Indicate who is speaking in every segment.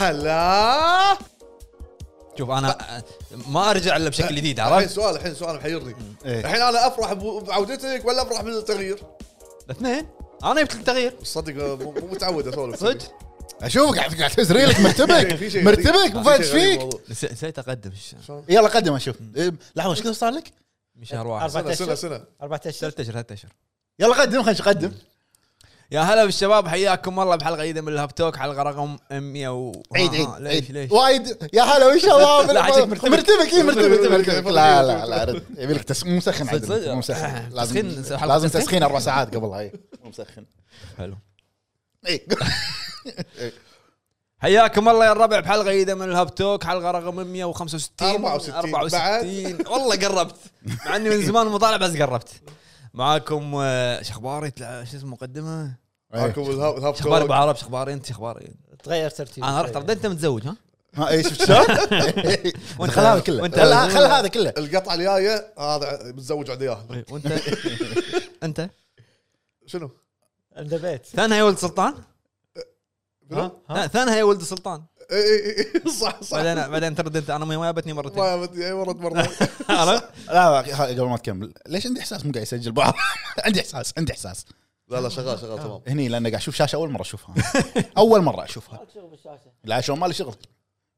Speaker 1: هلا
Speaker 2: شوف انا ما ارجع الا بشكل جديد
Speaker 1: الحين
Speaker 2: عرفت؟
Speaker 1: سؤال الحين سؤال محيرني
Speaker 2: إيه.
Speaker 1: الحين انا افرح ب- بعودتك ولا افرح بالتغيير؟
Speaker 3: طيب.
Speaker 2: الاثنين انا جبت التغيير
Speaker 1: صدق مو مو متعود اسولف
Speaker 2: صدق
Speaker 3: اشوفك قاعد قاعد تهز ريلك مرتبك
Speaker 1: في شيء غريب.
Speaker 3: مرتبك
Speaker 1: في
Speaker 3: مو فايد
Speaker 1: شيء
Speaker 3: إيش
Speaker 1: غريب
Speaker 3: فيك
Speaker 1: والله.
Speaker 2: أيوة، نس- نسيت اقدم الش-
Speaker 3: يلا قدم اشوف إيه، لحظه ايش كثر صار لك؟
Speaker 2: من شهر واحد
Speaker 1: سنه سنه
Speaker 4: أشهر.
Speaker 1: سنه
Speaker 4: أربعة أشهر
Speaker 2: ثلاث اشهر ثلاث اشهر
Speaker 3: يلا قدم خلينا نقدم
Speaker 2: آه، يا هلا بالشباب حياكم الله بحلقه جديده من الهاب توك حلقه رقم 100 و آه،
Speaker 3: عيد عيد
Speaker 2: ليش
Speaker 3: عيد
Speaker 2: ليش
Speaker 3: وايد يا هلا والشباب
Speaker 2: لا، عشان مرتبك.
Speaker 3: مرتبك اي مرتبك مرتبك لا لا لا رد يبي لك تس... مو مسخن
Speaker 2: صدق، صدق. آه،
Speaker 3: عدل مو مسخن لازم
Speaker 2: تسخين، حلقة
Speaker 3: لازم
Speaker 2: تسخين؟
Speaker 3: تسخين اربع ساعات إيه. قبلها اي مو مسخن
Speaker 2: حلو
Speaker 3: اي
Speaker 2: حياكم الله يا الربع بحلقه جديده من الهاب توك حلقه رقم 165
Speaker 1: 64
Speaker 2: 64 والله قربت مع اني من زمان مطالع بس قربت معاكم آه، شو اخباري تلع- شو اسمه مقدمه
Speaker 3: إيه.
Speaker 2: إيه.
Speaker 1: معكم الهاب الهاب
Speaker 2: شو اخباري ابو
Speaker 1: كوك.
Speaker 2: عرب شو اخباري انت شو اخباري
Speaker 4: تغير ترتيب
Speaker 2: انا رحت رديت انت متزوج ها
Speaker 3: ها، اي شفت شلون؟
Speaker 2: وأنت-
Speaker 3: خل هذا كله
Speaker 2: وأنت-
Speaker 3: خل خل هذا كله
Speaker 1: القطعه الجايه هذا متزوج عند ياهل
Speaker 2: وانت انت
Speaker 1: شنو؟
Speaker 4: اندبيت
Speaker 2: ثانها يا ولد سلطان
Speaker 1: ها؟
Speaker 2: ثان- ثانها يا ولد سلطان
Speaker 1: إي إي إي. إيه، صح صح
Speaker 2: بعدين بعدين ترد انت انا ما جابتني مرتين
Speaker 1: ما بدي اي إيه، مرض مرض
Speaker 2: عرفت؟
Speaker 3: لا لا ها- قبل ما تكمل ليش عندي احساس مو قاعد يسجل بعض عندي احساس عندي احساس
Speaker 1: لا لا شغال
Speaker 2: آه.
Speaker 1: شغال تمام
Speaker 3: هني لان قاعد اشوف شاشه اول مره اشوفها اول مره اشوفها لا شلون مالي شغل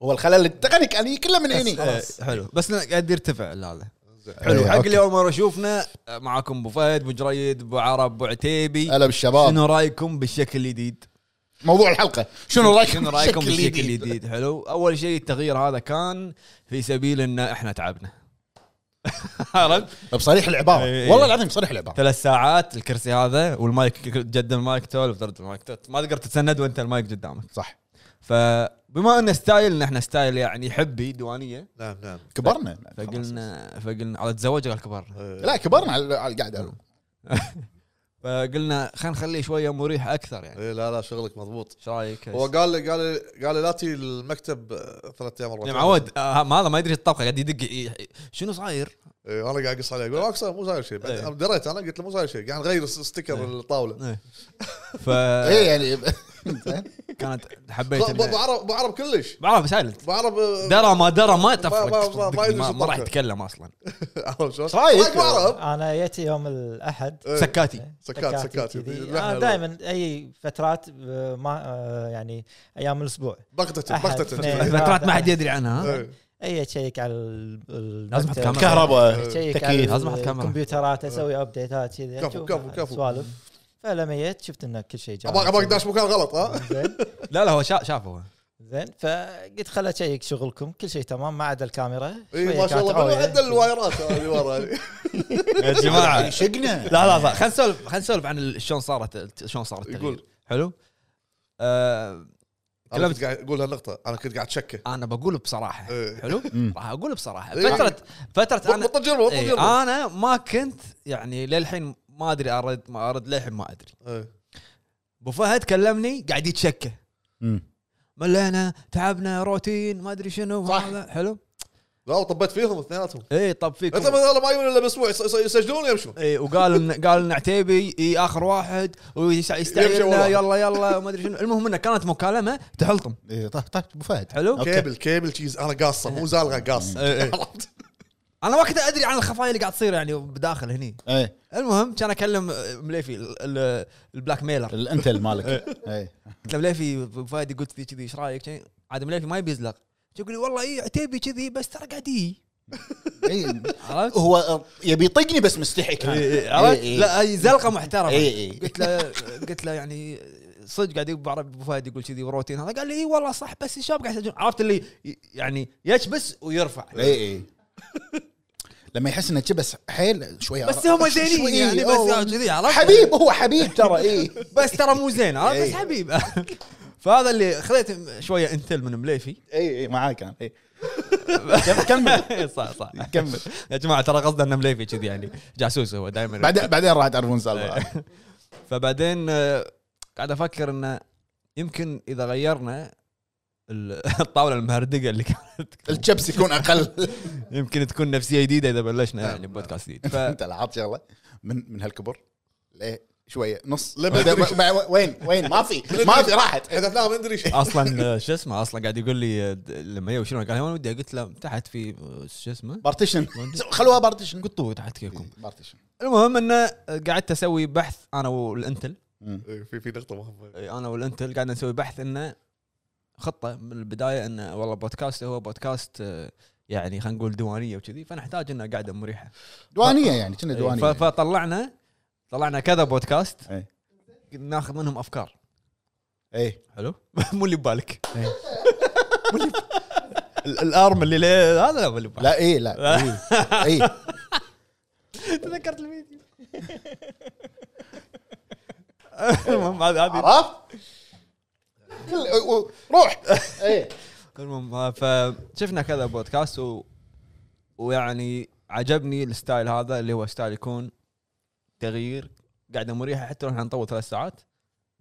Speaker 3: هو الخلل التقني كان هي كله من هني
Speaker 2: إيه، حلو بس أنا قاعد يرتفع هذا
Speaker 3: إيه،
Speaker 2: حلو حق
Speaker 3: أوكي.
Speaker 2: اللي اول مره شوفنا آه، معاكم ابو فهد ابو جريد ابو عرب ابو عتيبي
Speaker 3: هلا بالشباب
Speaker 2: شنو رايكم بالشكل الجديد؟
Speaker 3: موضوع الحلقه شنو رايكم
Speaker 2: شنو رايكم
Speaker 3: بالشكل
Speaker 2: بالشكل الجديد؟ حلو اول شيء التغيير هذا كان في سبيل ان احنا تعبنا عرفت؟
Speaker 3: بصريح العباره
Speaker 2: إيه.
Speaker 3: والله العظيم بصريح العباره
Speaker 2: ثلاث ساعات الكرسي هذا والمايك جد المايك تول وترد المايك تول. ما تقدر تتسند وانت المايك قدامك
Speaker 3: صح
Speaker 2: فبما ان ستايل ان احنا ستايل يعني حبي ديوانيه
Speaker 1: نعم نعم
Speaker 3: كبرنا
Speaker 2: فقلنا فقلنا على تزوج قال كبرنا
Speaker 3: لا كبرنا على على القعده
Speaker 2: فقلنا خلينا نخليه شويه مريح اكثر يعني
Speaker 1: إي إيه، لا لا شغلك مضبوط
Speaker 2: ايش رايك؟
Speaker 1: هو قال لي قال لي قال لي لا تي المكتب آه، ثلاث ايام اربع
Speaker 2: يا
Speaker 1: أيام.
Speaker 2: معود آه، ما هذا ما يدري الطبخه قاعد يدق ي- شنو صاير؟
Speaker 1: إي، انا إيه، قاعد اقص عليه يقول اقصى مو صاير شيء
Speaker 2: إيه.
Speaker 1: بعدين دريت انا قلت له مو صاير شيء قاعد نغير س- ستيكر الطاوله
Speaker 2: فكانت
Speaker 1: إيه.
Speaker 3: اي يعني زين.
Speaker 2: حبيت
Speaker 1: ب- ب- ابو
Speaker 2: إنه-
Speaker 1: عرب ابو عرب كلش
Speaker 2: بعرف سايلنت
Speaker 1: ابو عرب آه،
Speaker 2: درى ما درى ما
Speaker 1: ما- ما- ما-
Speaker 2: تفرق
Speaker 1: ما يدري
Speaker 2: ما,
Speaker 1: شو
Speaker 2: ما راح
Speaker 1: طبخه.
Speaker 2: يتكلم اصلا
Speaker 1: عرفت شلون؟
Speaker 3: إيش رأيك؟
Speaker 1: ابو عرب
Speaker 4: انا جيت يوم الاحد
Speaker 1: إيه.
Speaker 2: سكاتي
Speaker 1: سكات- سكات. لحن-
Speaker 4: انا دائما اي فترات آه، ما آه، يعني ايام الاسبوع
Speaker 1: بغتته
Speaker 4: أحد،
Speaker 1: بغتته
Speaker 4: اثنين.
Speaker 2: فترات ما حد يدري عنها ها؟
Speaker 1: إي.
Speaker 4: اي اشيك على ال- ال-
Speaker 2: لازم أحط كاميرا.
Speaker 4: المكتب.
Speaker 3: كهرباء
Speaker 4: اشيك على
Speaker 3: تكييف.
Speaker 2: لازم أحط
Speaker 4: ال-
Speaker 2: كاميرا.
Speaker 4: الكمبيوترات اسوي ابديتات كذي
Speaker 1: كفو،
Speaker 4: أشوف
Speaker 1: كفو، كفو.
Speaker 4: سوالف فلما جيت شفت ان كل شيء جاهز
Speaker 1: اباك اباك داش مكان غلط ها؟
Speaker 4: زين
Speaker 2: لا لا هو شا- شافه هو.
Speaker 4: زين فقلت خل اشيك شغلكم كل شيء تمام ما عدا الكاميرا
Speaker 1: اي
Speaker 4: شوية
Speaker 1: إيه، ما شاء
Speaker 4: كانت
Speaker 1: الله
Speaker 4: عوية.
Speaker 1: عدل الوايرات اللي ورا
Speaker 2: يا جماعه
Speaker 3: شقنا
Speaker 2: لا لا لا خلينا نسولف خلينا نسولف عن ال- شلون صارت شلون صار التغيير
Speaker 1: يقول.
Speaker 2: حلو؟ آه،
Speaker 1: انا كنت قاعد اقول هالنقطه انا كنت قاعد شكه
Speaker 2: انا بقول بصراحه
Speaker 1: إيه.
Speaker 2: حلو؟
Speaker 3: مم.
Speaker 2: راح اقول بصراحه
Speaker 1: إيه.
Speaker 2: فتره فتره انا
Speaker 1: بطل تجربه بطل
Speaker 2: إيه،
Speaker 1: تجربه
Speaker 2: انا ما كنت يعني للحين ما ادري ارد ما ارد للحين ما ادري
Speaker 1: إيه.
Speaker 2: ابو فهد كلمني قاعد يتشكى
Speaker 3: مم.
Speaker 2: ملينا تعبنا روتين ما ادري شنو
Speaker 3: صح.
Speaker 2: هذا حلو
Speaker 1: لا وطبيت فيهم اثنيناتهم
Speaker 2: اي طب فيك
Speaker 1: انت مثلا ما يجون الا باسبوع يس- يس- يسجلون ويمشون
Speaker 2: اي وقال إن- قال ان عتيبي إي اخر واحد
Speaker 1: يمشي
Speaker 2: ويستعجلنا
Speaker 1: والله.
Speaker 2: يلا يلا وما ادري شنو المهم انه كانت مكالمه تحلطم
Speaker 3: إيه، طيب طيب ابو فهد
Speaker 2: حلو
Speaker 3: أوكي.
Speaker 1: كيبل كيبل تشيز انا قاصه مو زالغه قاصه
Speaker 2: إيه، إيه.
Speaker 1: عرفت؟
Speaker 2: انا ما كنت ادري عن الخفايا اللي قاعد تصير يعني بداخل هني
Speaker 3: ايه
Speaker 2: المهم كان اكلم آه، مليفي ال- ال- البلاك
Speaker 3: إيه.
Speaker 2: ميلر
Speaker 3: الانتل مالك
Speaker 2: إيه.
Speaker 3: ايه
Speaker 2: قلت له مليفي فادي قلت لي كذي ايش رايك؟ شي- عاد مليفي ما يبي يزلق يقول لي والله اي عتيبي كذي بس ترى قاعد يجي
Speaker 3: إيه.
Speaker 2: عرفت؟
Speaker 3: هو يبي يطقني بس مستحيك
Speaker 2: إيه، عرفت؟
Speaker 3: إيه.
Speaker 2: لا هي زلقه محترمه
Speaker 3: إيه، إيه.
Speaker 2: قلت له قلت له يعني صدق قاعد يبو عرب ابو فهد يقول كذي وروتين هذا قال لي اي والله صح بس الشباب قاعد يسجلون عرفت اللي ي- يعني يشبس ويرفع
Speaker 3: اي اي لما يحس انه كبس حيل شويه
Speaker 2: بس هم
Speaker 3: شوي-
Speaker 2: زينين
Speaker 3: إيه،
Speaker 2: يعني
Speaker 3: أوه.
Speaker 2: بس كذي عرفت؟
Speaker 3: حبيب هو حبيب ترى إيه. اي
Speaker 2: بس ترى مو زين عرفت بس
Speaker 3: إيه.
Speaker 2: حبيب فهذا اللي خذيت شويه انتل من مليفي
Speaker 3: اي اي إيه، معاك انا إي. كمل
Speaker 2: إيه، صح صح
Speaker 3: كمل
Speaker 2: يا جماعه ترى قصده انه مليفي كذي يعني جاسوس هو دائما
Speaker 3: بعدين بعدين راح تعرفون السالفه
Speaker 2: إيه. فبعدين آه، قاعد افكر انه يمكن اذا غيرنا ال- الطاوله المهردقه اللي كانت
Speaker 3: الشبس يكون اقل
Speaker 2: يمكن تكون نفسيه جديده اذا بلشنا يعني
Speaker 1: نعم.
Speaker 2: بودكاست جديد ف
Speaker 3: انت لاحظت شغله من من هالكبر ليه شويه نص
Speaker 1: لا،
Speaker 3: بعد- بعد- وين وين ما في ما في راحت
Speaker 1: حذفناها ما ادري شيء
Speaker 2: اصلا آه، شو اسمه اصلا قاعد يقول لي آه، د- لما يوشون قال وين ودي قلت له تحت في آه، شو اسمه
Speaker 3: بارتيشن خلوها بارتيشن إيه،
Speaker 2: قطوه تحت كيفكم
Speaker 3: بارتيشن
Speaker 2: المهم انه قعدت اسوي بحث انا والانتل
Speaker 1: إيه، في في نقطه مهمه
Speaker 2: انا والانتل قاعد نسوي بحث انه خطه من البدايه انه والله بودكاست هو بودكاست آه، يعني خلينا نقول ديوانيه وكذي فنحتاج انه قاعده مريحه
Speaker 3: دوانيه يعني كنا
Speaker 2: إيه، ف-
Speaker 3: دوانيه
Speaker 2: فطلعنا طلعنا كذا بودكاست
Speaker 3: إيه.
Speaker 2: ناخذ منهم افكار
Speaker 3: اي
Speaker 2: حلو مو اللي ببالك مو اللي ب- ال- الارم اللي ليه هذا لا مو اللي ببالك
Speaker 3: لا اي لا إيه. اي
Speaker 2: تذكرت الفيديو المهم هذه هذه
Speaker 3: عرفت و- و- روح
Speaker 2: إيه.
Speaker 3: إيه. اي
Speaker 2: المهم آه، فشفنا كذا بودكاست و... ويعني عجبني الستايل هذا اللي هو ستايل يكون تغيير قاعده مريحه حتى لو احنا نطول ثلاث ساعات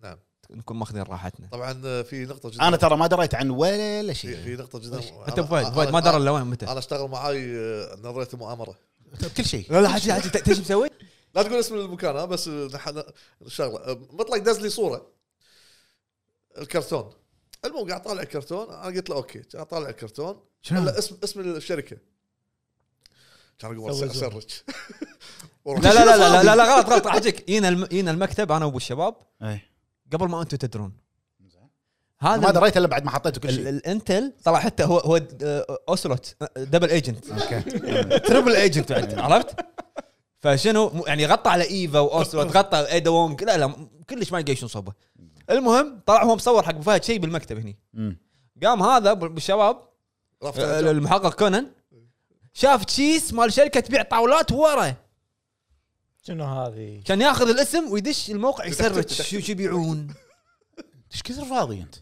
Speaker 1: نعم.
Speaker 2: نكون ماخذين راحتنا
Speaker 1: طبعا آه، في نقطه جدا
Speaker 3: انا ترى ما دريت عن ولا
Speaker 1: في,
Speaker 3: شيء
Speaker 1: في نقطه جدا
Speaker 2: انت
Speaker 1: أنا-
Speaker 2: فايد
Speaker 1: أنا-
Speaker 2: فايد ما درى الا وين متى
Speaker 1: انا اشتغل معاي آه، نظريه المؤامره
Speaker 3: بكل شيء
Speaker 2: لا لا حجي حجي تدري ايش مسوي؟
Speaker 1: لا تقول اسم المكان ها بس آه، نح- شغله آه، مطلق دز لي صوره الكرتون المهم قاعد طالع الكرتون انا قلت له اوكي قاعد طالع الكرتون لا اسم اسم الشركه كان اقول
Speaker 4: سوي زوم.
Speaker 1: اسرج
Speaker 2: لا لا لا لا لا, لا غلط غلط احجيك جينا الم... جينا المكتب انا وابو الشباب
Speaker 3: إي.
Speaker 2: إيه. قبل ما انتم تدرون
Speaker 3: ما
Speaker 2: هذا
Speaker 3: دريت الا بعد ما حطيته كل
Speaker 2: ال-
Speaker 3: شيء
Speaker 2: الانتل طلع حتى هو هو آه، اوسلوت آه، دبل ايجنت
Speaker 3: اوكي
Speaker 2: تربل ايجنت بعد عرفت؟ فشنو مو- يعني غطى على ايفا واوسلو غطى ايدا وونج لا لا م- كلش ما يلقى شنو صبه المهم طلع هو مصور حق ابو فهد شيء بالمكتب هني
Speaker 3: أمم.
Speaker 2: قام هذا ب- بالشباب
Speaker 1: رفع
Speaker 2: آه،
Speaker 1: الجو.
Speaker 2: المحقق كونان شاف تشيس مال شركه تبيع طاولات ورا
Speaker 4: شنو هذه؟
Speaker 2: كان ياخذ الاسم ويدش الموقع يسرج شو شو يبيعون
Speaker 3: ايش كثر فاضي انت؟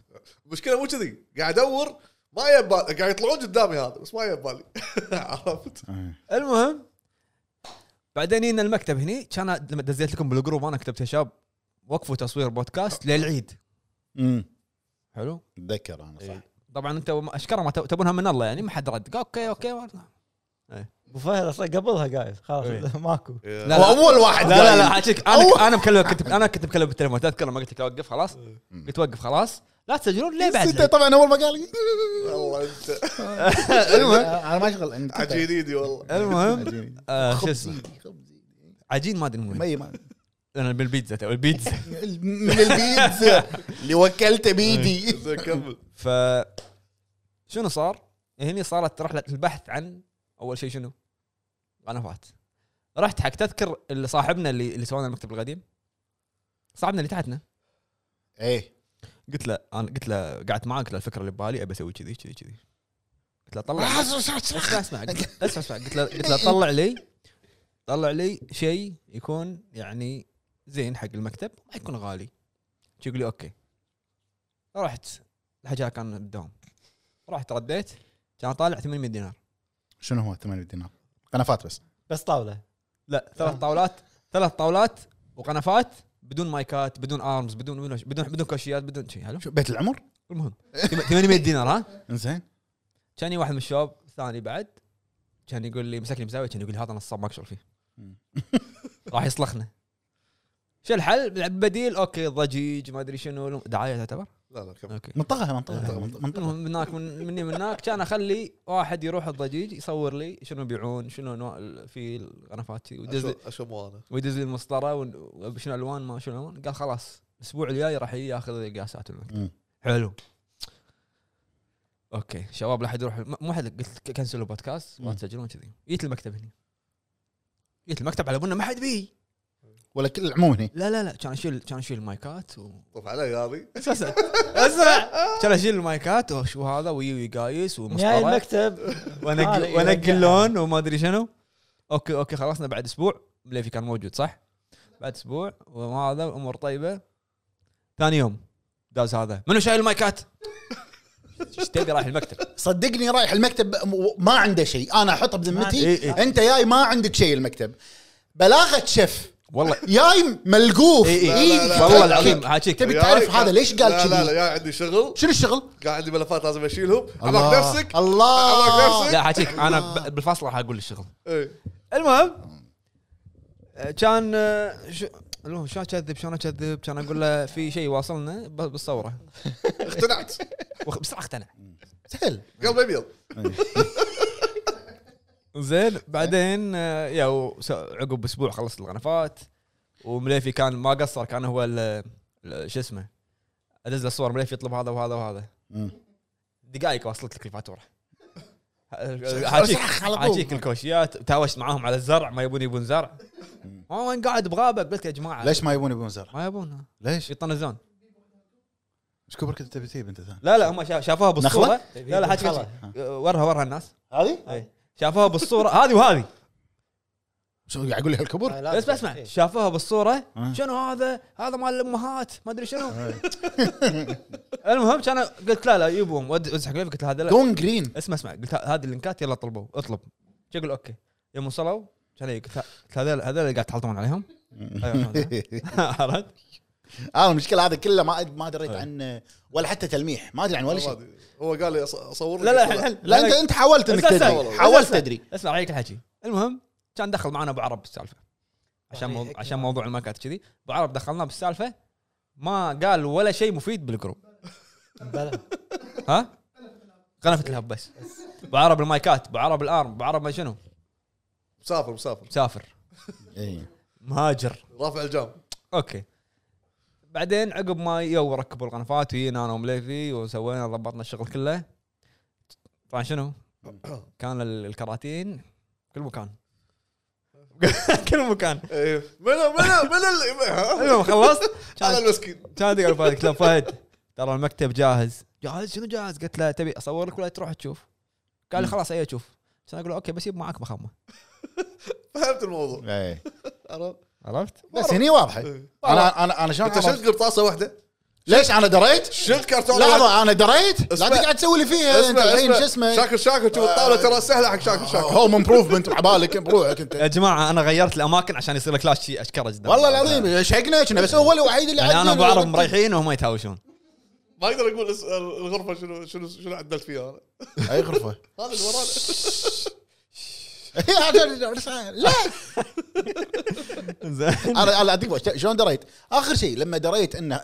Speaker 1: المشكله مو كذي قاعد ادور ما يبالي قاعد يطلعون قدامي هذا بس ما يبالي عرفت
Speaker 2: المهم بعدين هنا المكتب هني كان لما دزيت لكم بالجروب انا كتبت يا شباب وقفوا تصوير بودكاست للعيد
Speaker 3: امم
Speaker 2: حلو
Speaker 3: اتذكر انا
Speaker 2: إيه.
Speaker 3: صح
Speaker 2: طبعا انت وما- اشكره ما تبونها من الله يعني ما حد رد قال اوكي اوكي
Speaker 4: ابو فهد اصلا قبلها قايل خلاص ماكو
Speaker 2: لا
Speaker 3: هو اول واحد
Speaker 2: لا لا,
Speaker 3: قايل.
Speaker 2: لا حاجيك انا
Speaker 3: أوه.
Speaker 2: انا مكلم كنت انا كنت مكلم بالتليفون تذكر لما قلت لك اوقف خلاص قلت وقف خلاص لا تسجلون ليه بعد
Speaker 3: انت طبعا اول ما قال
Speaker 1: والله انت
Speaker 3: انا ما اشغل أنت-
Speaker 1: عجين ايدي والله
Speaker 2: المهم
Speaker 3: عجيني.
Speaker 2: آه، شو اسمه
Speaker 3: خبزي خبزي
Speaker 2: عجين ما ادري من وين
Speaker 3: مي ما
Speaker 2: انا بالبيتزا تو البيتزا
Speaker 3: من البيتزا اللي وكلته بيدي
Speaker 1: زين كمل
Speaker 2: ف شنو صار؟ هني صارت رحله البحث عن اول شيء شنو؟ قنوات رحت حق تذكر اللي صاحبنا اللي اللي سوانا المكتب القديم صاحبنا اللي تحتنا
Speaker 3: ايه
Speaker 2: قلت له انا قلت له قعدت معاه قلت له الفكره اللي ببالي ابي اسوي كذي كذي كذي قلت له طلع لي- اسمع اسمع قلت- اسمع اسمع قلت له قلت له طلع لي طلع لي شيء يكون يعني زين حق المكتب ما يكون غالي شو يقول لي اوكي رحت الحجاج كان بالدوام رحت رديت كان طالع 800 دينار
Speaker 3: شنو هو 8 دينار؟ قنفات بس
Speaker 4: بس طاوله
Speaker 2: لا ثلاث طاولات ثلاث طاولات وقنفات بدون مايكات بدون ارمز بدون بدون بدون, بدون كوشيات بدون شيء حلو
Speaker 3: شو بيت العمر؟
Speaker 2: المهم 800 دينار ها
Speaker 3: انزين
Speaker 2: كان واحد من الشباب ثاني بعد كان يقول لي مسكني مساوي كان يقول لي هذا نصاب ما اكشر فيه
Speaker 3: مم.
Speaker 2: راح يصلخنا شو الحل بديل اوكي ضجيج ما ادري شنو دعايه تعتبر
Speaker 1: لا لا كمل
Speaker 2: اوكي
Speaker 3: منطقه منطقه منطقه
Speaker 2: المهم من هناك من مني من هناك كان اخلي واحد يروح الضجيج يصور لي شنو يبيعون شنو انواع ال- في الغرفات ويدز لي-
Speaker 1: أشو- اشو مو انا
Speaker 2: ويدز لي المسطره ون- وشنو الوان ما شنو الوان قال خلاص الاسبوع الجاي راح يجي ياخذ القاسات والمكتب.
Speaker 3: مم.
Speaker 2: حلو اوكي شباب لا حد يروح م- مو حد قلت كنسلوا بودكاست ما
Speaker 3: مم.
Speaker 2: تسجلون كذي جيت المكتب هنا جيت المكتب على بنا ما حد بيه
Speaker 3: ولا كل العموم هني
Speaker 2: لا لا لا كان اشيل كان اشيل المايكات و...
Speaker 1: طف علي هذه
Speaker 2: اسمع اسمع كان اشيل المايكات وشو هذا ويوي قايس
Speaker 4: نهاية
Speaker 2: ومسطره
Speaker 4: المكتب
Speaker 2: وانقي وانقي اللون وما ادري شنو اوكي اوكي خلصنا بعد اسبوع مليفي كان موجود صح؟ بعد اسبوع وهذا امور طيبه ثاني يوم داز هذا منو شايل المايكات؟ ايش تبي رايح المكتب؟
Speaker 3: صدقني رايح المكتب م- ما عنده شيء انا احطه
Speaker 4: ما-
Speaker 2: إيه،
Speaker 3: بذمتي
Speaker 2: إيه.
Speaker 3: انت جاي ما عندك شيء المكتب بلاغه شف
Speaker 2: والله
Speaker 3: جاي ملقوف
Speaker 2: إيه، إيه.
Speaker 3: إيدك
Speaker 1: لا، لا،
Speaker 2: والله
Speaker 3: تحكك.
Speaker 2: العظيم حاجيك
Speaker 3: تبي تعرف
Speaker 1: يا-
Speaker 3: هذا ليش قال
Speaker 1: يعني لا لا لا
Speaker 3: كذي
Speaker 1: يا عندي شغل
Speaker 3: شنو الشغل
Speaker 1: قاعد عندي ملفات لازم اشيلهم عماك
Speaker 3: الله.
Speaker 2: آه.
Speaker 1: نفسك
Speaker 3: الله
Speaker 1: عماك
Speaker 2: لا
Speaker 1: نفسك
Speaker 2: حاجيك انا ب- بالفصل راح اقول الشغل
Speaker 1: إيه.
Speaker 2: المهم آه، كان آه، شو- المهم شلون اكذب شلون اكذب كان اقول له في شيء واصلنا ب- بالصوره
Speaker 1: اقتنعت
Speaker 2: وخ- بسرعه اقتنع
Speaker 3: سهل
Speaker 1: قلبي ابيض
Speaker 2: زين بعدين آه، يا وس- عقب اسبوع خلصت الغرفات ومليفي كان ما قصر كان هو ال- ال- شو اسمه ادز له الصور مليفي يطلب هذا وهذا وهذا
Speaker 3: مم.
Speaker 2: دقائق واصلت لك الفاتوره
Speaker 3: صح، على طول.
Speaker 2: حاجيك الكوشيات تاوشت معاهم على الزرع ما يبون يبون زرع ما وين قاعد بغابه قلت يا جماعه
Speaker 3: ليش ما يبون يبون زرع؟
Speaker 2: ما يبون
Speaker 3: ليش؟
Speaker 2: يطنزون
Speaker 3: ايش كبر كنت تبي تجيب انت ثاني؟
Speaker 2: لا لا هم شا- شافوها بالصوره
Speaker 3: نخلة؟
Speaker 2: لا لا حاجة
Speaker 4: نخلة.
Speaker 2: ورها ورها الناس
Speaker 3: هذه؟
Speaker 2: إي. شافوها بالصوره هذه وهذه
Speaker 3: شو قاعد اقول لك
Speaker 4: آه،
Speaker 3: الكبر؟
Speaker 2: بس بسمع شافوها بالصوره
Speaker 3: آه.
Speaker 2: آه، إيه. شنو هذا هذا مال الامهات ما ادري شنو آه. المهم كان قلت لا لا يبوهم ود- وزح حق قلت له هذا لا
Speaker 3: جون جرين
Speaker 2: اسمع اسمع قلت ه- هذه اللينكات يلا طلبوا اطلب شكل اوكي يوم وصلوا كان قلت ه- قلت هذول هذول اللي قاعد تحلطون عليهم أيوة. عرفت
Speaker 3: انا المشكله آه، هذا كله ما ما دريت
Speaker 2: طيب.
Speaker 3: عنه ولا حتى تلميح ما ادري عن ولا
Speaker 1: ما
Speaker 3: شيء
Speaker 1: أدري. هو قال لي أص- اصور لك
Speaker 2: لا لا
Speaker 1: أطلع.
Speaker 2: الحين الحين
Speaker 3: لا انت انت حاولت انك
Speaker 2: بس أسأل.
Speaker 3: تدري حاولت تدري
Speaker 2: اسمع عليك الحكي المهم كان دخل معنا ابو عرب بالسالفه عشان
Speaker 4: أبي
Speaker 2: موضوع
Speaker 4: حكمة.
Speaker 2: عشان موضوع الماكات كذي ابو عرب دخلنا بالسالفه ما قال ولا شيء مفيد بالجروب
Speaker 4: بلى.
Speaker 2: ها قنفت الهب بس ابو عرب المايكات ابو عرب الارم ابو عرب ما شنو
Speaker 1: مسافر مسافر
Speaker 2: مسافر
Speaker 3: إي.
Speaker 2: إيه. مهاجر
Speaker 1: رافع الجام
Speaker 2: اوكي بعدين عقب ما يو ركبوا القنفات وجينا انا ومليفي وسوينا ضبطنا الشغل كله طبعا شنو؟ كان ال- الكراتين كل مكان كل مكان
Speaker 1: إيه. من من من ال- ها؟
Speaker 2: المهم خلصت
Speaker 1: هذا
Speaker 2: كان
Speaker 1: المسكين
Speaker 2: كان دق على فهد قلت له فهد ترى المكتب جاهز جاهز شنو جاهز؟ قلت له تبي اصور لك ولا تروح تشوف؟ قال لي
Speaker 3: مم.
Speaker 2: خلاص أيوه، اي اشوف كان اقول له اوكي بس يب معك مخمه
Speaker 1: فهمت الموضوع
Speaker 3: إي.
Speaker 1: عرفت؟
Speaker 2: عرفت؟
Speaker 3: إيه. بس هني واضحه
Speaker 1: إيه.
Speaker 3: انا انا انا شلون
Speaker 1: انت
Speaker 3: عرفت؟
Speaker 1: شلت قرطاسه واحده
Speaker 3: ليش انا دريت؟
Speaker 1: شلت كرتون واحد.
Speaker 3: لحظه انا دريت؟
Speaker 1: اسمع.
Speaker 3: لا تقعد تسوي لي فيها انت
Speaker 1: اسمع
Speaker 3: الحين
Speaker 1: اسمع
Speaker 3: شو اسمه؟ آه.
Speaker 1: شاكر شاكر شوف الطاوله ترى سهله حق شاكر شاكر
Speaker 3: هوم امبروفمنت عبالك بروحك انت
Speaker 2: يا جماعه انا غيرت الاماكن عشان يصير لك كلاش شي اشكره جدا
Speaker 3: والله العظيم شقنا كنا بس هو الوحيد اللي
Speaker 2: يعني انا
Speaker 3: عدل.
Speaker 2: ابو عرب مريحين وهم يتهاوشون
Speaker 1: ما اقدر اقول اس- الغرفه شنو شنو شنو عدلت فيها انا
Speaker 3: اي غرفه
Speaker 1: هذا اللي ورانا
Speaker 3: لا
Speaker 2: زين
Speaker 3: انا انا اديك وقت. شلون دريت؟ اخر شيء لما دريت انه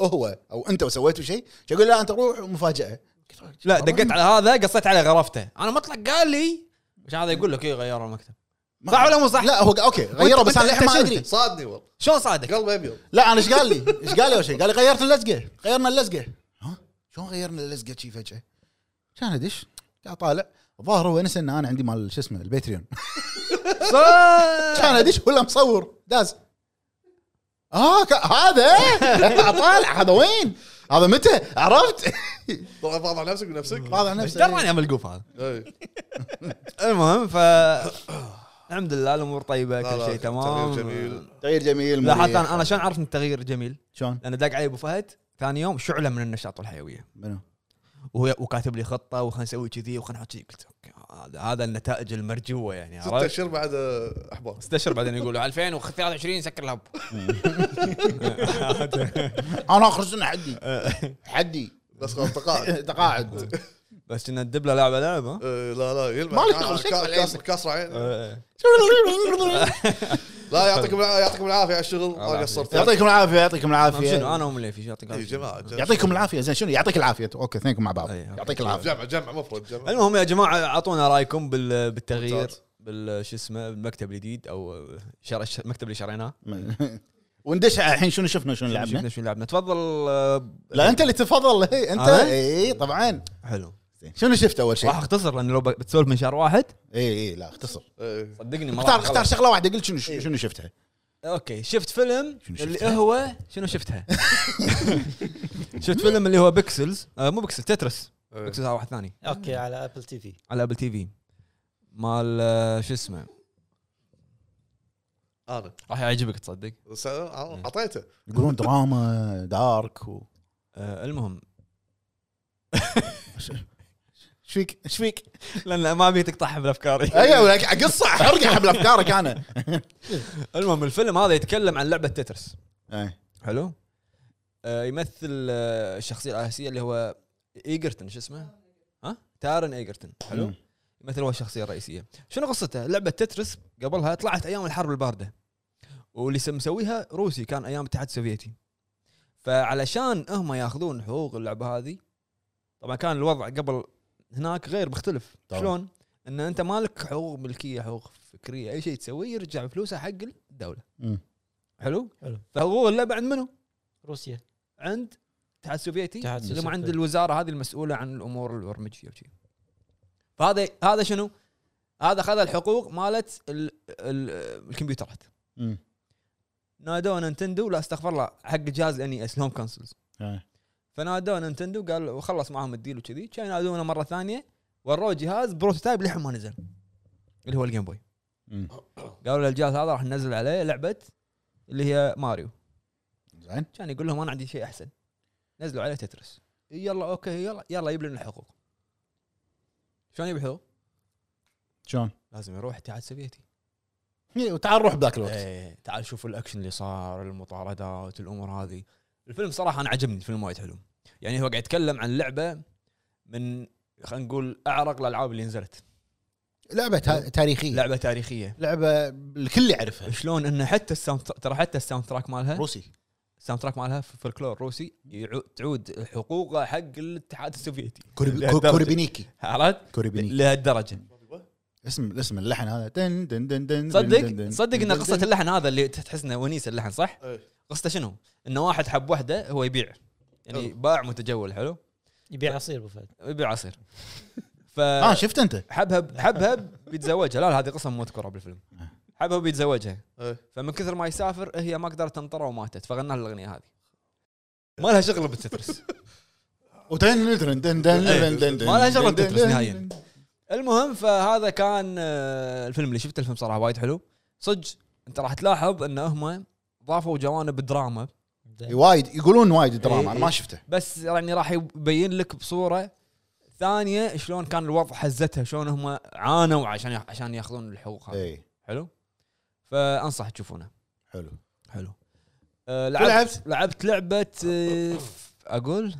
Speaker 3: هو او انت وسويتوا شيء يقول لا انت روح مفاجاه
Speaker 2: لا دقيت على هذا قصيت على غرفته انا مطلق قال لي مش هذا يقول لك ايه غيروا المكتب
Speaker 3: ما-
Speaker 2: صح ولا مو صح؟
Speaker 3: لا هو قا- اوكي غيره بس
Speaker 2: وأنت-
Speaker 3: انا للحين
Speaker 2: أنت
Speaker 3: ما
Speaker 2: شنو
Speaker 3: ادري
Speaker 1: صادني والله
Speaker 2: شلون صادق؟
Speaker 1: قلبي ابيض
Speaker 3: لا انا ايش قال لي؟ ايش قال لي اول شيء؟ قال لي غيرت اللزقه غيرنا اللزقه ها شلون غيرنا اللزقه شي فجاه؟ كان ادش قاعد طالع ظاهر هو نسى ان انا عندي مال شو اسمه الباتريون كان ادش ولا مصور داز اه ك- هذا طالع هذا وين؟ هذا متى؟ عرفت؟
Speaker 1: طبعا فاض على نفسك بنفسك
Speaker 3: واضح نفسه
Speaker 2: دراني اعمل قوف هذا
Speaker 1: إيه.
Speaker 2: المهم ف الحمد لله الامور طيبه
Speaker 1: لا،
Speaker 2: كل
Speaker 1: لا،
Speaker 2: شيء تمام
Speaker 1: تغيير جميل.
Speaker 3: تغيير جميل
Speaker 2: لا
Speaker 3: مريح.
Speaker 2: حتى انا أنا شلون عرفت ان التغيير جميل؟
Speaker 3: شلون؟
Speaker 2: لان داق علي ابو فهد ثاني يوم شعله من النشاط والحيويه
Speaker 3: منو؟
Speaker 2: وهو وكاتب لي خطه وخلنا نسوي كذي وخلنا نحط كذي قلت أوكي، هذا هذا النتائج المرجوه يعني
Speaker 1: ستة
Speaker 2: عرفت؟
Speaker 1: اشهر بعد آه، احباط
Speaker 2: استشر بعدين يقولوا 2023 سكر الهب
Speaker 3: انا اخر سنه حدي حدي
Speaker 1: بس خلاص تقاعد
Speaker 3: تقاعد
Speaker 2: بس كنا ندب له لعبه لعبه
Speaker 1: آه، لا لا يلمع
Speaker 3: مالك دخل، شكله يعني.
Speaker 1: كا- كاس-
Speaker 3: عينك.
Speaker 1: كاسر
Speaker 2: إيه.
Speaker 1: عين
Speaker 2: آه.
Speaker 1: لا يعطيكم الع- يعطيكم العافيه على الشغل ما
Speaker 2: العافية.
Speaker 1: قصرتوا
Speaker 3: يعطيكم العافيه يعطيكم
Speaker 2: شنو
Speaker 3: العافيه
Speaker 2: انا ومليفي شو يعطيك
Speaker 1: يا
Speaker 2: العافية؟
Speaker 1: جماعه إيه، جماعة.
Speaker 3: يعطيكم العافيه زين شنو يعطيك العافيه اوكي اثنينكم مع بعض
Speaker 2: أي، أوكي.
Speaker 3: يعطيك العافيه
Speaker 1: جمع جمع مفرد جمع
Speaker 2: المهم يا جماعه اعطونا رايكم بال- بالتغيير
Speaker 1: ممتاز.
Speaker 2: بال شو اسمه بالمكتب الجديد او شر... الش- المكتب اللي شريناه
Speaker 3: وندش على الحين شنو شفنا شنو لعبنا
Speaker 2: شفنا شو لعبنا تفضل آه،
Speaker 3: لا انت اللي تفضل هي انت
Speaker 2: أنا؟
Speaker 3: اي طبعا
Speaker 2: حلو
Speaker 3: زين، شنو شفت اول شيء؟
Speaker 2: راح اختصر لان لو ب- بتسولف من شهر واحد
Speaker 3: اي اي لا اختصر
Speaker 1: إيه.
Speaker 2: صدقني ما
Speaker 3: اختار
Speaker 2: راح
Speaker 3: اختار
Speaker 2: أخلص.
Speaker 3: شغله واحده قل شنو شنو شفتها
Speaker 2: اوكي شفت فيلم
Speaker 3: شنو
Speaker 2: اللي
Speaker 3: شفتها؟
Speaker 2: هو شنو شفتها شفت فيلم اللي هو بيكسلز آه مو بيكسل تترس
Speaker 1: إيه.
Speaker 2: بيكسلز هذا واحد ثاني
Speaker 4: اوكي على ابل تي في
Speaker 2: على ابل تي في مال آه، شو اسمه
Speaker 1: انا
Speaker 2: راح يعجبك تصدق
Speaker 1: بس أنا اعطيته
Speaker 3: يقولون دراما دارك و
Speaker 2: آه المهم
Speaker 3: ايش فيك ايش فيك؟
Speaker 2: لان ما ابي تقطعها بافكاري
Speaker 3: ايوه لك قصه حرق حبل افكارك انا
Speaker 2: المهم الفيلم هذا يتكلم عن لعبه تترس
Speaker 3: إيه.
Speaker 2: حلو آه يمثل آه الشخصيه الاساسيه اللي هو ايجرتون شو اسمه؟ ها؟ تارن ايجرتون حلو؟
Speaker 3: مم.
Speaker 2: يمثل هو الشخصيه الرئيسيه. شنو قصته؟ لعبه تترس قبلها طلعت ايام الحرب البارده واللي سم- مسويها روسي كان ايام الاتحاد السوفيتي فعلشان هم ياخذون حقوق اللعبه هذه طبعا كان الوضع قبل هناك غير مختلف
Speaker 3: طبعاً.
Speaker 2: شلون؟ ان انت مالك حقوق ملكيه حقوق فكريه اي شيء تسويه يرجع فلوسه حق الدوله
Speaker 3: مم.
Speaker 2: حلو؟
Speaker 4: حلو.
Speaker 2: فحقوق اللعبه عند منو؟
Speaker 4: روسيا
Speaker 2: عند الاتحاد السوفيتي
Speaker 4: الاتحاد
Speaker 2: اللي هم عند
Speaker 4: السوفيتي.
Speaker 2: الوزاره هذه المسؤوله عن الامور البرمجيه وشي فهذا هذا شنو؟ هذا خذ الحقوق مالت ال ال الكمبيوترات
Speaker 3: مم.
Speaker 2: نادوا نينتندو لا استغفر الله حق جهاز اني اس لهم كونسلز
Speaker 3: آه.
Speaker 2: فنادوا نينتندو قال وخلص معاهم الديل وكذي كان ينادونا مره ثانيه وروه جهاز بروتوتايب للحين ما نزل اللي هو الجيم بوي
Speaker 3: مم.
Speaker 2: قالوا له الجهاز هذا راح ننزل عليه لعبه اللي هي ماريو
Speaker 3: زين
Speaker 2: كان يقول لهم انا عندي شيء احسن نزلوا عليه تترس يلا اوكي يلا يلا يجيب لنا الحقوق شلون يبي الحقوق؟
Speaker 3: شلون؟
Speaker 2: لازم يروح اتحاد سوفيتي
Speaker 3: إيه، وتعال روح بذاك الوقت
Speaker 2: ايه تعال شوف الاكشن اللي صار المطاردات الامور هذه الفيلم صراحه انا عجبني الفيلم وايد حلو يعني هو قاعد يتكلم عن لعبه من خلينا نقول اعرق الالعاب اللي نزلت
Speaker 3: لعبه تا- تاريخيه
Speaker 2: لعبه تاريخيه
Speaker 3: لعبه الكل يعرفها
Speaker 2: شلون انه حتى الساوند ترى حتى الساوند تراك مالها
Speaker 3: روسي
Speaker 2: الساوند تراك مالها في فلكلور روسي يعو- تعود حقوقه حق الاتحاد السوفيتي
Speaker 3: كورب-
Speaker 2: لهالدرجة.
Speaker 3: كوربينيكي
Speaker 2: عرفت
Speaker 3: كوربينيكي
Speaker 2: لهالدرجه
Speaker 3: اسم الاسم اللحن هذا دن دن دن دن
Speaker 2: صدق صدق ان قصه اللحن هذا اللي تحس انه ونيس اللحن صح؟
Speaker 1: إيه.
Speaker 2: قصته شنو؟ انه واحد حب وحده هو يبيع يعني
Speaker 1: حلو.
Speaker 2: باع متجول حلو؟
Speaker 4: يبيع عصير ابو فهد
Speaker 2: يبيع عصير
Speaker 3: اه
Speaker 2: فحبها
Speaker 3: شفت انت
Speaker 2: حبها حبها بيتزوجها لا لا هذه قصه مو مذكوره بالفيلم
Speaker 3: آه.
Speaker 2: حبها بيتزوجها
Speaker 1: إيه.
Speaker 2: فمن كثر ما يسافر هي ما قدرت تنطره وماتت فغنى لها الاغنيه هذه ما لها شغل بالتترس
Speaker 3: ودن دن دن دن دن دن دن
Speaker 2: ما لها شغل
Speaker 3: دن دن
Speaker 2: بتترس
Speaker 3: دن
Speaker 2: نهائياً.
Speaker 3: دن.
Speaker 2: المهم فهذا كان آه، الفيلم اللي شفته الفيلم صراحه وايد حلو صدق انت راح تلاحظ ان هم ضافوا جوانب دراما
Speaker 4: زين.
Speaker 3: إيه، وايد يقولون وايد دراما انا
Speaker 2: إيه.
Speaker 3: ما شفته
Speaker 2: بس يعني راح يبين لك بصوره ثانيه شلون كان الوضع حزتها شلون هم عانوا عشان عشان ياخذون الحقوق هذه
Speaker 3: اي
Speaker 2: حلو فانصح تشوفونه
Speaker 3: إيه، حلو
Speaker 2: حلو أه
Speaker 3: شو
Speaker 2: لعبت لعبت
Speaker 3: لعبت؟
Speaker 2: لعبه أه اقول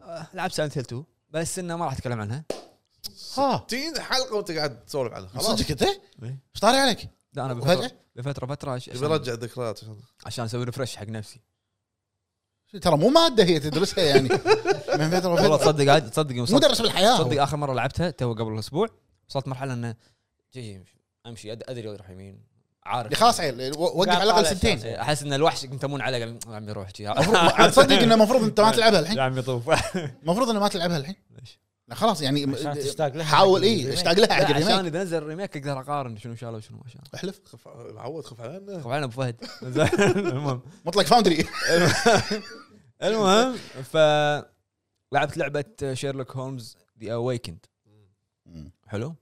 Speaker 2: أه لعبت سايلنت هيل 2 بس انه ما راح اتكلم عنها
Speaker 3: ها
Speaker 1: 60 حلقه وانت قاعد تسولف عنها خلاص
Speaker 3: صدق انت؟
Speaker 2: إيه.
Speaker 3: ايش طاري عليك؟
Speaker 2: لا انا بفتره
Speaker 3: وفجأة؟
Speaker 2: بفتره فتره عش-
Speaker 1: يبي
Speaker 2: عشان,
Speaker 1: يرجع الذكريات
Speaker 2: عشان اسوي ريفرش حق نفسي
Speaker 3: ترى مو ماده هي تدرسها يعني من فتره
Speaker 2: والله
Speaker 3: وفتره
Speaker 2: تصدق عاد- تصدق يوم صدق-
Speaker 3: مدرس بالحياه هو.
Speaker 2: صدق اخر مره لعبتها تو قبل اسبوع وصلت مرحله انه جي امشي أد- ادري راح يمين عارف
Speaker 3: اللي خلاص عيل و- وقف
Speaker 4: قاعد
Speaker 3: على الاقل
Speaker 4: طالع
Speaker 3: سنتين
Speaker 4: شاشة.
Speaker 2: احس ان الوحش ينتمون علي قال يا عمي روح جي
Speaker 3: المفروض- عاد صدق انه المفروض انت ما تلعبها الحين
Speaker 2: يا عمي طوف
Speaker 3: المفروض انه ما تلعبها الحين
Speaker 2: ليش؟
Speaker 3: لا خلاص يعني
Speaker 4: عشان تشتاق لها
Speaker 3: حاول
Speaker 4: حق
Speaker 3: اي
Speaker 4: الريميك.
Speaker 3: اشتاق لها حق
Speaker 2: عشان
Speaker 3: الريميك
Speaker 2: اذا نزل الريميك اقدر اقارن شنو شالوا وشنو ما شالوا
Speaker 3: احلف
Speaker 1: خف معود خف علينا
Speaker 2: طبعا ابو فهد المهم
Speaker 3: مطلق فاوندري
Speaker 2: المهم ف لعبت لعبه شيرلوك هولمز ذا اويكند حلو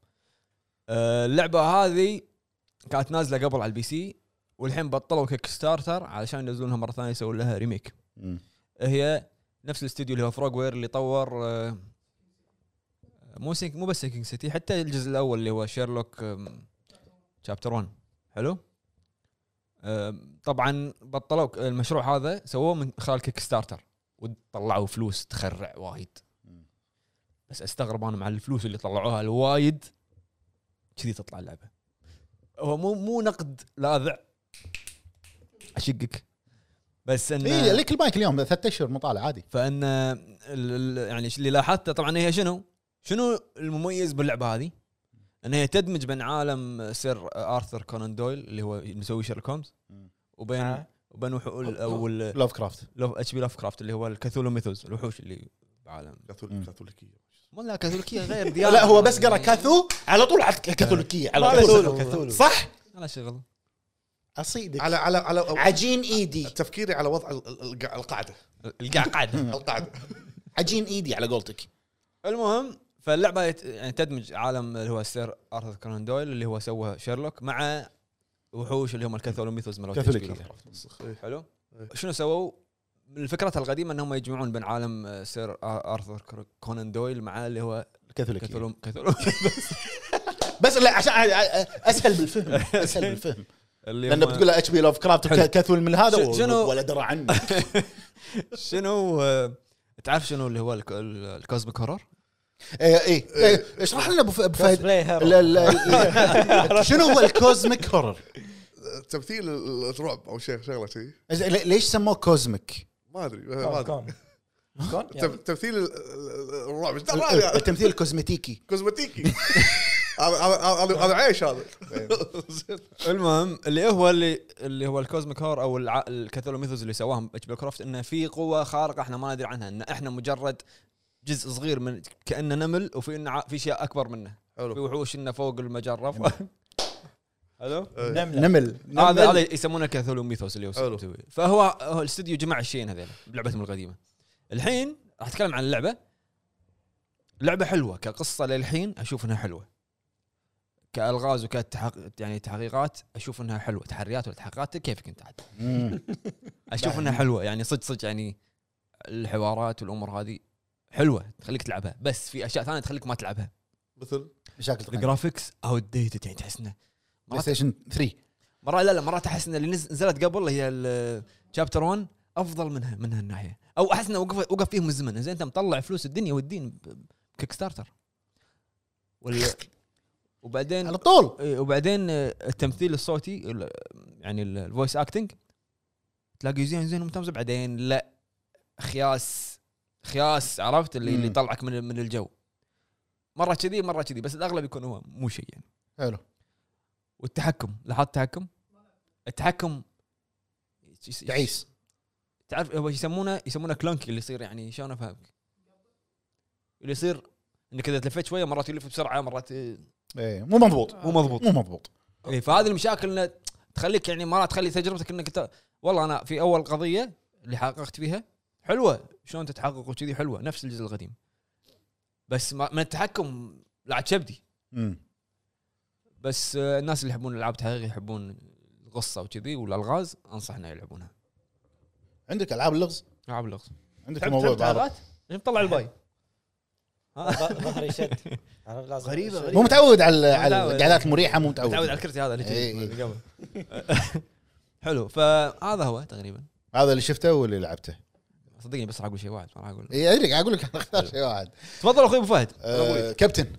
Speaker 2: آه، اللعبه هذه كانت نازله قبل على البي سي والحين بطلوا كيك ستارتر علشان ينزلونها مره ثانيه يسوون لها ريميك هي نفس الاستوديو اللي هو فروغ وير اللي طور آه، مو سينك مو بس سينكينج سيتي حتى الجزء الاول اللي هو شيرلوك شابتر 1 حلو آم، طبعا بطلوا المشروع هذا سووه من خلال كيك ستارتر وطلعوا فلوس تخرع وايد بس استغرب انا مع الفلوس اللي طلعوها الوايد كذي تطلع اللعبه هو مو مو نقد لاذع اشقك بس انه
Speaker 3: اي لك إيه، المايك اليوم ثلاث اشهر مطالع عادي
Speaker 2: فان ال- ال- يعني اللي لاحظته طبعا هي شنو؟ شنو المميز باللعبه هذه؟ ان هي تدمج بين عالم سير ارثر كونان دويل اللي هو مسوي شيرلوك هومز
Speaker 3: مم.
Speaker 2: وبين
Speaker 4: آه.
Speaker 2: وبين وحوش او
Speaker 3: لوف كرافت
Speaker 2: اتش بي لاف كرافت اللي هو الكاثولو ميثوز الوحوش اللي بعالم
Speaker 3: مم.
Speaker 1: كاثوليكيه
Speaker 2: ما لا كاثوليكيه غير ديانه
Speaker 3: لا هو بس قرا كاثو على طول عط كاثوليكيه على طول
Speaker 4: كاثولو.
Speaker 3: صح
Speaker 2: لا شغل
Speaker 3: اصيدك
Speaker 1: على على على
Speaker 3: عجين ايدي
Speaker 1: تفكيري على وضع ال- ال- الق- القاعده
Speaker 2: القعقعه
Speaker 1: القاعده
Speaker 3: عجين ايدي على قولتك
Speaker 2: المهم فاللعبه يت- يعني تدمج عالم اللي هو سير ارثر كونان دويل اللي هو سوى شيرلوك مع وحوش اللي هم الكاثولو ميثوز مال
Speaker 3: كاثوليكية.
Speaker 2: HP Lovecraft.
Speaker 1: إيه.
Speaker 2: حلو
Speaker 1: إيه.
Speaker 2: شنو سووا فكرتها القديمه انهم يجمعون بين عالم آه، سير آر- ارثر كر- كونان دويل مع اللي هو
Speaker 3: كاثوليكيه
Speaker 2: كاثولو كاثولو
Speaker 3: بس لا عشان اسهل بالفهم اسهل بالفهم
Speaker 2: اللي
Speaker 3: لان
Speaker 2: هم-
Speaker 3: بتقول اتش بي لوف كرافت
Speaker 2: حلو.
Speaker 3: كاثول من هذا
Speaker 2: شنو- شنو-
Speaker 3: و- ولا درى عنك
Speaker 2: شنو آه، تعرف شنو اللي هو الك- ال- الكوزميك هورر؟
Speaker 3: اي اي إي، اشرح لنا ابو ف- أبو فهد
Speaker 4: بلاي هيرو.
Speaker 3: لا- لا- لا. شنو هو الكوزميك هورر؟
Speaker 1: تمثيل ال- الرعب او شيء شغله شيء
Speaker 3: زين، لي- ليش سموه كوزميك؟
Speaker 1: ما ادري ما
Speaker 4: كون
Speaker 1: ادري
Speaker 4: كون
Speaker 1: تم-
Speaker 4: كون يعني.
Speaker 1: تمثيل ال- ال- الرعب ايش
Speaker 3: ال-
Speaker 1: دعوة
Speaker 3: ال-
Speaker 1: يعني؟
Speaker 3: التمثيل الكوزمتيكي
Speaker 1: كوزمتيكي هذا هذا- هذا هذا عيش هذا زين.
Speaker 2: المهم اللي هو اللي اللي هو الكوزميك هور او الع... الكاثولوميثوس اللي سواهم اتش كروفت انه في قوه خارقه احنا ما ندري عنها ان احنا مجرد جزء صغير من كانه نمل وفي إنه ع- في شيء اكبر منه في
Speaker 1: حلو
Speaker 2: وحوش انه فوق المجره حلو
Speaker 1: إيه.
Speaker 4: نملة
Speaker 3: نمل
Speaker 2: هذا هذا يسمونه كاثولوميثوس اللي هو
Speaker 1: حلو.
Speaker 2: مسوي. فهو هو الاستوديو جمع الشيئين هذول بلعبتهم القديمه الحين راح اتكلم عن اللعبه لعبه حلوه كقصه للحين اشوف انها حلوه كالغاز وكتحقيق يعني تحقيقات اشوف انها حلوه تحريات ولا تحقيقات كيفك انت عاد
Speaker 3: مم.
Speaker 2: اشوف انها حلوه يعني صدق صدق يعني الحوارات والامور هذه حلوه تخليك تلعبها بس في اشياء ثانيه تخليك ما تلعبها
Speaker 1: مثل
Speaker 3: مشاكل تقنية.
Speaker 2: الجرافكس اوت ديتد يعني تحس انه
Speaker 3: بلاي ستيشن 3
Speaker 2: مرات لا لا مرات احس ان اللي نز- نزلت قبل هي الشابتر 1 افضل منها من هالناحيه او احس انه وقف وقف فيهم الزمن زين انت مطلع فلوس الدنيا والدين كيك ستارتر ولا وبعدين
Speaker 3: على طول
Speaker 2: إيه، وبعدين آه، التمثيل الصوتي ال- يعني الفويس اكتنج تلاقي زين زين ممتاز بعدين لا خياس خياس عرفت اللي
Speaker 3: مم.
Speaker 2: اللي يطلعك من من الجو مره كذي مره كذي بس الاغلب يكون هو مو شيء يعني
Speaker 3: حلو
Speaker 2: والتحكم لاحظت التحكم؟ التحكم
Speaker 3: تعيس
Speaker 2: تعرف هو يسمونه يسمونه كلونكي اللي يصير يعني شلون افهمك؟ اللي يصير انك اذا تلفت شويه مرات يلف بسرعه مرات إيه،
Speaker 3: إيه، مو مضبوط
Speaker 2: مو مضبوط
Speaker 3: مو مضبوط
Speaker 2: إيه فهذه المشاكل انه تخليك يعني مرات تخلي تجربتك انك انت والله انا في اول قضيه اللي حققت فيها حلوه شلون تتحقق وكذي حلوه نفس الجزء القديم بس ما من التحكم لا عاد شبدي
Speaker 3: مم.
Speaker 2: بس آه، الناس اللي يحبون الالعاب تحقيق يحبون القصه وكذي والالغاز انصحنا يلعبونها
Speaker 3: عندك العاب اللغز
Speaker 2: العاب الغاز
Speaker 3: عندك
Speaker 2: تحب
Speaker 3: موضوع
Speaker 2: تحب
Speaker 3: بعرض.
Speaker 2: العابات؟ مطلع الباي
Speaker 4: ظ- ظهري شد عرفت لازم
Speaker 2: غريبة،
Speaker 4: شد.
Speaker 2: غريبة.
Speaker 3: مو متعود على
Speaker 2: متعود.
Speaker 3: على القعدات المريحه مو متعود
Speaker 2: تعود على الكرسي هذا اللي
Speaker 3: إيه.
Speaker 2: جديد اللي قبل حلو فهذا هو تقريبا
Speaker 3: هذا اللي شفته واللي لعبته
Speaker 2: صدقني بس راح اقول شيء واحد ما راح اقول
Speaker 3: اي ادري قاعد اقول لك أنا اختار شيء واحد
Speaker 2: تفضل اخوي ابو فهد
Speaker 3: آه، كابتن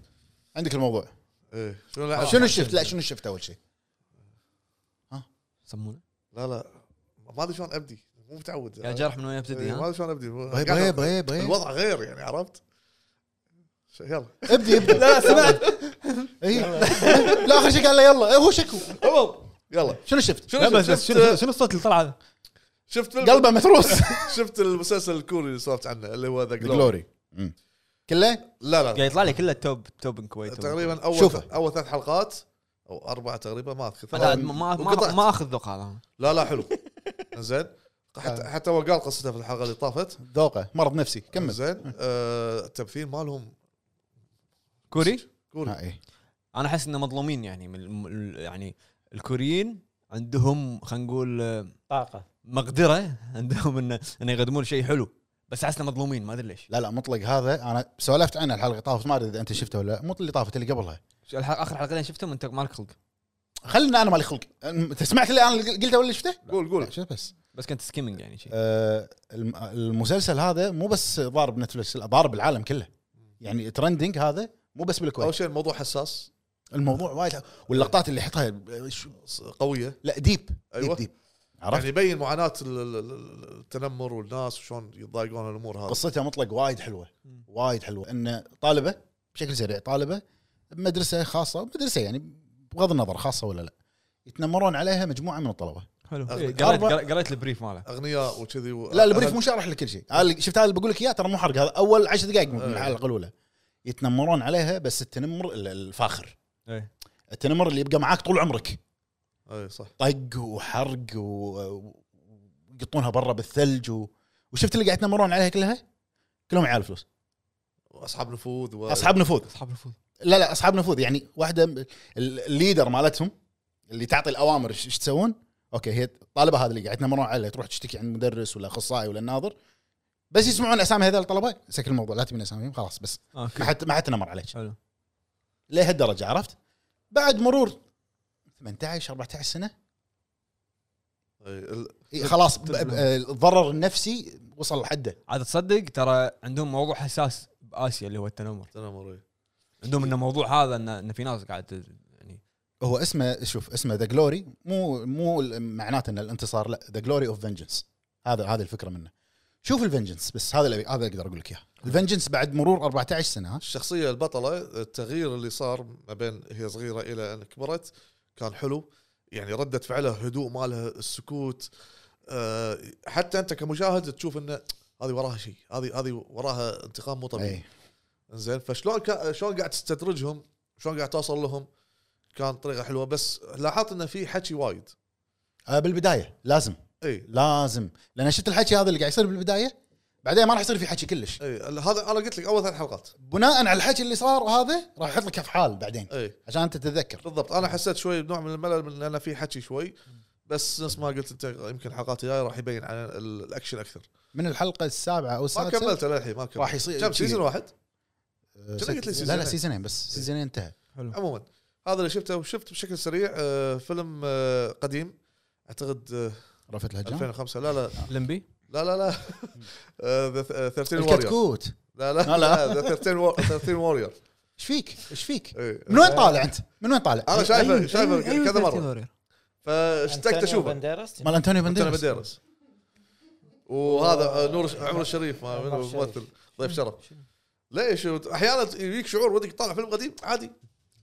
Speaker 3: عندك الموضوع
Speaker 1: إيه. شنو
Speaker 2: آه.
Speaker 1: لعب؟
Speaker 3: شنو شفت لا شنو شفت اول شيء
Speaker 2: يسمونه
Speaker 1: لا لا ما ادري شلون ابدي مو متعود
Speaker 2: يا جرح من وين ابتدي
Speaker 1: إيه، ما
Speaker 2: ها
Speaker 1: ادري شلون ابدي
Speaker 3: بغيب بغيب بغيب بغيب
Speaker 1: الوضع غير يعني عرفت ش- يلا
Speaker 3: ابدي ابدي
Speaker 2: لا سمعت
Speaker 3: إيه. لا اخر شيء قال له يلا إيه، هو شكو
Speaker 1: المهم يلا
Speaker 3: شنو شفت
Speaker 1: شنو شفت شفت,
Speaker 2: شنو الصوت اللي طلع هذا؟
Speaker 1: شفت فيلم-
Speaker 3: قلبه متروس
Speaker 1: شفت المسلسل الكوري اللي سولفت عنه اللي هو ذا جلوري
Speaker 3: جلوري كله
Speaker 1: لا لا
Speaker 2: قاعد يطلع لي كله توب توب الكويت
Speaker 1: تقريبا اول
Speaker 3: شوفه.
Speaker 1: اول ثلاث حلقات او اربعه تقريبا ما اذكر
Speaker 2: أنا
Speaker 1: ثلاث.
Speaker 2: ما ما,
Speaker 1: وقطعت.
Speaker 2: ما اخذ ذوق هذا
Speaker 1: لا لا حلو زين حتى
Speaker 3: آه.
Speaker 1: حتى هو قال قصته في الحلقه اللي طافت
Speaker 3: ذوقه مرض نفسي كمل
Speaker 1: زين آه، التمثيل مالهم
Speaker 2: كوري
Speaker 1: كوري
Speaker 3: آه، إيه.
Speaker 2: انا احس انه مظلومين يعني من الم- ال- يعني الكوريين عندهم خلينا نقول آه،
Speaker 4: طاقة
Speaker 2: مقدره عندهم انه انه يقدمون شيء حلو بس احسنا مظلومين ما ادري ليش
Speaker 3: لا لا مطلق هذا انا سولفت عنه الحلقه اللي طافت ما ادري اذا انت شفته ولا لا. مو اللي طافت اللي قبلها
Speaker 2: ش- الح- اخر حلقتين شفتهم انت مالك خلق
Speaker 3: خلينا انا مالي خلق انت سمعت اللي انا اللي قلته ولا اللي شفته؟
Speaker 1: قول
Speaker 3: لا
Speaker 1: قول
Speaker 3: شو بس
Speaker 2: بس كنت سكيمنج يعني شيء
Speaker 3: آه، الم- المسلسل هذا مو بس ضارب نتفلكس لا، ضارب العالم كله يعني ترندنج هذا مو بس
Speaker 1: اول
Speaker 3: بالكويت
Speaker 1: شيء الموضوع حساس
Speaker 3: الموضوع وايد واللقطات اللي يحطها آه، شو-
Speaker 1: ص- قويه
Speaker 3: لا ديب
Speaker 1: أيوة.
Speaker 3: ديب ديب
Speaker 1: يعني
Speaker 3: عرفت
Speaker 1: يبين معاناه ال- ال- ال- التنمر والناس وشلون يتضايقون الامور هذه
Speaker 3: قصتها مطلق وايد حلوه
Speaker 2: مم.
Speaker 3: وايد حلوه ان طالبه بشكل سريع طالبه بمدرسه خاصه مدرسه يعني بغض النظر خاصه ولا لا يتنمرون عليها مجموعه من الطلبه
Speaker 2: حلو
Speaker 1: أخ-
Speaker 2: إيه، قريت
Speaker 3: أربع-
Speaker 2: قريت- قريت البريف ماله
Speaker 1: اغنياء وكذي و...
Speaker 3: لا البريف مو شارح لك كل شيء أنا اللي- شفت هذا اللي بقول لك اياه ترى مو حرق هذا اول عشر
Speaker 2: إيه.
Speaker 3: دقائق من
Speaker 1: أه.
Speaker 3: الحلقه الاولى يتنمرون عليها بس التنمر ال- الفاخر
Speaker 2: إيه.
Speaker 3: التنمر اللي يبقى معاك طول عمرك
Speaker 1: اي صح
Speaker 3: طق وحرق و- ويقطونها برا بالثلج و... وشفت اللي قاعد يتنمرون عليها كلها كلهم عيال فلوس
Speaker 1: اصحاب نفوذ و...
Speaker 3: اصحاب نفوذ
Speaker 2: اصحاب الفوز
Speaker 3: لا لا اصحاب نفوذ يعني واحده م- ال- الليدر مالتهم اللي تعطي الاوامر ايش إيش تسوون اوكي هي الطالبه هذه اللي قاعد تنمرون عليها تروح تشتكي عند المدرس ولا اخصائي ولا الناظر بس يسمعون اسامي هذول الطلبه سكر الموضوع لا تبين اساميهم خلاص بس ما
Speaker 2: اوكي
Speaker 3: حد ما حد تنمر عليك
Speaker 2: حلو
Speaker 3: لهالدرجه عرفت بعد مرور 18 14 سنه
Speaker 1: إي، ال-
Speaker 3: إي خلاص ب- ب- الضرر النفسي وصل لحده
Speaker 2: عاد تصدق ترى عندهم موضوع حساس باسيا اللي هو التنمر
Speaker 1: التنمر إي.
Speaker 2: عندهم انه موضوع هذا انه إن في ناس قاعد ت- يعني
Speaker 3: هو اسمه شوف اسمه ذا جلوري مو مو ال- معناته ان الانتصار لا ذا جلوري اوف فينجنس هذا هذه الفكره منه شوف الفنجنس بس هذا اللي هذا اقدر اقول لك اياه الفنجنس بعد مرور 14 سنه ها
Speaker 1: الشخصيه البطله التغيير اللي صار ما بين هي صغيره الى ان كبرت كان حلو يعني رده فعلها هدوء مالها السكوت آه، حتى انت كمشاهد تشوف انه هذه وراها شيء هذه هذه وراها انتقام مو طبيعي
Speaker 3: اي
Speaker 1: زين فشلون كا شلون قاعد تستدرجهم شلون قاعد توصل لهم كان طريقه حلوه بس لاحظت انه في حكي وايد إيه،
Speaker 3: آه بالبدايه لازم
Speaker 1: اي
Speaker 3: لازم لان شفت الحكي هذا اللي قاعد يصير بالبدايه بعدين ما راح يصير في حكي كلش
Speaker 1: اي ال- إيه، هذا انا قلت لك اول ثلاث حلقات
Speaker 3: بناء على الحكي اللي صار هذا راح يحط لك افعال بعدين
Speaker 1: اي
Speaker 3: عشان انت تتذكر
Speaker 1: بالضبط انا حسيت شوي بنوع من الملل من لان في حكي شوي بس نفس ما قلت انت يمكن الحلقات الجايه راح يبين عن ال- الاكشن اكثر
Speaker 3: من الحلقه السابعه او
Speaker 1: ما
Speaker 3: السادسه
Speaker 1: كملت للحين ما كملت
Speaker 3: راح يصير
Speaker 1: كم
Speaker 3: شي.
Speaker 1: سيزون واحد
Speaker 3: آه،
Speaker 1: كم قلت لي
Speaker 3: ست- لا
Speaker 1: سيزونين؟
Speaker 3: لا سيزونين بس سيزونين انتهى
Speaker 1: عموما هذا اللي شفته وشفت بشكل سريع آه، فيلم آه، قديم اعتقد آه،
Speaker 3: رفت الهجان
Speaker 1: 2005 لا لا
Speaker 2: لمبي
Speaker 1: لا لا لا آه، The- آه، 13 وورير
Speaker 3: الكتكوت
Speaker 1: لا
Speaker 3: لا،
Speaker 1: لا
Speaker 3: لا.
Speaker 1: لا The 13 وور- 13 وورير
Speaker 3: ايش فيك؟ ايش فيك؟
Speaker 1: إيه.
Speaker 3: من وين طالع انت؟ من وين طالع؟
Speaker 1: انا شايفه
Speaker 2: إيه،
Speaker 3: أيوه،
Speaker 1: شايفه كذا مره
Speaker 2: مره
Speaker 1: فاشتقت اشوفه
Speaker 3: مال انتونيو
Speaker 1: انتوني
Speaker 3: بنديرس
Speaker 1: بنديرس وهذا آه، نور عمر الشريف ما- من الممثل ضيف شرف ليش احيانا يجيك شعور ودك تطالع فيلم قديم عادي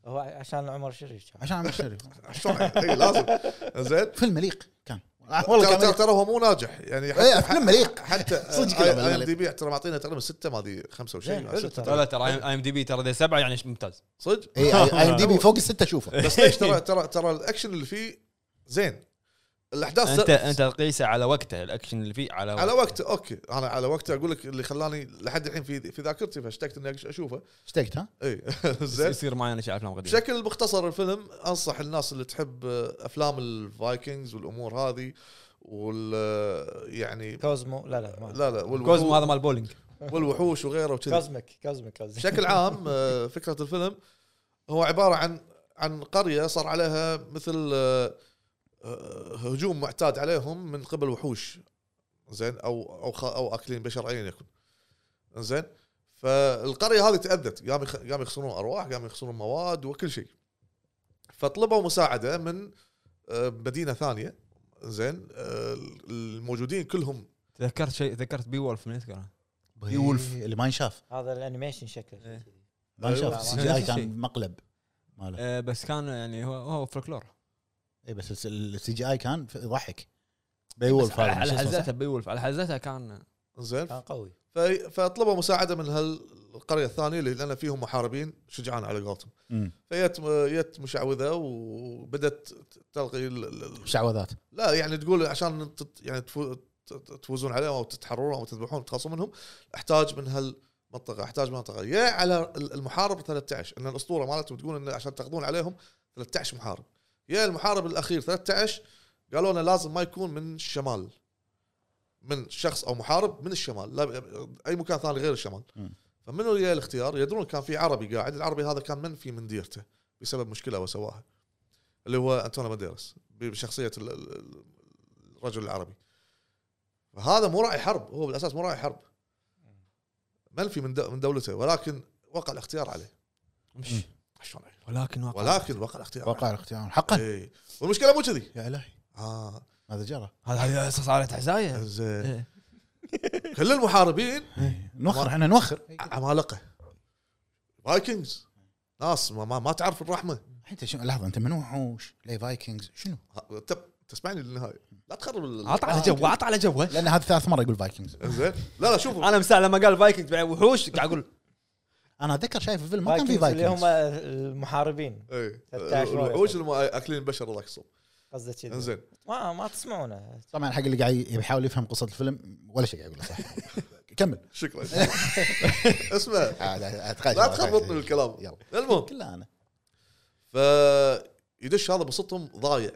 Speaker 4: هو عشان عمر شريف كان.
Speaker 3: عشان عمر الشريف
Speaker 1: شلون اي إيه، لازم زين
Speaker 3: فيلم مليق كان آه، والله
Speaker 1: ترى
Speaker 3: كان
Speaker 1: ترى-
Speaker 3: مليق.
Speaker 1: ترى هو مو ناجح يعني
Speaker 3: إيه، فيلم مليق.
Speaker 1: حتى آه،
Speaker 3: صدق
Speaker 1: صدق
Speaker 3: كلام
Speaker 1: اي ام
Speaker 3: مليق.
Speaker 1: دي بي ترى معطينا تقريبا سته ما ادري خمسه
Speaker 4: زين،
Speaker 1: وشيء
Speaker 4: حلو
Speaker 1: ستة.
Speaker 2: لا لا ترى اي ام دي بي ترى ذا سبعه يعني ممتاز
Speaker 1: صدق
Speaker 3: اي اي ام دي بي فوق السته اشوفه
Speaker 1: بس ليش ترى ترى ترى الاكشن اللي فيه زين الاحداث
Speaker 2: انت
Speaker 1: س-
Speaker 2: انت تقيسه على وقته الاكشن اللي فيه على
Speaker 1: على وقته اوكي انا على وقته اقول لك اللي خلاني لحد الحين في في ذاكرتي فاشتقت اني أش- اشوفه
Speaker 3: اشتقت ها؟
Speaker 1: اي زين
Speaker 2: يصير معي انا شايف افلام قديمه
Speaker 1: بشكل مختصر الفيلم انصح الناس اللي تحب افلام الفايكنجز والامور هذه وال يعني
Speaker 4: كوزمو لا لا ما.
Speaker 1: لا لا
Speaker 2: كوزمو
Speaker 1: والوحوش,
Speaker 2: هذا مال بولينج
Speaker 1: والوحوش وغيره وكذي
Speaker 4: كوزميك كوزميك قصدي
Speaker 1: بشكل عام آه، فكره الفيلم هو عباره عن عن قريه صار عليها مثل آه، آه، هجوم معتاد عليهم من قبل وحوش زين او او خ- او اكلين بشر ايا يكن زين فالقريه هذه تاذت قام يخ- قام يخسرون ارواح قام يخسرون مواد وكل شيء فطلبوا مساعده من آه، مدينه ثانيه زين آه، الموجودين كلهم
Speaker 2: تذكرت شيء تذكرت بي وولف من اذكره
Speaker 3: بي وولف اللي ما ينشاف
Speaker 4: هذا الانيميشن شكله
Speaker 2: إيه.
Speaker 3: ما ينشاف
Speaker 4: أيوة.
Speaker 1: آه،
Speaker 3: السي جي اي
Speaker 2: نفس الشيء.
Speaker 3: كان مقلب ماله
Speaker 2: آه، بس كان يعني هو هو فلكلور
Speaker 3: اي بس السي جي اي كان ف- يضحك بي وولف
Speaker 2: على
Speaker 3: هذا مش
Speaker 2: على
Speaker 3: اسمه صح؟
Speaker 2: حزتها بي وولف على حزتها كان
Speaker 1: زين
Speaker 4: كان قوي
Speaker 1: ف- فطلبوا مساعده من هالقريه الثانيه اللي لان فيهم محاربين شجعان على قولتهم
Speaker 3: أمم.
Speaker 1: فيت يت مشعوذه وبدت تلقي ال- ال- ال-
Speaker 3: شعوذات
Speaker 1: لا يعني تقول عشان تت- يعني تفو- تت- تفوزون عليهم او تتحررون او تذبحون تخلصون منهم احتاج من هالمنطقه احتاج منطقه يا على ال- المحارب 13 ان الاسطوره مالتهم تقول ان عشان تاخذون عليهم 13 محارب يا المحارب الاخير 13 قالوا لنا لازم ما يكون من الشمال من شخص او محارب من الشمال لا ب- اي مكان ثاني غير الشمال
Speaker 3: مم.
Speaker 1: فمن اللي جاء الاختيار يدرون كان في عربي قاعد العربي هذا كان منفي من ديرته بسبب مشكله وسواها اللي هو انتونيو بانديراس بشخصيه ال- ال- الرجل العربي هذا مو راعي حرب هو بالاساس مو راعي حرب منفي من دو- من دولته ولكن وقع الاختيار عليه
Speaker 2: مش
Speaker 1: شلون عليه؟
Speaker 2: ولكن واقع
Speaker 1: ولكن وقع الاختيار
Speaker 3: وقع الاختيار حقا
Speaker 1: اي والمشكله مو كذي
Speaker 3: يا الهي
Speaker 1: اه
Speaker 3: ماذا جرى؟
Speaker 2: هذا هذه صارت حزايه
Speaker 1: زين
Speaker 2: إيه.
Speaker 1: كل المحاربين
Speaker 3: إيه. نوخر احنا نوخر
Speaker 1: عمالقه فايكنجز ناس ما, ما, ما تعرف الرحمه
Speaker 3: انت شنو لحظه انت من وحوش ليه فايكنجز شنو؟
Speaker 1: ه- تب- تسمعني للنهايه لا تخرب ال-
Speaker 2: عط على جوه عط على جوه
Speaker 3: لان هذا ثالث مره يقول فايكنجز
Speaker 1: زين لا لا شوفوا
Speaker 2: انا مساء لما قال فايكنج بعد وحوش قاعد اقول
Speaker 3: انا اتذكر شايف الفيلم ما كان في
Speaker 4: فايكنجز اللي هم آه،
Speaker 3: فايكنجز
Speaker 4: المحاربين
Speaker 1: اي
Speaker 4: 13
Speaker 1: إيه. الوحوش اللي ما اكلين البشر الله يحصل
Speaker 4: قصدي كذي
Speaker 1: انزين
Speaker 4: ما ما تسمعونه
Speaker 3: طبعا حق اللي قاعد يحاول يفهم قصه الفيلم ولا شيء قاعد يقوله صح كمل
Speaker 1: شكرا اسمع لا
Speaker 3: لا
Speaker 1: تخربطني بالكلام
Speaker 3: يلا
Speaker 1: المهم
Speaker 3: كله انا
Speaker 1: فيدش هذا بسطهم ضايع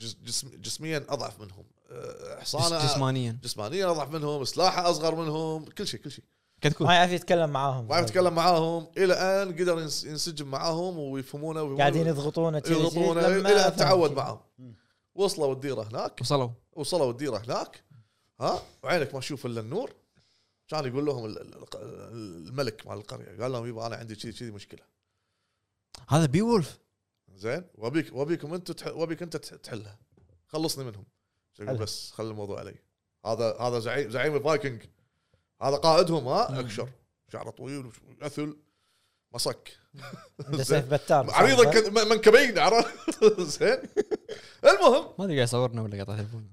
Speaker 1: جس- جسم جسميا اضعف منهم أه،
Speaker 2: جس-
Speaker 1: حصانه
Speaker 2: جسمانيا
Speaker 1: جسمانيا اضعف منهم سلاحه اصغر منهم كل شيء كل شيء
Speaker 2: كتكوت
Speaker 4: ما يعرف يتكلم معاهم
Speaker 1: طيب. ما عرف يتكلم معاهم الى ان قدر ينس- ينسجم معاهم ويفهمونه ويفهمونه
Speaker 4: قاعدين يضغطونه كذي- كذي
Speaker 1: يضربونه
Speaker 4: لما
Speaker 1: الى ان
Speaker 4: فهم
Speaker 1: تعود
Speaker 4: كذي.
Speaker 1: معاهم
Speaker 3: مم.
Speaker 1: وصلوا الديره هناك
Speaker 2: وصلوا
Speaker 1: وصلوا الديره هناك ها وعينك ما تشوف الا النور كان يقول لهم ال- ال- الق- الملك مال القريه قال لهم يبا انا عندي كذي كذي مشكله
Speaker 2: هذا بي وولف
Speaker 1: زين وابيك وابيكم انتم تح... وابيك انت تح- تحلها خلصني منهم شو يقول
Speaker 4: حلو.
Speaker 1: بس خلي الموضوع علي هذا هذا زعيم زعيم الفايكنج هذا قائدهم ها اكشر شعره طويل وش- اثل مسك
Speaker 4: عنده سيف بتار
Speaker 1: عريضه كد- م- منكبين عرفت زين المهم
Speaker 2: ما ادري قاعد يصورنا ولا قاعد تلفون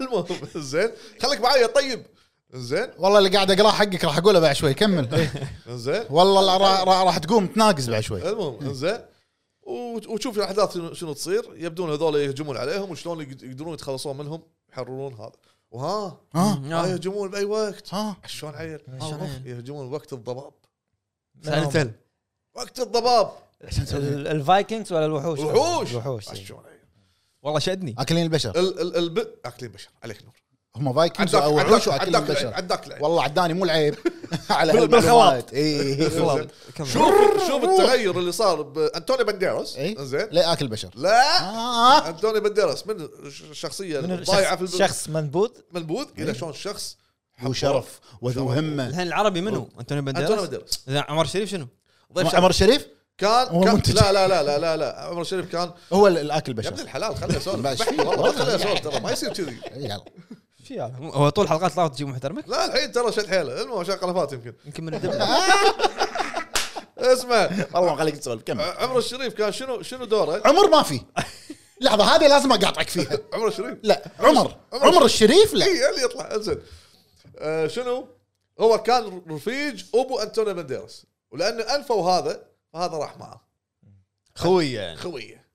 Speaker 1: المهم زين خليك معايا طيب زين
Speaker 3: والله اللي قاعد اقراه حقك راح اقوله بعد شوي كمل
Speaker 1: إيه. زين
Speaker 3: والله لا- را- را- راح تقوم تناقز بعد شوي
Speaker 1: المهم انزين و- وتشوف الاحداث شنو- شنو تصير يبدون هذول يهجمون عليهم وشلون يقد- يقدرون يتخلصون منهم يحررون هذا وها
Speaker 3: ها
Speaker 2: آه.
Speaker 1: ها يهجمون باي وقت
Speaker 3: ها
Speaker 1: شلون عيل
Speaker 4: شلون
Speaker 1: ها، يهجمون وقت الضباب
Speaker 2: سألت هل
Speaker 1: وقت الضباب
Speaker 4: الفايكنجز ولا الوحوش
Speaker 1: وحوش
Speaker 4: الوحوش إي.
Speaker 1: شلون عيل
Speaker 2: والله شدني
Speaker 3: اكلين البشر
Speaker 1: ال ال الب... اكلين بشر عليك نور
Speaker 3: هم فايكنجز
Speaker 1: عداك
Speaker 3: او
Speaker 1: عداك-
Speaker 3: وحوش واكلين
Speaker 1: عداك العيب،
Speaker 3: البشر
Speaker 1: عداك العيب
Speaker 3: والله عداني مو العيب على إيه،
Speaker 2: بال-
Speaker 3: هالمعلومات. اي
Speaker 2: والله كمل.
Speaker 1: شوف شوف التغير اللي صار بانتوني بانديروس
Speaker 3: إيه.
Speaker 1: انزين
Speaker 3: لا اكل بشر
Speaker 1: لا
Speaker 3: آه.
Speaker 1: انتوني بانديروس من الشخصيه
Speaker 4: إيه. من
Speaker 1: الضايعه في
Speaker 4: الشخص
Speaker 1: الب-
Speaker 4: شخص منبوذ
Speaker 1: منبوذ الى شلون شخص
Speaker 3: ذو شرف وذو همه
Speaker 2: الحين العربي منو؟ انتوني
Speaker 1: انتوني
Speaker 2: بنديرس؟
Speaker 1: بانديروس
Speaker 2: زين عمر شريف شنو؟
Speaker 1: ضيف شرف.
Speaker 3: عمر الشريف
Speaker 1: كان,
Speaker 3: هو
Speaker 1: كان
Speaker 3: منتج.
Speaker 1: لا لا لا لا لا لا عمر الشريف كان
Speaker 3: هو ال- الاكل
Speaker 1: يا ابن
Speaker 3: بشر
Speaker 1: الحلال خليه يسولف
Speaker 3: ماشي.
Speaker 1: بحكي والله خليه يسولف ترى ما يصير كذي
Speaker 3: يلا
Speaker 4: شي هذا؟
Speaker 2: هو طول الحلقات طلعت تجيب محترمك؟
Speaker 1: لا الحين ترى شد حيله المهم عشان قلفات يمكن
Speaker 2: يمكن من الدب
Speaker 1: اسمع
Speaker 3: الله ما خليك تسولف كمل
Speaker 1: ع- عمر الشريف كان شنو شنو دوره؟
Speaker 3: عمر ما في لحظه هذه لازم اقاطعك فيها
Speaker 1: عمر الشريف
Speaker 3: لا عمر عمر الشريف لا
Speaker 1: اي اللي يطلع انزين آه، شنو؟ هو كان رفيج ابو انتونيو بانديرس ولانه انفوا هذا فهذا راح معه
Speaker 2: خويه يعني
Speaker 1: خويه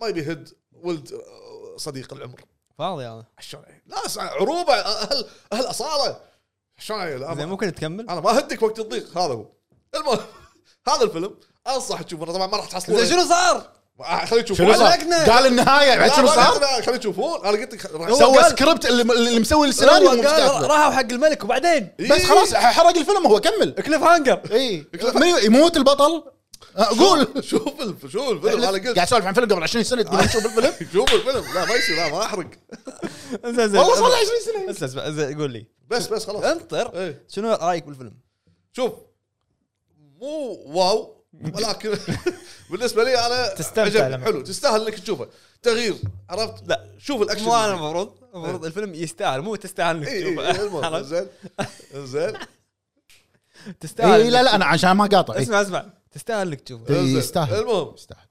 Speaker 1: ما يبي يهد ولد آه، صديق العمر
Speaker 2: فاضي هذا
Speaker 1: شلون عيل؟ لا اسمع، عروبه اهل اهل اصاله شلون عيل؟
Speaker 2: زين ممكن تكمل؟
Speaker 1: انا ما اهدك وقت الضيق هذا هو المهم هذا الفيلم انصح تشوفونه طبعا ما راح تحصلون
Speaker 2: زين شنو صار؟
Speaker 1: آه، خليك تشوفون
Speaker 3: شنو صار؟ قال النهايه بعد شنو صار؟
Speaker 1: خليك تشوفون انا قلت لك راح-
Speaker 2: هو
Speaker 3: سوى
Speaker 2: قال-
Speaker 3: سكريبت اللي اللي مسوي
Speaker 2: هو
Speaker 3: السيناريو
Speaker 2: قال إيه.
Speaker 3: ومستقبل.
Speaker 2: راحوا حق الملك وبعدين
Speaker 3: بس خلاص حرق الفيلم هو كمل
Speaker 2: كليف هانجر
Speaker 3: اي
Speaker 2: إيه.
Speaker 3: يموت البطل آه، قول
Speaker 1: شوف الف- شوف الفيلم انا
Speaker 3: قاعد
Speaker 1: قلت
Speaker 3: اسولف عن فيلم قبل 20 سنه
Speaker 2: آه.
Speaker 3: تقول شوف الفيلم
Speaker 1: شوف الفيلم لا ما يصير لا ما احرق
Speaker 2: زين زين
Speaker 3: والله صار له 20 سنه
Speaker 2: اسمع اسمع زين، قول لي
Speaker 1: بس بس خلاص
Speaker 2: انطر
Speaker 1: إيه.
Speaker 2: شنو رايك بالفيلم؟
Speaker 1: شوف مو واو ولكن بالنسبه لي انا
Speaker 4: تستمتع
Speaker 1: عجبني.
Speaker 4: لما-
Speaker 1: حلو تستاهل انك تشوفه تغيير عرفت؟
Speaker 2: لا.
Speaker 1: شوف الاكشن
Speaker 2: مو انا المفروض المفروض الفيلم يستاهل مو تستاهل انك
Speaker 1: اي
Speaker 2: تشوفه
Speaker 1: اي إيه، المهم
Speaker 2: عرفت؟
Speaker 1: زين زين
Speaker 2: تستاهل
Speaker 3: اي إيه، لا لا انا عشان ما قاطع إيه. إي.
Speaker 2: اسمع اسمع تستاهل انك تشوفه
Speaker 3: إيه،
Speaker 1: زين.
Speaker 3: يستاهل.
Speaker 1: المهم
Speaker 3: يستاهل.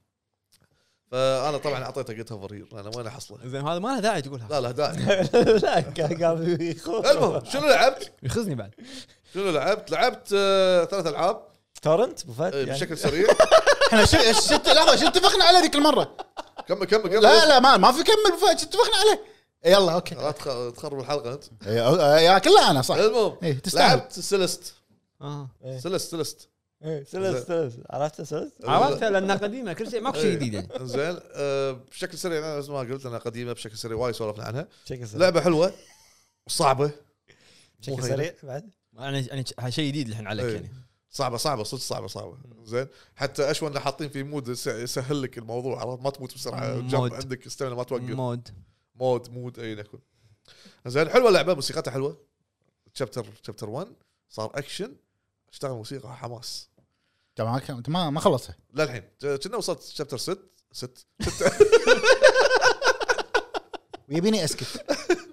Speaker 1: فانا طبعا اعطيته قلت فور انا وين احصله؟
Speaker 2: زين هذا ما له داعي تقولها
Speaker 1: لا لا داعي
Speaker 4: لا قاعد- قاعد يخوف
Speaker 1: المهم شنو لعبت؟
Speaker 2: يخزني بعد
Speaker 1: شنو لعبت؟ لعبت آه، ثلاث العاب
Speaker 4: تورنت ابو فهد
Speaker 1: آه،
Speaker 4: يعني
Speaker 1: بشكل سريع
Speaker 3: احنا شو شو لحظه شو اتفقنا عليه ذيك المره؟
Speaker 1: كمل كمل كمل
Speaker 3: لا لا ما ما في كمل فهد، شو اتفقنا عليه؟ يلا اوكي
Speaker 1: لا تخ- تخرب الحلقه انت
Speaker 3: يا يا كلها انا صح
Speaker 1: المهم
Speaker 3: إيه، تستاهل.
Speaker 1: لعبت سيلست
Speaker 2: اه
Speaker 4: إيه.
Speaker 1: سيلست سيلست
Speaker 4: إيه، سلس سلس عرفت سلس
Speaker 2: عرفتها لانها قديمه كل شيء ماكو شيء جديد يعني
Speaker 1: زين آه، بشكل سريع انا مثل ما قلت انا قديمه بشكل سريع وايد سولفنا عنها
Speaker 4: بشكل سريع
Speaker 1: لعبه حلوه وصعبه مو
Speaker 4: بشكل
Speaker 1: هينة.
Speaker 4: سريع بعد
Speaker 2: يعني يعني ش- شيء جديد الحين عليك
Speaker 1: إيه.
Speaker 2: يعني
Speaker 1: صعبه صعبه صدق صعبه صعبه زين حتى اشوى انه حاطين في مود يس- يسهل لك الموضوع عرفت ما تموت بسرعه
Speaker 2: مود.
Speaker 1: جنب عندك استمنة ما توقف
Speaker 2: مود
Speaker 1: مود مود اي يكون زين حلوه اللعبه موسيقتها حلوه تشابتر تشابتر 1 صار اكشن اشتغل موسيقى حماس
Speaker 3: انت ما انت ما ما خلصها
Speaker 1: للحين كنا وصلت شابتر 6 6
Speaker 3: ويبيني اسكت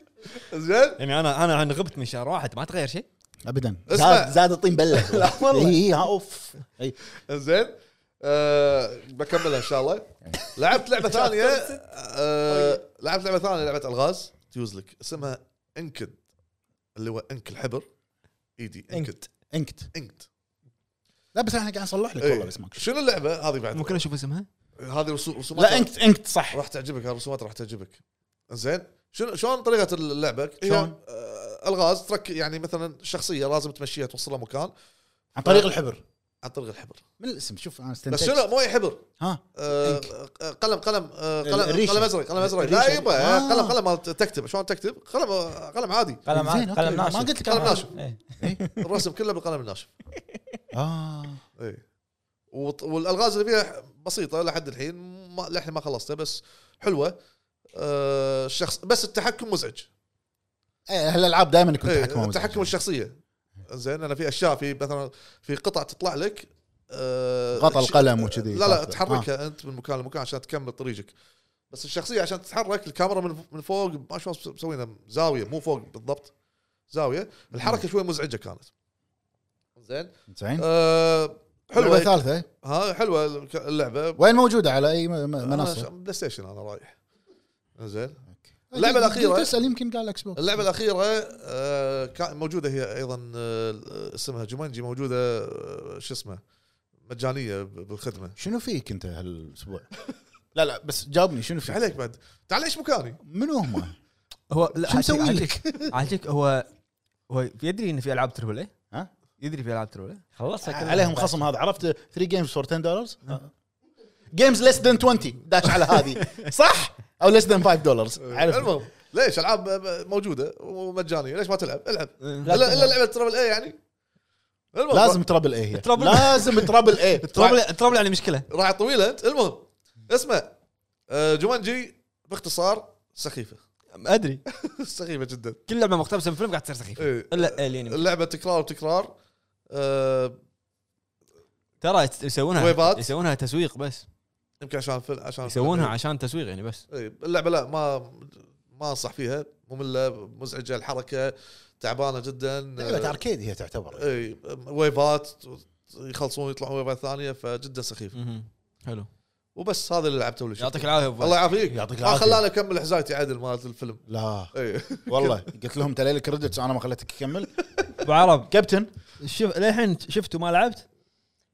Speaker 1: زين
Speaker 2: يعني انا انا عن غبت من شهر واحد ما تغير شيء
Speaker 3: ابدا
Speaker 1: اسمع.
Speaker 3: زاد زاد الطين بله لا والله اي اوف إي.
Speaker 1: زين أه بكملها ان شاء الله لعبت لعبه ثانيه أه لعبت لعبه ثانيه لعبه الغاز تجوز لك اسمها انكد اللي هو انك الحبر E ايدي انكد
Speaker 3: انكت
Speaker 1: انكد
Speaker 3: لا بس احنا قاعد نصلح لك
Speaker 1: إي.
Speaker 3: والله بس ماكو شيء.
Speaker 1: إيه. شنو اللعبه هذه بعد
Speaker 2: ممكن اشوف اسمها
Speaker 1: هذه رسو- رسومات
Speaker 3: لا انكت انكت صح
Speaker 1: راح تعجبك الرسومات راح تعجبك زين شنو شلون طريقه اللعبه؟ هي،
Speaker 3: شلون؟
Speaker 1: آه، الغاز ترك يعني مثلا شخصيه لازم تمشيها توصلها مكان
Speaker 3: عن طريق الحبر
Speaker 1: عن طريق الحبر
Speaker 3: من الاسم شوف انا
Speaker 1: بس
Speaker 3: استنتجت
Speaker 1: شنو مو اي حبر
Speaker 3: ها
Speaker 1: آه، قلم قلم آه، قلم
Speaker 3: الريشة.
Speaker 1: قلم ازرق قلم ازرق لا
Speaker 3: الريشة.
Speaker 1: يبا
Speaker 3: آه.
Speaker 1: قلم قلم مال تكتب شلون تكتب قلم آه، قلم عادي
Speaker 4: قلم
Speaker 3: زين،
Speaker 4: عاد-
Speaker 3: أوكي.
Speaker 4: قلم
Speaker 3: ما
Speaker 4: ناشف
Speaker 3: قلت لك
Speaker 1: قلم ناشف.
Speaker 4: إيه.
Speaker 1: الرسم كله بالقلم الناشف
Speaker 3: اه
Speaker 1: اي وط- والالغاز اللي فيها بسيطه لحد الحين ما للحين ما خلصتها بس حلوه آه، الشخص بس التحكم مزعج
Speaker 3: إيه، هالالعاب دائما يكون
Speaker 1: إيه،
Speaker 3: تحكم
Speaker 1: تحكم الشخصيه زين انا في اشياء في مثلا في قطع تطلع لك آه،
Speaker 3: غطى
Speaker 1: تش-
Speaker 3: القلم وكذي آه.
Speaker 1: لا لا تحركها انت من مكان لمكان عشان تكمل طريقك بس الشخصيه عشان تتحرك الكاميرا من من فوق ما شلون مسوينها زاويه مو فوق بالضبط زاويه الحركه شوي مزعجه كانت زين
Speaker 3: زين
Speaker 1: أه حلوه
Speaker 3: حلوه ثالثه
Speaker 1: ها حلوه الك- اللعبه
Speaker 3: وين موجوده على اي م-
Speaker 1: أنا
Speaker 3: م-
Speaker 1: ش-
Speaker 3: منصه؟
Speaker 1: بلاي ستيشن انا رايح زين اللعبة الأخيرة-
Speaker 3: قلت اسال يمكن قال اكس بوكس
Speaker 1: اللعبه الاخيره آه، كان موجوده هي ايضا آه، اسمها جومانجي موجوده آه، شو اسمه مجانيه ب- بالخدمه
Speaker 3: شنو فيك انت هالاسبوع؟ لا لا بس جاوبني شنو
Speaker 1: ايش
Speaker 3: فيك؟
Speaker 1: عليك بعد تعال ايش مكاني
Speaker 3: منو هم؟
Speaker 2: هو لا
Speaker 3: شو مسوي
Speaker 2: عاجيك هو هو يدري ان في العاب تربل اي
Speaker 3: ها؟
Speaker 2: يدري في العاب تربل إيه؟ اي
Speaker 4: خلصها كلها
Speaker 3: عليهم خصم هذا عرفت 3 جيمز فور 10 دولار
Speaker 4: آه.
Speaker 3: جيمز ليس ذان 20 داش على هذه صح؟ او ليس ذان 5 دولار عرفت
Speaker 1: المهم ليش العاب آه، موجوده ومجانيه ليش ما تلعب العب
Speaker 4: لا
Speaker 1: الا
Speaker 4: تلعب.
Speaker 1: الا لعبه ترابل اي يعني المهم
Speaker 3: لازم ترابل اي هي
Speaker 2: ترابل-
Speaker 3: لازم ترابل اي
Speaker 2: تربل تربل يعني مشكله
Speaker 1: راح- راح طويله انت المهم اسمع آه، جومانجي باختصار سخيفه
Speaker 2: ادري
Speaker 1: سخيفه جدا
Speaker 2: كل لعبه مقتبسه من فيلم قاعد تصير سخيفه
Speaker 1: إيه.
Speaker 2: الا الين
Speaker 1: اللعبه تكرار وتكرار آه،
Speaker 2: ترى يت- يسوونها
Speaker 1: ويبات.
Speaker 2: يسوونها تسويق بس
Speaker 1: يمكن عشان الفيلم- عشان
Speaker 2: يسوونها
Speaker 1: عشان
Speaker 2: عشان تسويق يعني بس
Speaker 1: اللعبه إيه، لا ما ما انصح فيها ممله مزعجه الحركه تعبانه جدا
Speaker 3: لعبه اركيد هي تعتبر
Speaker 1: اي إيه، ويفات يخلصون يطلعون ويفات ثانيه فجدا سخيف
Speaker 2: مهم. حلو
Speaker 1: وبس هذا اللي لعبته ولا
Speaker 2: يعطيك العافيه أبو
Speaker 1: الله
Speaker 2: فهد.
Speaker 1: يعافيك
Speaker 3: يعطيك
Speaker 1: ما
Speaker 3: العافية.
Speaker 1: خلاني اكمل حزايتي عدل مالت الفيلم إيه.
Speaker 3: لا
Speaker 1: اي
Speaker 3: والله قلت لهم تلي الكريدتس انا ما خليتك تكمل
Speaker 2: ابو عرب
Speaker 3: كابتن
Speaker 2: شوف للحين شفته ما لعبت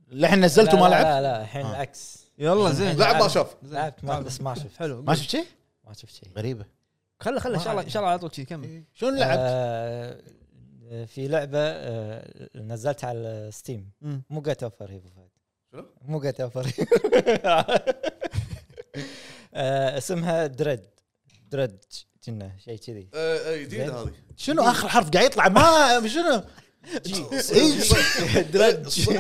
Speaker 3: للحين نزلته ما
Speaker 4: لا،
Speaker 3: لعبت
Speaker 4: لا لا الحين
Speaker 3: آه.
Speaker 4: العكس
Speaker 2: يلا زين
Speaker 1: لعب
Speaker 3: نعم.
Speaker 1: ما شاف
Speaker 4: لعبت ما بس ما شفت
Speaker 2: حلو
Speaker 3: ما شفت شيء
Speaker 4: ما شفت شيء
Speaker 3: غريبه
Speaker 2: خله خله ان شاء الله ان شاء الله على طول كذي كمل
Speaker 3: شنو لعبت؟
Speaker 4: آه، في لعبه آه، نزلتها على ستيم
Speaker 2: مم.
Speaker 4: مو جت اوفر هي أبو فهد
Speaker 1: شنو؟
Speaker 4: مو جت اوفر آه، اسمها دريد دريد كنا شيء كذي
Speaker 1: آه، آه، جديده
Speaker 4: زين.
Speaker 1: هذه
Speaker 3: شنو اخر حرف قاعد يطلع ما شنو؟ إيه،
Speaker 1: درج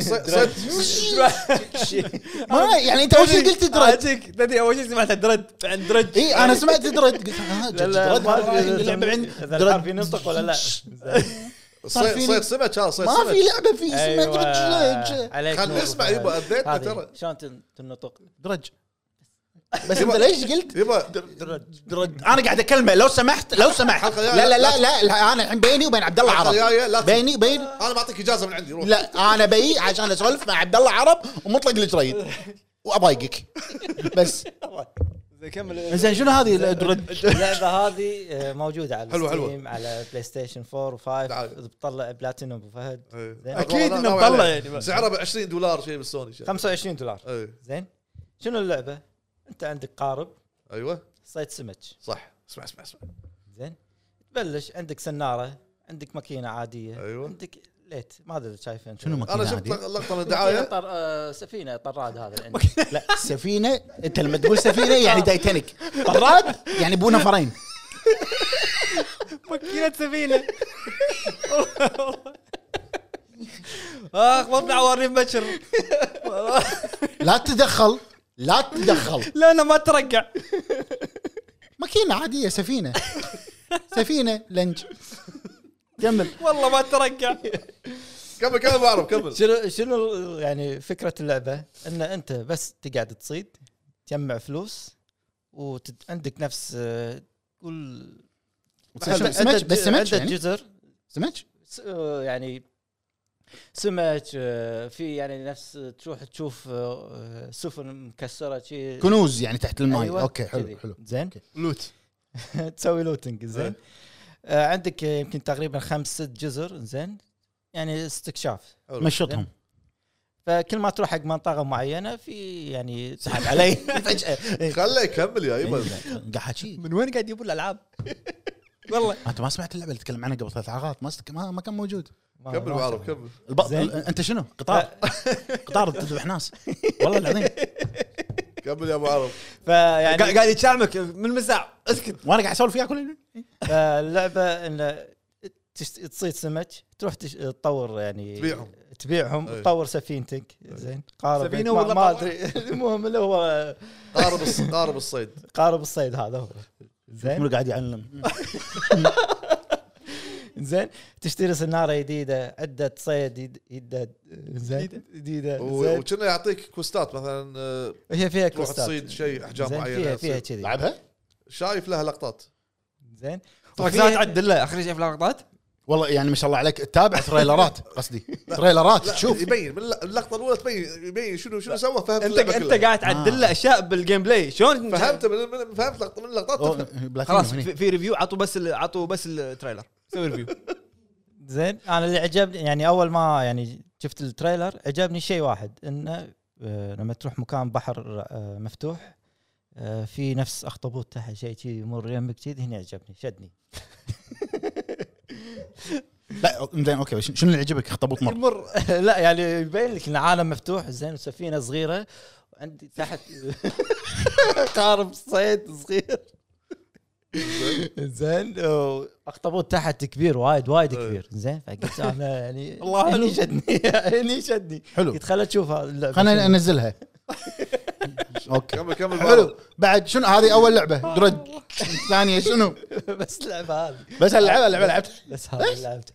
Speaker 3: ما يعني انت اول شيء قلت درج
Speaker 2: عاجيك تدري اول شيء سمعتها درد عند درد
Speaker 3: اي انا سمعت درج قلت آه، ها
Speaker 4: لا لا
Speaker 3: درج
Speaker 4: ما أدري إذا-
Speaker 3: اللعبه عند
Speaker 4: اذا الحرف ينطق ولا لا
Speaker 3: صار فيني-
Speaker 1: صيد سمك ها صيد
Speaker 3: ما في
Speaker 1: سمك
Speaker 3: لعبه في اسمها
Speaker 4: أيوة.
Speaker 3: درج
Speaker 4: عليك
Speaker 1: خلنا
Speaker 4: نور
Speaker 1: نسمع
Speaker 4: أبو
Speaker 1: يبا
Speaker 4: فهد.
Speaker 1: اذيتنا
Speaker 4: هذه
Speaker 1: ترى
Speaker 4: شلون تن- تنطق
Speaker 3: درج بس انت
Speaker 1: يبا-
Speaker 3: ليش قلت
Speaker 1: يبا
Speaker 4: درج
Speaker 3: درج انا قاعد اكلمه لو سمحت لو سمحت
Speaker 1: حلقة
Speaker 3: لا
Speaker 1: جاية.
Speaker 3: لا لا لا, لا انا الحين بيني وبين عبد الله
Speaker 1: الحلقة جاية، لا
Speaker 3: عرب
Speaker 1: تس-
Speaker 3: بيني بين
Speaker 1: انا بعطيك اجازه من عندي روح
Speaker 3: لا انا بي عشان اسولف مع عبد الله عرب ومطلق الجريد واضايقك بس
Speaker 2: زين كمل
Speaker 3: زين شنو هذه الدرج
Speaker 4: اللعبه هذه آه، موجوده على
Speaker 1: حلوة، حلوة.
Speaker 4: ستيم على بلاي ستيشن 4
Speaker 1: تعال.
Speaker 4: و5 بتطلع بلاتينوم ابو فهد
Speaker 1: إيه.
Speaker 4: زين.
Speaker 2: أكيد
Speaker 1: والله
Speaker 2: إنه
Speaker 1: ناوي
Speaker 2: مطلع
Speaker 1: عليه.
Speaker 2: يعني بس.
Speaker 1: سعره ب 20 دولار شيء بالسوني شيء.
Speaker 4: 25 دولار
Speaker 1: إيه.
Speaker 4: زين شنو اللعبه؟ انت عندك قارب
Speaker 1: ايوه
Speaker 4: صيد سمك
Speaker 1: صح اسمع اسمع اسمع
Speaker 4: زين تبلش عندك سناره عندك ماكينه عاديه
Speaker 1: أيوة.
Speaker 4: عندك ليت ما ادري إذا شايفها انت
Speaker 3: شنو
Speaker 1: انا
Speaker 3: ماكينة
Speaker 1: شفت
Speaker 3: عادية؟
Speaker 1: لقطه من
Speaker 4: ماكينة
Speaker 1: الدعايه
Speaker 4: طر... آه، سفينه طراد هذا اللي عندك.
Speaker 3: لا سفينه انت لما تقول سفينه يعني تايتانيك طراد يعني بو نفرين
Speaker 2: ماكينه سفينه اخ وضع وارين بشر
Speaker 3: لا تتدخل لا تتدخل
Speaker 2: لا انا ما ترقع
Speaker 3: ماكينه عاديه سفينه سفينه لنج كمل
Speaker 2: والله ما ترقع
Speaker 1: كمل كمل أبو عرب كمل
Speaker 4: شنو شنو ال- يعني فكره اللعبه ان انت بس تقعد تصيد تجمع فلوس وعندك نفس آه، تقول
Speaker 3: سمك- سمك بس سمك
Speaker 4: عندك
Speaker 3: يعني
Speaker 4: جزر
Speaker 3: سمك
Speaker 4: س- آه، يعني سمك آه، في يعني نفس تروح تشوف آه، آه، سفن مكسره شيء
Speaker 3: كنوز يعني تحت الماي
Speaker 4: أيوة،
Speaker 3: اوكي
Speaker 4: كذي.
Speaker 3: حلو حلو أه.
Speaker 4: زين
Speaker 2: لوت
Speaker 4: تسوي لوتنج زين آه، عندك آه، يمكن تقريبا خمس ست جزر زين يعني استكشاف
Speaker 1: حلو.
Speaker 3: مشطهم
Speaker 4: فكل ما تروح حق منطقه معينه في يعني سحب علي إيه. فجاه
Speaker 1: خله يكمل يا يبا
Speaker 3: قاعد احكي
Speaker 2: من وين قاعد يبون الالعاب؟ والله
Speaker 3: انت ما سمعت اللعبه اللي تكلم عنها قبل ثلاث حلقات ما است- ما ما كان موجود
Speaker 4: ما-
Speaker 1: كمل
Speaker 4: ما
Speaker 1: أبو عرب
Speaker 4: أعرف.
Speaker 1: كمل
Speaker 3: الب...
Speaker 4: زين.
Speaker 3: انت شنو قطار قطار تذبح ناس والله العظيم
Speaker 1: كمل يا ابو عرب
Speaker 4: فيعني
Speaker 2: قاعد قاعد يتشعمك من مساع اسكت
Speaker 3: وانا قاعد اسولف وياك كل
Speaker 4: فاللعبه انه تشت- تصيد سمك تروح تش- تطور يعني
Speaker 1: تبيعهم. إيه.
Speaker 4: تبيعهم
Speaker 1: أي.
Speaker 4: تطور سفينتك زين قارب
Speaker 2: سفينة
Speaker 4: ما-
Speaker 2: ولا
Speaker 4: ما
Speaker 2: قارب؟
Speaker 4: ادري المهم اللي هو
Speaker 1: قارب الص- قارب الصيد
Speaker 3: إيه.
Speaker 4: قارب الصيد هذا هو زين
Speaker 3: منو قاعد يعلم
Speaker 4: زين تشتري صناره جديده عده صيد يد- يدة زين جديده
Speaker 1: و-
Speaker 4: زين
Speaker 1: وكنا يعطيك كوستات مثلا آه،
Speaker 4: هي فيها
Speaker 1: تروح
Speaker 4: كوستات.
Speaker 1: تصيد شيء احجام
Speaker 4: زين
Speaker 1: معينه
Speaker 4: فيها فيها
Speaker 1: تصيد.
Speaker 4: كذي
Speaker 3: لعبها
Speaker 1: شايف لها لقطات
Speaker 4: زين
Speaker 2: طيب، لا تعدل له اخر شيء في اللقطات
Speaker 3: والله يعني ما شاء الله عليك تتابع تريلرات قصدي تريلرات
Speaker 1: لا
Speaker 3: تشوف
Speaker 1: يبين من اللقطه الاولى تبين يبين شنو شنو سوى فهمت
Speaker 2: انت
Speaker 1: اللعبة كلها.
Speaker 2: انت قاعد تعدل له اشياء بالجيم بلاي شلون
Speaker 1: فهمت من من- فهمت لقطة- من اللقطات
Speaker 3: أوه،
Speaker 1: تفهم.
Speaker 3: بلاتينيوم إيه.
Speaker 2: خلاص
Speaker 3: هني.
Speaker 2: في, في ريفيو عطوا بس ال- عطوا بس التريلر سوي ريفيو
Speaker 4: زين انا اللي عجبني يعني اول ما يعني شفت التريلر عجبني شيء واحد انه آه، لما تروح مكان بحر آه، مفتوح آه، في نفس اخطبوط تحت شيء كذي يمر يمك كذي هني عجبني شدني
Speaker 3: لا زين اوكي شنو شنو اللي عجبك اخطبوط مر
Speaker 4: يمر لا يعني يبين لك ان عالم مفتوح زين وسفينه صغيره عندي تحت قارب صيد صغير زين اخطبوط تحت كبير وايد وايد
Speaker 1: إيه.
Speaker 4: كبير زين فقلت انا يعني
Speaker 2: الله حلو.
Speaker 4: هني شدني هني شدني
Speaker 3: حلو
Speaker 4: قلت خليني اشوف هذا اللعبه
Speaker 3: خلينا انزلها اوكي
Speaker 1: كمل كمل
Speaker 3: حلو بعد شنو هذه اول لعبه درج ثانيه شنو
Speaker 4: بس اللعبه هذه
Speaker 3: بس هاللعبه اللعبه لعبت
Speaker 4: بس هذه اللي لعبتها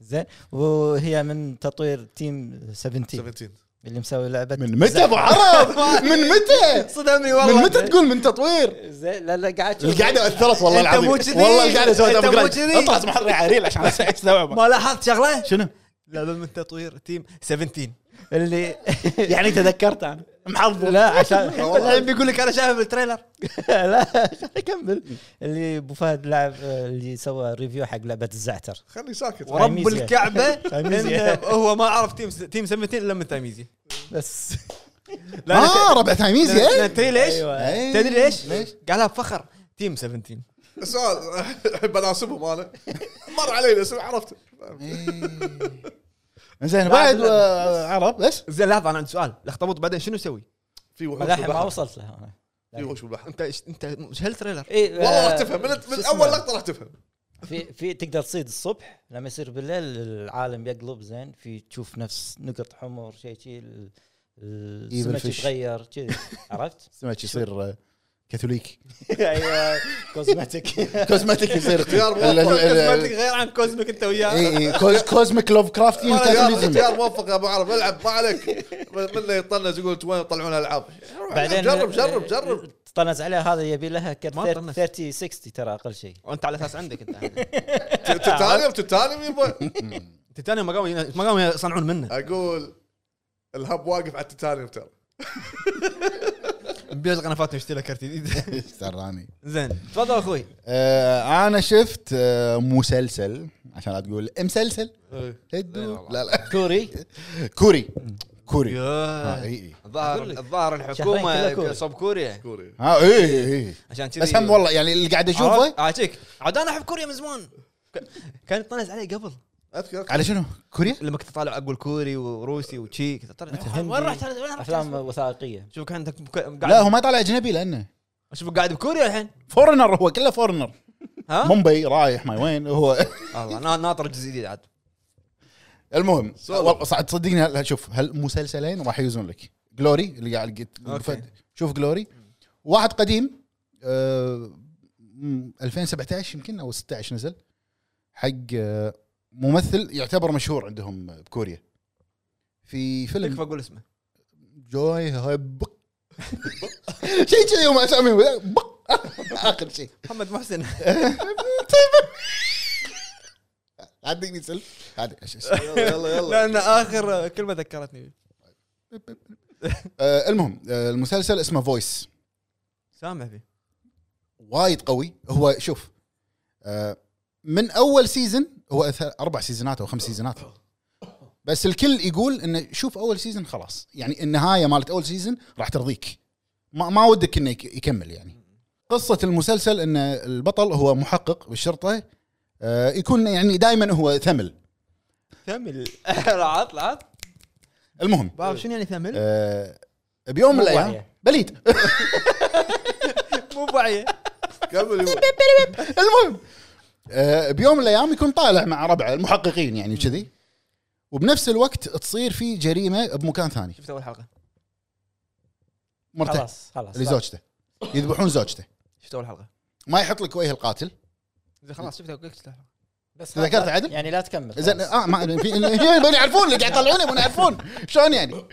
Speaker 4: زين وهي من تطوير تيم 17
Speaker 1: 17
Speaker 4: اللي مسوي لعبه
Speaker 3: من متى ابو عرب من متى
Speaker 2: صدمني
Speaker 3: من
Speaker 2: والله
Speaker 3: متى تقول من تطوير
Speaker 4: زين لا لا قاعد أشوف.
Speaker 3: القعده اثرت والله
Speaker 2: أنت
Speaker 3: العظيم
Speaker 2: مو كذي.
Speaker 3: والله القعده سويت
Speaker 2: أنت مو
Speaker 3: ابجريد
Speaker 2: كذي.
Speaker 3: اطلع اسمح لي على ريل عشان استوعبه
Speaker 2: ما لاحظت شغله
Speaker 3: شنو
Speaker 2: لعبه من تطوير تيم 17
Speaker 4: اللي
Speaker 3: يعني تذكرت انا محظوظ
Speaker 4: لا عشان
Speaker 2: الحين بيقول لك انا شايف التريلر
Speaker 4: لا خليني اكمل اللي ابو فهد لعب اللي سوى ريفيو حق لعبه الزعتر
Speaker 1: خلني ساكت
Speaker 2: ورب
Speaker 4: تايميزيا.
Speaker 2: الكعبه
Speaker 4: تايميزيا.
Speaker 2: إنه هو ما عرف تيم تيم 17 الا من تايميزي
Speaker 4: بس
Speaker 2: لا
Speaker 3: اه ربع تايميزي
Speaker 2: لا- لا،
Speaker 3: إيه؟
Speaker 2: تدري ليش؟
Speaker 4: أيوة.
Speaker 3: إيه.
Speaker 2: تدري ليش؟
Speaker 3: ليش؟
Speaker 2: قالها بفخر تيم 17
Speaker 1: السؤال احب اناسبهم انا مر علي الاسم عرفته
Speaker 3: زين
Speaker 2: لا،
Speaker 3: إيه. بعد
Speaker 2: لا.
Speaker 3: آه، عرب بس
Speaker 2: زين لحظه انا عندي سؤال الاخطبوط بعدين شنو يسوي؟
Speaker 1: في وحوش
Speaker 4: للحين ما
Speaker 1: بالبحر
Speaker 4: وصلت له انا
Speaker 1: في وحوش بالبحر
Speaker 2: انت إيش- انت ايش هالتريلر؟
Speaker 4: إيه،
Speaker 1: والله راح
Speaker 4: آه،
Speaker 1: تفهم من,
Speaker 4: يعني. شو
Speaker 1: من
Speaker 4: اسمه؟
Speaker 1: اول لقطه راح تفهم
Speaker 4: في في تقدر تصيد الصبح لما يصير بالليل العالم يقلب زين في تشوف نفس نقط حمر شيء شيء ال- السمك
Speaker 3: fish.
Speaker 4: يتغير كذي عرفت؟
Speaker 3: سمك يصير آه، كاثوليك
Speaker 4: ايوه كوزماتيك
Speaker 3: كوزماتيك يصير
Speaker 1: اختيار
Speaker 3: ال- ال- إيه. ال-
Speaker 2: كوزماتيك غير عن كوزميك انت وياه
Speaker 3: اي اي كوز- كوزميك لوف
Speaker 4: إيه،
Speaker 3: كرافتيان
Speaker 1: اختيار
Speaker 3: كاثوليزم
Speaker 1: اختيار موفق يا ابو عرب العب ما عليك منه يطنز يقول انتوا وين يطلعون العاب روح العب، جرب جرب جرب
Speaker 4: طنز عليها هذا يبي لها كرت
Speaker 2: ما طنز.
Speaker 4: 30 60 ترى اقل شيء
Speaker 2: وانت على اساس عندك انت
Speaker 1: تتانيم تتانيم يبا
Speaker 2: تيتانيوم ما قاموا ما قاموا يصنعون منه
Speaker 1: اقول الهب واقف على التتانيم ترى
Speaker 2: بيوز قنفات نشتري له كرت جديد
Speaker 3: سراني
Speaker 2: زين تفضل اخوي
Speaker 3: آه، انا شفت آه، مسلسل عشان لا تقول مسلسل
Speaker 1: إيه.
Speaker 3: لا لا
Speaker 4: كوري
Speaker 3: كوري كوري آه، ها
Speaker 2: ياه.
Speaker 3: اي اي
Speaker 2: الظاهر
Speaker 4: أقول لك.
Speaker 2: الظاهر
Speaker 4: شهرين
Speaker 2: الحكومه
Speaker 4: كلها كوري.
Speaker 2: صب كوريا
Speaker 1: كوري
Speaker 3: ها اي اي اي
Speaker 2: عشان كذي
Speaker 3: بس هم والله يعني اللي قاعد اشوفه
Speaker 2: عرفت؟ اعطيك عاد انا احب كوريا من زمان ك- كان يطنز علي قبل
Speaker 1: اذكر أذكر.
Speaker 3: على شنو كوريا
Speaker 2: لما كنت طالع اقول كوري وروسي وتشي كنت أطالع،
Speaker 4: هندي.
Speaker 2: وين رحت أنا- وين رحت
Speaker 4: افلام وثائقيه
Speaker 2: شوف كان عندك مك- قاعد
Speaker 3: لا هو ما طالع اجنبي لانه
Speaker 2: شوف قاعد بكوريا الحين
Speaker 3: فورنر هو كله فورنر
Speaker 2: ها
Speaker 3: مومبي رايح ما وين هو
Speaker 2: الله نا- ناطر الجزء الجديد عاد
Speaker 3: المهم
Speaker 1: سولو.
Speaker 3: والله صعب تصدقني هل- شوف هالمسلسلين راح يوزون لك جلوري اللي قاعد قلت-
Speaker 2: أوكي.
Speaker 3: فد- شوف جلوري واحد قديم آه، مم، 2017 يمكن او 16 نزل حق آه، ممثل يعتبر مشهور عندهم بكوريا في فيلم
Speaker 2: تكفى اقول اسمه
Speaker 3: جوي هب شيء كذي يوم اسامي بق. اخر شيء
Speaker 2: محمد محسن
Speaker 3: عدني سل عاد-
Speaker 1: يلا يلا يلا
Speaker 2: لان اخر كلمه ذكرتني
Speaker 3: آه، المهم آه، المسلسل اسمه فويس
Speaker 2: سامع فيه
Speaker 3: وايد قوي هو شوف آه، من اول سيزن هو أث- اربع سيزونات او خمس سيزونات بس الكل يقول انه شوف اول سيزون خلاص يعني النهايه مالت اول سيزون راح ترضيك ما, ما ودك انه يك- يكمل يعني قصه المسلسل ان البطل هو محقق بالشرطه آه، يكون يعني دائما هو ثمل
Speaker 2: ثمل العط العط
Speaker 3: المهم
Speaker 2: بعرف شنو يعني ثمل
Speaker 3: آه، بيوم من
Speaker 4: مو
Speaker 3: الايام
Speaker 4: واعية.
Speaker 3: بليد
Speaker 2: مو بعيه
Speaker 1: كمل يبا.
Speaker 3: المهم آه، بيوم من الايام يكون طالع مع ربعه المحققين يعني كذي وبنفس الوقت تصير في جريمه بمكان ثاني
Speaker 2: شفت اول حلقه
Speaker 3: مرته
Speaker 4: خلاص خلاص
Speaker 3: لزوجته يذبحون زوجته
Speaker 2: شفت اول حلقه
Speaker 3: ما يحط لك وجه القاتل
Speaker 2: زين خلاص شفت قلت شفت أول حلقة.
Speaker 4: بس
Speaker 3: تذكرت
Speaker 4: لا-
Speaker 3: عدل؟
Speaker 4: يعني لا تكمل
Speaker 3: زين اه ما أدري، في يبون يعرفون اللي قاعد يطلعونه يبون يعرفون شلون يعني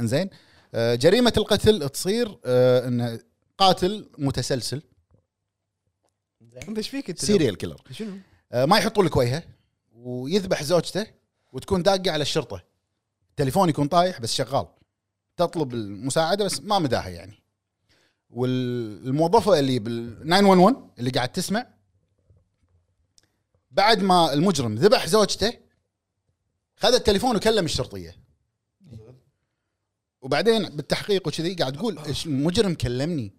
Speaker 3: زين آه، جريمه القتل تصير آه، انه قاتل متسلسل
Speaker 2: انت ايش فيك انت؟
Speaker 3: سيريال كيلر
Speaker 2: شنو؟
Speaker 3: آه، ما يحطون لك وجهه ويذبح زوجته وتكون داقه على الشرطه التليفون يكون طايح بس شغال تطلب المساعده بس ما مداها يعني والموظفه اللي بال 911 اللي قاعد تسمع بعد ما المجرم ذبح زوجته خذ التليفون وكلم الشرطيه وبعدين بالتحقيق وكذي قاعد تقول "إيش المجرم كلمني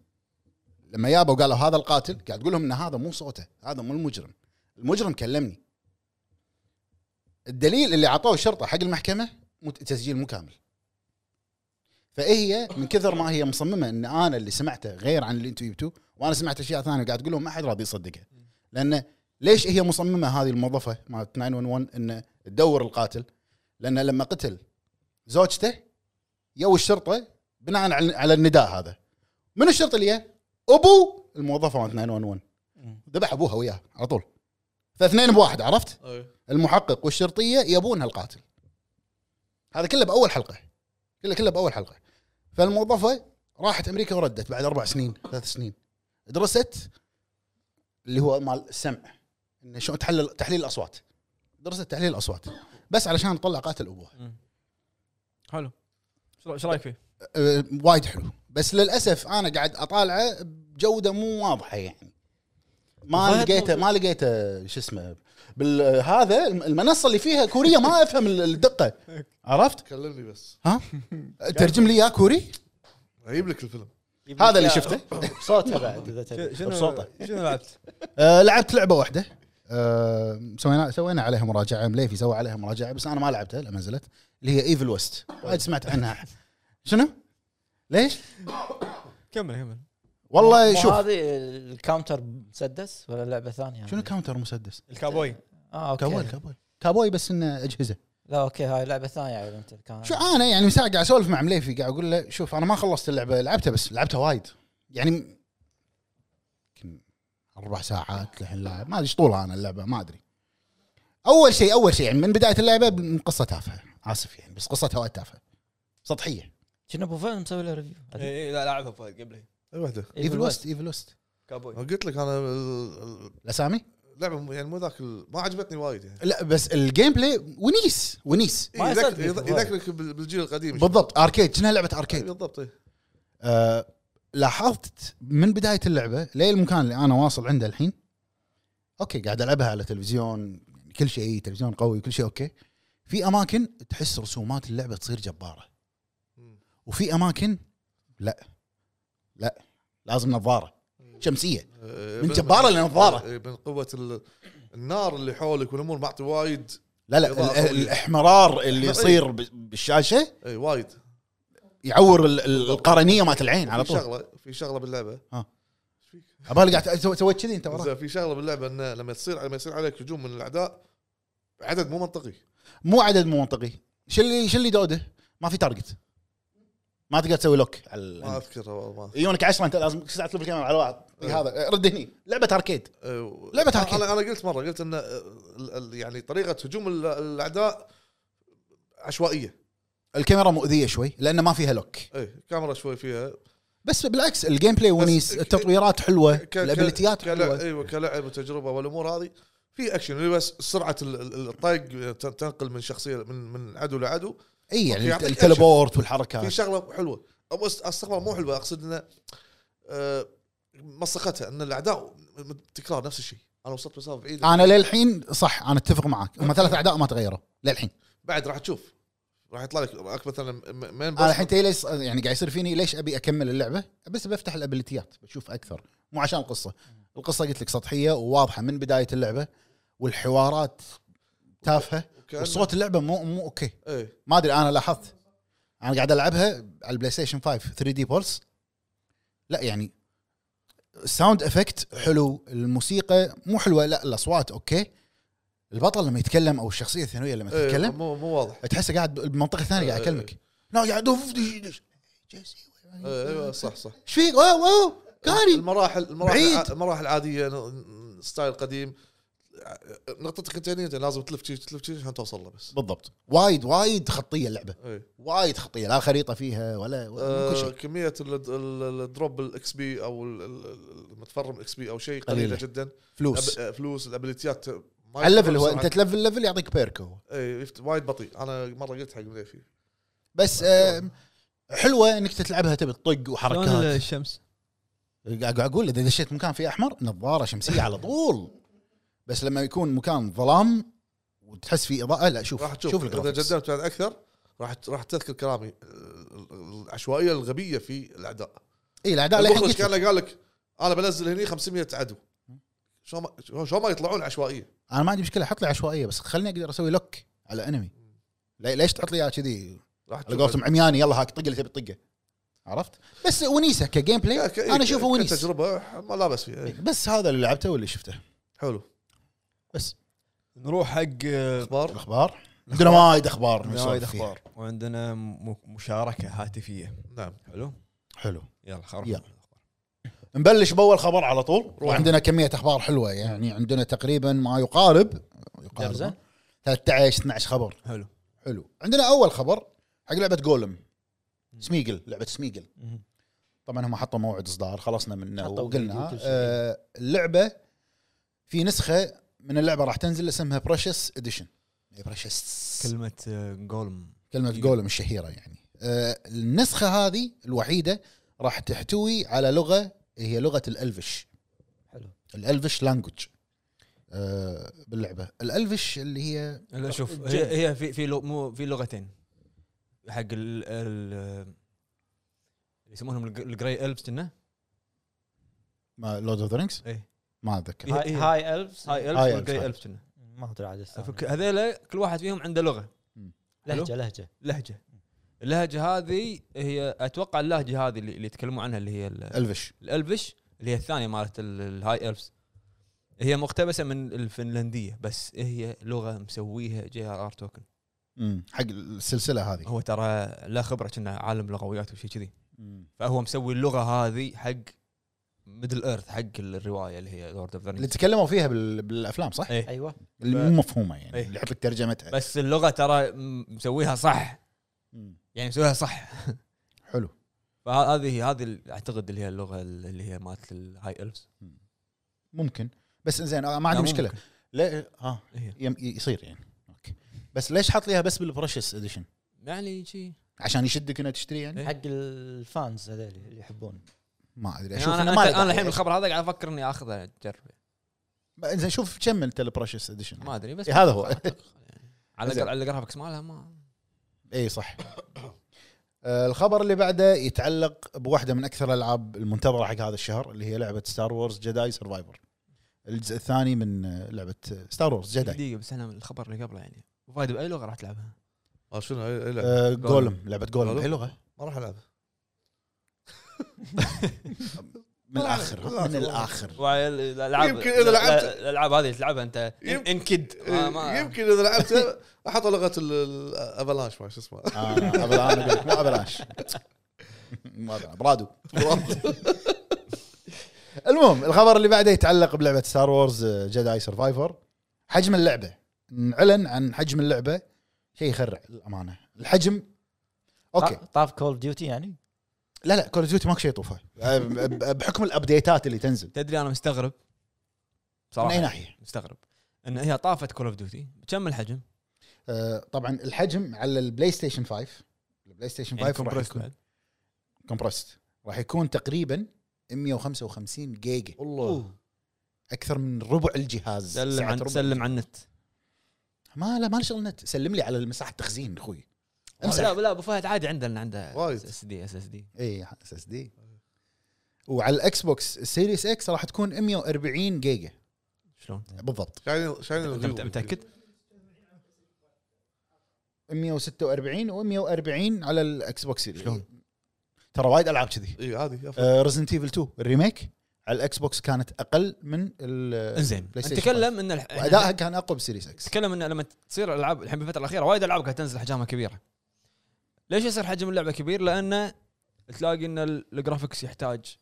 Speaker 3: لما يابوا قالوا هذا القاتل قاعد تقول لهم ان هذا مو صوته هذا مو المجرم المجرم كلمني الدليل اللي عطوه الشرطه حق المحكمه مو- تسجيل مو كامل فهي من كثر ما هي مصممه ان انا اللي سمعته غير عن اللي انتم جبتوه وانا سمعت اشياء ثانيه وقاعد تقول لهم ما حد راضي يصدقها لان ليش هي مصممه هذه الموظفه مالت 911 ان تدور القاتل لان لما قتل زوجته يو الشرطه بناء على على النداء هذا من الشرطه اللي جاء؟ ابو الموظفه مالت 911 ذبح ابوها وياه على طول فاثنين بواحد عرفت
Speaker 1: أي.
Speaker 3: المحقق والشرطيه يبونها القاتل هذا كله باول حلقه كله كله باول حلقه فالموظفه راحت امريكا وردت بعد اربع سنين ثلاث سنين درست اللي هو مال السمع انه شلون تحلل تحليل الاصوات درست تحليل الاصوات بس علشان تطلع قاتل ابوها
Speaker 2: حلو ايش رايك فيه؟
Speaker 3: أه، وايد حلو بس للاسف انا قاعد اطالعه بجوده مو واضحه يعني ما
Speaker 2: ظاهر
Speaker 3: لقيته ما لقيته شو اسمه بال هذا الم- المنصه اللي فيها كوريه ما افهم ال- الدقه عرفت؟
Speaker 1: كلمني بس
Speaker 3: ها؟ ترجم لي يا كوري؟
Speaker 1: اجيب لك الفيلم
Speaker 3: هذا اللي شفته
Speaker 4: صوته بعد اذا تبي
Speaker 2: شنو
Speaker 3: بصوته.
Speaker 2: شنو لعبت؟
Speaker 3: آه لعبت لعبه واحده آه سوينا سوينا عليها مراجعه مليفي سوى عليها مراجعه بس انا ما لعبتها لما نزلت اللي هي ايفل ويست وايد سمعت عنها شنو؟ ليش؟
Speaker 2: كمل كمل
Speaker 3: والله
Speaker 4: مو
Speaker 3: شوف
Speaker 4: هذه الكاونتر مسدس ولا لعبه ثانيه
Speaker 3: شنو كاونتر مسدس؟
Speaker 2: الكابوي
Speaker 4: اه اوكي
Speaker 3: كابوي كابوي كابوي بس انه اجهزه
Speaker 4: لا اوكي هاي لعبه ثانيه عيل انت كان
Speaker 3: شو انا يعني مساء قاعد اسولف مع مليفي قاعد اقول له شوف انا ما خلصت اللعبه لعبتها بس لعبتها وايد يعني م- يمكن اربع ساعات للحين لاعب ما ادري ايش طولها انا اللعبه ما ادري اول شيء اول شيء يعني من بدايه اللعبه من قصه تافهه اسف يعني بس قصتها وايد تافهه سطحيه
Speaker 4: شنو ابو فهد مسوي له ريفيو
Speaker 2: اي إيه، لا لعبها فهد قبلي
Speaker 1: اي واحده
Speaker 3: ايفل وست ايفل وست
Speaker 2: كابوي
Speaker 1: قلت لك انا ال- ال-
Speaker 3: الاسامي
Speaker 1: اللعبه مو- يعني مو ذاك ال- ما عجبتني وايد يعني
Speaker 3: لا بس الجيم بلاي ونيس ونيس
Speaker 1: إيه،
Speaker 4: ما
Speaker 1: يذك-
Speaker 4: يصدق
Speaker 1: يذ- يذكرك بال- بالجيل القديم
Speaker 3: بالضبط اركيد كأنها لعبه
Speaker 1: إيه،
Speaker 3: اركيد
Speaker 1: بالضبط إيه.
Speaker 3: آه، لاحظت من بدايه اللعبه للمكان اللي انا واصل عنده الحين اوكي قاعد العبها على تلفزيون يعني كل شيء تلفزيون قوي كل شيء اوكي في اماكن تحس رسومات اللعبه تصير جباره
Speaker 1: مم.
Speaker 3: وفي اماكن لا لا لازم نظاره شمسيه
Speaker 1: إيه،
Speaker 3: من جبارة لنظارة.
Speaker 1: إيه، من قوه ال- النار اللي حولك والامور معطي وايد
Speaker 3: لا لا
Speaker 1: إضاءة
Speaker 3: ال-
Speaker 1: قوية.
Speaker 3: الاحمرار اللي يصير ب- بالشاشه
Speaker 1: اي إيه، وايد
Speaker 3: يعور ال- ال- القرنيه مالت العين على
Speaker 1: في
Speaker 3: طول
Speaker 1: شغله في شغله باللعبه
Speaker 3: عبالي قاعد سو- سويت كذي انت وراك
Speaker 1: زين، في شغله باللعبه انه لما تصير لما يصير عليك هجوم من الاعداء عدد مو منطقي
Speaker 3: مو عدد مو منطقي شو اللي شو اللي دوده ما في تارجت ما تقدر تسوي لوك على ال-
Speaker 1: ما اذكر والله ما
Speaker 3: يجونك 10 انت لازم تسعة تلف الكاميرا على واحد طق
Speaker 1: إيه.
Speaker 3: هذا رد هني لعبه اركيد
Speaker 1: أه،
Speaker 3: لعبة
Speaker 1: أنا-
Speaker 3: أركيد.
Speaker 1: انا انا قلت مره قلت ان أه، ال- ال- يعني طريقه هجوم ال- الاعداء عشوائيه
Speaker 3: الكاميرا مؤذيه شوي لان ما فيها لوك
Speaker 1: اي إيه، كاميرا شوي فيها
Speaker 3: بس بالعكس الجيم بلاي ونيس
Speaker 1: ك-
Speaker 3: التطويرات حلوه
Speaker 1: ك- ك-
Speaker 3: الابيليتيات
Speaker 1: كلعب
Speaker 3: حلوه
Speaker 1: ايوه كلعب وتجربه والامور هذه في اكشن اللي بس سرعه ال- ال- الطق ت- تنقل من شخصيه من من عدو لعدو
Speaker 3: اي يعني
Speaker 1: يعطيك
Speaker 3: التليبورت
Speaker 1: في
Speaker 3: والحركات
Speaker 1: شغله حلوه او أس- استغفر مو حلوه اقصد انه أه، مسختها ان الاعداء م- م- تكرار نفس الشيء انا وصلت مسافه بعيده
Speaker 3: انا للحين صح انا اتفق معك هم ثلاث اعداء ما تغيروا للحين
Speaker 1: بعد راح تشوف راح يطلع لك راك مثلا م- مين
Speaker 3: انا
Speaker 1: بوس
Speaker 3: الحين تي ليش يعني قاعد يصير فيني ليش ابي اكمل اللعبه بس بفتح الابيليتيات بشوف اكثر مو عشان القصه القصه قلت لك سطحيه وواضحه من بدايه اللعبه والحوارات تافهه
Speaker 1: وكأنه-
Speaker 3: وصوت اللعبه مو مو اوكي
Speaker 1: ايه
Speaker 3: ما ادري انا لاحظت انا قاعد العبها على البلاي ستيشن 5 3 دي بولس لا يعني الساوند افكت حلو الموسيقى مو حلوه لا الاصوات اوكي البطل لما يتكلم او الشخصيه الثانويه لما
Speaker 1: إيه،
Speaker 3: تتكلم
Speaker 1: مو مو واضح
Speaker 3: تحسه قاعد بمنطقه ثانيه قاعد يكلمك لا قاعد أوف، دش- دش. جيسي،
Speaker 1: إيه، ايوه
Speaker 3: أيوة،
Speaker 1: صح صح
Speaker 3: ايش فيك واو واو كاري
Speaker 1: المراحل المراحل
Speaker 3: بعيد.
Speaker 1: الع- المراحل العاديه ن- ن- ستايل قديم نقطتك انت هني انت لازم تلف شي تلف شي عشان توصل له بس
Speaker 3: بالضبط وايد وايد خطيه اللعبه
Speaker 1: اي
Speaker 3: وايد خطيه لا خريطه فيها ولا, ولا كل
Speaker 1: آه
Speaker 3: شيء
Speaker 1: كميه ال- ال- الدروب الاكس بي او ال- ال- المتفرم اكس بي او شيء قليله
Speaker 3: قليلة.
Speaker 1: جدا
Speaker 3: فلوس
Speaker 1: أب- آه، فلوس الابيليتيات ما
Speaker 3: على الليفل هو
Speaker 1: بسرعة.
Speaker 3: انت تلفل ليفل يعطيك بيرك هو
Speaker 1: اي يفت- وايد بطيء انا مره قلت حق مليفي
Speaker 3: بس آه، حلوه انك تلعبها تبي تطق
Speaker 2: شلون
Speaker 3: وحركات أه،
Speaker 2: الشمس
Speaker 3: قاعد اقول اذا دشيت مكان فيه احمر نظاره شمسيه على طول بس لما يكون مكان ظلام وتحس فيه اضاءه لا شوف
Speaker 1: راح تشوف
Speaker 3: شوف
Speaker 1: اذا
Speaker 3: الجدار
Speaker 1: جدمت بعد اكثر راح ت- راح تذكر كلامي ال- ال- العشوائيه الغبيه في الاعداء
Speaker 3: اي الاعداء إيه، للحين
Speaker 1: المخرج
Speaker 3: قلت لك.
Speaker 1: كان قال لك انا بنزل هني 500 عدو شلون ما شلون- شلون ما يطلعون عشوائيه
Speaker 3: انا ما عندي مشكله حط لي عشوائيه بس خليني اقدر اسوي لوك على انمي لي- ليش تحط لي اياها كذي
Speaker 1: راح
Speaker 3: على
Speaker 1: تشوف
Speaker 3: قولتهم عمياني يلا هاك طق اللي تبي تطقه عرفت بس ونيسه كجيم بلاي
Speaker 1: إيه، ك- ك-
Speaker 3: انا اشوفه
Speaker 1: ك-
Speaker 3: ونيس
Speaker 1: تجربه ما لا باس فيها إي.
Speaker 3: بس هذا اللي لعبته واللي شفته
Speaker 1: حلو
Speaker 3: بس
Speaker 2: نروح حق آه،
Speaker 1: اخبار
Speaker 3: الاخبار عندنا وايد اخبار
Speaker 2: عندنا
Speaker 3: نسولف
Speaker 2: وايد
Speaker 3: فيها.
Speaker 2: اخبار وعندنا م- مشاركه هاتفيه
Speaker 1: نعم
Speaker 2: حلو
Speaker 3: حلو
Speaker 2: يلا خلاص
Speaker 3: يلا. نبلش باول خبر على طول
Speaker 1: روح.
Speaker 3: وعندنا كميه اخبار حلوه يعني عندنا تقريبا ما يقارب
Speaker 4: جرزة.
Speaker 3: يقارب 13 12 خبر
Speaker 2: حلو
Speaker 3: حلو عندنا اول خبر حق لعبه جولم سميجل لعبه سميجل طبعا هم حطوا موعد اصدار خلصنا منه
Speaker 4: حطوا
Speaker 3: وقلنا
Speaker 4: وكل شيء.
Speaker 3: آه اللعبه في نسخه من اللعبه راح تنزل اسمها إيه، بريشس اديشن بريشس
Speaker 2: كلمه آه، جولم
Speaker 3: كلمه جولم الشهيره يعني آه النسخه هذه الوحيده راح تحتوي على لغه هي لغه الالفش
Speaker 4: حلو
Speaker 3: الالفش لانجوج آه باللعبه الالفش اللي هي
Speaker 2: لا شوف
Speaker 4: جن.
Speaker 2: هي هي في في لغ- مو في لغتين حق ال ال- يسمونهم الج- الجراي الفز كنا
Speaker 3: ما لورد اوف ذا رينجز
Speaker 2: ايه
Speaker 3: ما اتذكر
Speaker 2: إيه،
Speaker 4: هاي
Speaker 2: إيه.
Speaker 4: هاي الفز
Speaker 2: هاي الفز
Speaker 3: هاي
Speaker 2: والجراي
Speaker 3: elves.
Speaker 2: الفز كنا
Speaker 4: ما ادري عاد السالفة.
Speaker 2: فك- هذيلا كل واحد فيهم عنده لغه
Speaker 4: لهجه لهجه
Speaker 2: لهجه اللهجه هذه هي اتوقع اللهجه هذه اللي اللي يتكلموا عنها اللي هي
Speaker 4: إيه.
Speaker 2: ال-
Speaker 3: الفش
Speaker 2: الالفش اللي هي الثانيه مالت ال- الهاي الفز هي مقتبسه من الفنلنديه بس هي لغه مسويها جي ار ار توكن
Speaker 3: مم، حق السلسله هذه
Speaker 2: هو ترى لا خبره كنا عالم لغويات وشي كذي فهو مسوي اللغه هذه حق ميدل ايرث حق الروايه اللي هي لورد اوف
Speaker 3: اللي
Speaker 2: ذا
Speaker 3: تكلموا فيها بال- بالافلام صح؟
Speaker 2: ايه
Speaker 4: ايوه
Speaker 3: اللي مو مفهومه يعني
Speaker 2: إيه.
Speaker 3: اللي يحط لك ترجمتها
Speaker 2: بس اللغه ترى م- مسويها صح
Speaker 3: مم.
Speaker 2: يعني مسويها صح
Speaker 3: حلو
Speaker 2: فهذه هذه ال- اعتقد اللي هي اللغه اللي هي مالت الهاي الفز
Speaker 3: ممكن بس زين آه، ما
Speaker 2: لا،
Speaker 3: عندي
Speaker 2: مو
Speaker 3: مشكله
Speaker 2: ممكن.
Speaker 3: ليه ها
Speaker 2: إيه.
Speaker 3: يم- يصير يعني اوكي بس ليش حاط ليها بس بالبرشس اديشن؟
Speaker 2: يعني شي
Speaker 3: عشان يشدك انها تشتري يعني؟
Speaker 2: إيه.
Speaker 4: حق الفانز هذول اللي يحبون
Speaker 3: ما ادري
Speaker 2: يعني
Speaker 3: اشوف
Speaker 2: انا
Speaker 3: إنه ما له
Speaker 2: أنا- انا
Speaker 3: داعي.
Speaker 2: الحين بالخبر هذا قاعد افكر اني اخذها اجرب
Speaker 3: بقى زين شوف كم انت البرشس اديشن؟
Speaker 2: ما ادري بس
Speaker 3: إيه، هذا هو.
Speaker 2: أعتقد يعني. على
Speaker 3: زين. إيه،
Speaker 2: الأقل- على الجرافكس مالها ما
Speaker 3: اي صح آه، الخبر اللي بعده يتعلق بواحده من اكثر الالعاب المنتظره حق هذا الشهر اللي هي لعبه ستار وورز جداي سرفايفر الجزء الثاني من آه، لعبه ستار وورز جداي
Speaker 2: دقيقه بس انا من الخبر اللي قبله يعني فايد باي لغه راح تلعبها؟
Speaker 1: آه، شنو هاي- هاي لعبة؟
Speaker 3: جولم لعبه جولم
Speaker 1: Golem.
Speaker 3: اي لغه
Speaker 1: ما راح العبها
Speaker 3: من الاخر من الاخر
Speaker 2: وعلى الالعاب
Speaker 1: يمكن إذا لعبت-
Speaker 2: الالعاب هذه تلعبها انت
Speaker 1: يمكن-
Speaker 2: انكد
Speaker 3: إيه،
Speaker 1: إيه، يمكن اذا لعبته احط لغه الافلانش ما شو اسمه
Speaker 3: آه، أبل- انا اقول لك مو ابلاش ما أبل- برادو المهم الخبر اللي بعده يتعلق بلعبه ستار وورز جداي سرفايفر آه، حجم اللعبه نعلن عن حجم اللعبه شيء يخرع للامانه الحجم اوكي
Speaker 4: طا- طاف كول ديوتي يعني
Speaker 3: لا لا كول ديوتي ماكو شيء يطوفه آه، ب- بحكم الابديتات اللي تنزل
Speaker 2: تدري انا مستغرب
Speaker 3: من اي
Speaker 2: صراحه
Speaker 3: ناحيه
Speaker 2: مستغرب ان هي طافت كول اوف ديوتي كم الحجم؟
Speaker 3: آه، طبعا الحجم على البلاي ستيشن 5 البلاي ستيشن 5 راح
Speaker 2: compressed
Speaker 3: يكون
Speaker 2: بعد.
Speaker 3: كومبرست راح يكون تقريبا 155 جيجا
Speaker 1: والله
Speaker 3: اكثر من ربع الجهاز
Speaker 2: سلم
Speaker 3: سعة
Speaker 2: عن
Speaker 3: ربع
Speaker 2: سلم عن النت
Speaker 3: ما لا ما له شغل نت سلم لي على المساحه تخزين اخوي امسح
Speaker 2: آه، لا لا ابو فهد عادي عنده لأن عنده
Speaker 1: وايد.
Speaker 2: اس دي اس اس دي
Speaker 3: اي اس اس دي وعلى الاكس بوكس سيريس اكس راح تكون 140 جيجا
Speaker 2: شلون؟
Speaker 3: بالضبط
Speaker 1: شايلين
Speaker 2: انت مت-
Speaker 1: شايلين
Speaker 2: متاكد؟
Speaker 3: 146 و140 على الاكس بوكس سيريس
Speaker 2: شلون؟
Speaker 3: ترى وايد العاب كذي آه،
Speaker 1: اي عادي يفرق.
Speaker 3: ريزنت ايفل 2 الريميك على الاكس بوكس كانت اقل من ال
Speaker 2: انزين
Speaker 3: بلاي ستيشن
Speaker 2: نتكلم ان الح-
Speaker 3: وادائها كان اقوى بسيريس اكس
Speaker 2: نتكلم ان لما تصير العاب الحين بالفتره الاخيره وايد العاب قاعد تنزل حجمها كبيره ليش يصير حجم اللعبه كبير؟ لانه تلاقي ان ال- الجرافكس يحتاج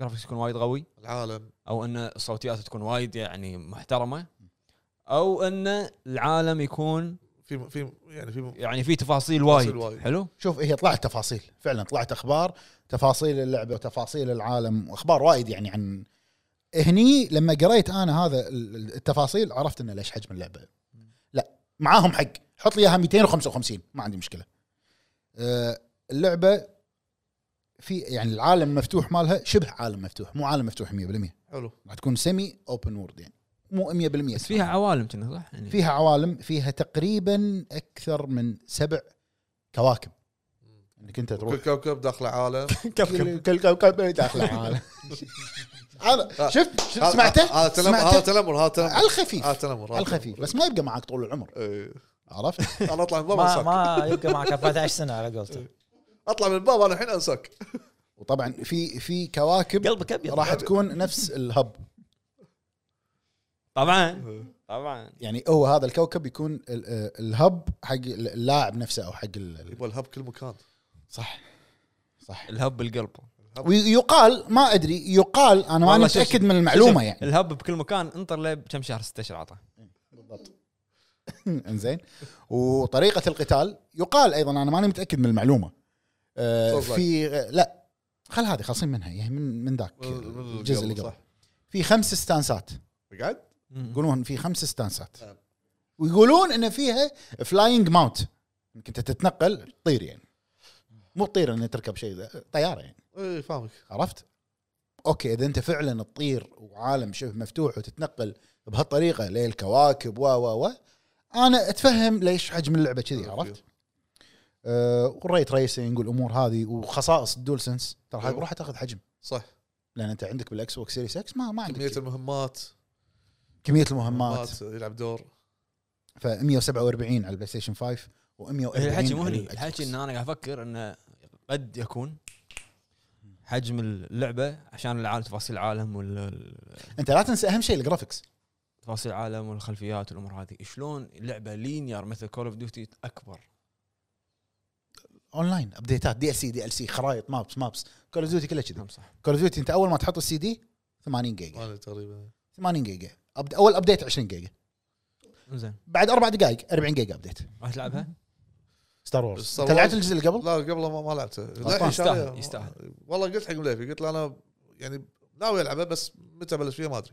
Speaker 2: جرافكس يكون وايد قوي
Speaker 1: العالم
Speaker 2: او ان الصوتيات تكون وايد يعني محترمه او ان العالم يكون
Speaker 1: في في يعني في
Speaker 2: يعني في تفاصيل
Speaker 1: تفاصيل
Speaker 2: وايد
Speaker 1: وايد.
Speaker 2: حلو
Speaker 3: شوف هي طلعت تفاصيل فعلا طلعت اخبار تفاصيل اللعبه وتفاصيل العالم اخبار وايد يعني عن هني لما قريت انا هذا ال- ال- التفاصيل عرفت انه ليش حجم اللعبه لا معاهم حق حط لي اياها 255 ما عندي مشكله أه، اللعبه في يعني العالم مفتوح مالها شبه عالم مفتوح مو عالم مفتوح 100%
Speaker 1: حلو
Speaker 3: راح تكون سيمي اوبن وورد يعني مو 100%
Speaker 2: بس فيها عوالم كنا صح؟ يعني
Speaker 3: إيه. فيها عوالم فيها تقريبا اكثر من سبع كواكب انك انت تروح
Speaker 1: كل كوكب داخله عالم
Speaker 3: كل كل كوكب داخل عالم هذا
Speaker 2: آه،
Speaker 3: شفت شفت
Speaker 1: هذا-
Speaker 3: سمعته؟
Speaker 1: هذا تنمر هذا
Speaker 3: سمعته؟
Speaker 1: تنمر هذا
Speaker 3: على
Speaker 1: تنمر
Speaker 3: الخفيف
Speaker 1: هذا تنمر
Speaker 3: على
Speaker 1: هذا
Speaker 3: الخفيف
Speaker 1: تنمر.
Speaker 3: بس ما يبقى معك طول العمر
Speaker 1: إيه.
Speaker 3: عرفت؟
Speaker 1: انا اطلع من الباب
Speaker 4: ما
Speaker 1: انساك
Speaker 4: ما يبقى معك 14 سنه على
Speaker 3: إيه.
Speaker 4: قولته
Speaker 1: اطلع من الباب انا الحين انساك
Speaker 3: وطبعا في في كواكب
Speaker 4: قلبك ابيض
Speaker 3: راح تكون نفس الهب
Speaker 2: طبعا طبعا
Speaker 3: يعني هو هذا الكوكب يكون ال- آه، الهب حق اللاعب نفسه او حق ال-
Speaker 1: يبغى الهب كل مكان
Speaker 3: صح صح
Speaker 2: الهب بالقلب
Speaker 3: ويقال ما ادري يقال انا ماني
Speaker 2: والله شوف-
Speaker 3: متاكد من المعلومه
Speaker 2: شوف،
Speaker 3: يعني
Speaker 2: الهب بكل مكان انطر له كم شهر ست اشهر عطى
Speaker 3: بالضبط انزين وطريقه القتال يقال ايضا انا ماني متاكد من المعلومه آه
Speaker 1: Souls-like.
Speaker 3: في آه، لا خل هذه خلصين منها يعني من من ذاك
Speaker 1: من- من
Speaker 3: الجزء اللي
Speaker 1: القبل،
Speaker 3: قبل
Speaker 1: صح.
Speaker 3: في خمس ستانسات
Speaker 1: قاعد
Speaker 3: يقولون في خمس ستانسات
Speaker 1: نعم.
Speaker 3: ويقولون ان فيها فلاينج ماونت انك انت تتنقل تطير يعني مو تطير ان تركب شيء ذا- طياره يعني
Speaker 1: اي إيه، فاهمك
Speaker 3: عرفت؟ اوكي اذا انت فعلا تطير وعالم شبه مفتوح وتتنقل بهالطريقه للكواكب و و و انا اتفهم ليش حجم اللعبه كذي عرفت؟ أه والريت ريسنج والامور هذه وخصائص الدول سنس ترى هذه
Speaker 1: أيوة.
Speaker 3: راح تاخذ حجم
Speaker 1: صح
Speaker 3: لان انت عندك بالاكس بوكس سيريس اكس ما ما عندك
Speaker 1: كميه
Speaker 3: كميه,
Speaker 1: المهمات
Speaker 3: كمية المهمات
Speaker 1: مهمات يلعب دور
Speaker 3: ف 147 على البلاي ستيشن 5 و140
Speaker 2: إيه، الحكي مو هني الحكي ان انا قاعد افكر انه قد يكون حجم اللعبه عشان العالم تفاصيل العالم وال-
Speaker 3: انت لا تنسى اهم شيء الجرافكس
Speaker 2: تفاصيل العالم والخلفيات والامور هذه شلون اللعبه لينير مثل كول اوف ديوتي اكبر
Speaker 3: اونلاين ابديتات دي ال سي دي ال سي خرائط مابس مابس كول اوف ديوتي كلها كذي
Speaker 2: نعم صح
Speaker 3: كول اوف ديوتي انت اول ما تحط السي دي 80 جيجا
Speaker 1: انا تقريبا
Speaker 3: 80 جيجا أبد... اول ابديت 20 جيجا
Speaker 2: زين
Speaker 3: بعد اربع دقائق 40 جيجا ابديت
Speaker 2: راح تلعبها؟
Speaker 3: ستار وورز
Speaker 1: Star
Speaker 3: انت لعبت
Speaker 1: Wars؟
Speaker 3: الجزء اللي قبل؟
Speaker 1: لا قبله ما, ما لعبته لا
Speaker 3: يستاهل،
Speaker 1: إن شاء الله.
Speaker 2: يستاهل.
Speaker 1: والله قلت حق مليفي قلت له انا يعني ناوي العبه بس متى بلش فيها ما ادري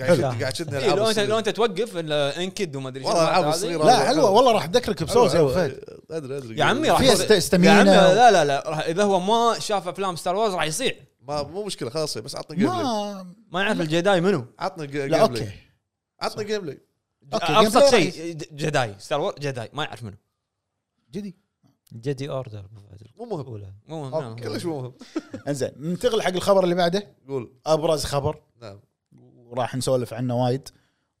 Speaker 1: قاعد
Speaker 4: حلو.
Speaker 1: يشد- قاعد شدني
Speaker 2: إيه، لو انت لو
Speaker 1: العاب
Speaker 2: انت توقف إلا انكد وما ادري شنو
Speaker 1: والله ألعاب
Speaker 2: هذه.
Speaker 1: الصغيرة.
Speaker 3: لا حلوه والله راح اذكرك
Speaker 1: أيوة،
Speaker 3: بسوز يا أبو فهد
Speaker 1: فهد ادري ادري
Speaker 2: يا عمي راح
Speaker 3: فيها
Speaker 2: يصير-
Speaker 3: است- استمينة
Speaker 2: يا عمي
Speaker 3: و-
Speaker 2: لا لا لا راح- اذا هو ما شاف افلام ستار وورز راح يصيع
Speaker 1: ما مو مشكله خلاص بس عطني جيم بلاي
Speaker 3: ما
Speaker 2: ما يعرف الجداي منو
Speaker 1: عطني جيم
Speaker 3: لا
Speaker 1: بلاي
Speaker 3: اوكي
Speaker 1: عطني جيم بلاي
Speaker 3: أوكي،
Speaker 2: ابسط
Speaker 3: gameplay
Speaker 2: شيء ج- جداي ستار وورز جداي ما يعرف منو
Speaker 3: جدي
Speaker 4: جدي اوردر
Speaker 1: مو مهم
Speaker 4: الاولى
Speaker 2: مو مهم،
Speaker 3: أوكي.
Speaker 2: نعم.
Speaker 1: كلش مو مهم
Speaker 3: انزين ننتقل حق الخبر اللي بعده
Speaker 1: قول
Speaker 3: ابرز خبر
Speaker 1: نعم
Speaker 3: وراح نسولف عنه وايد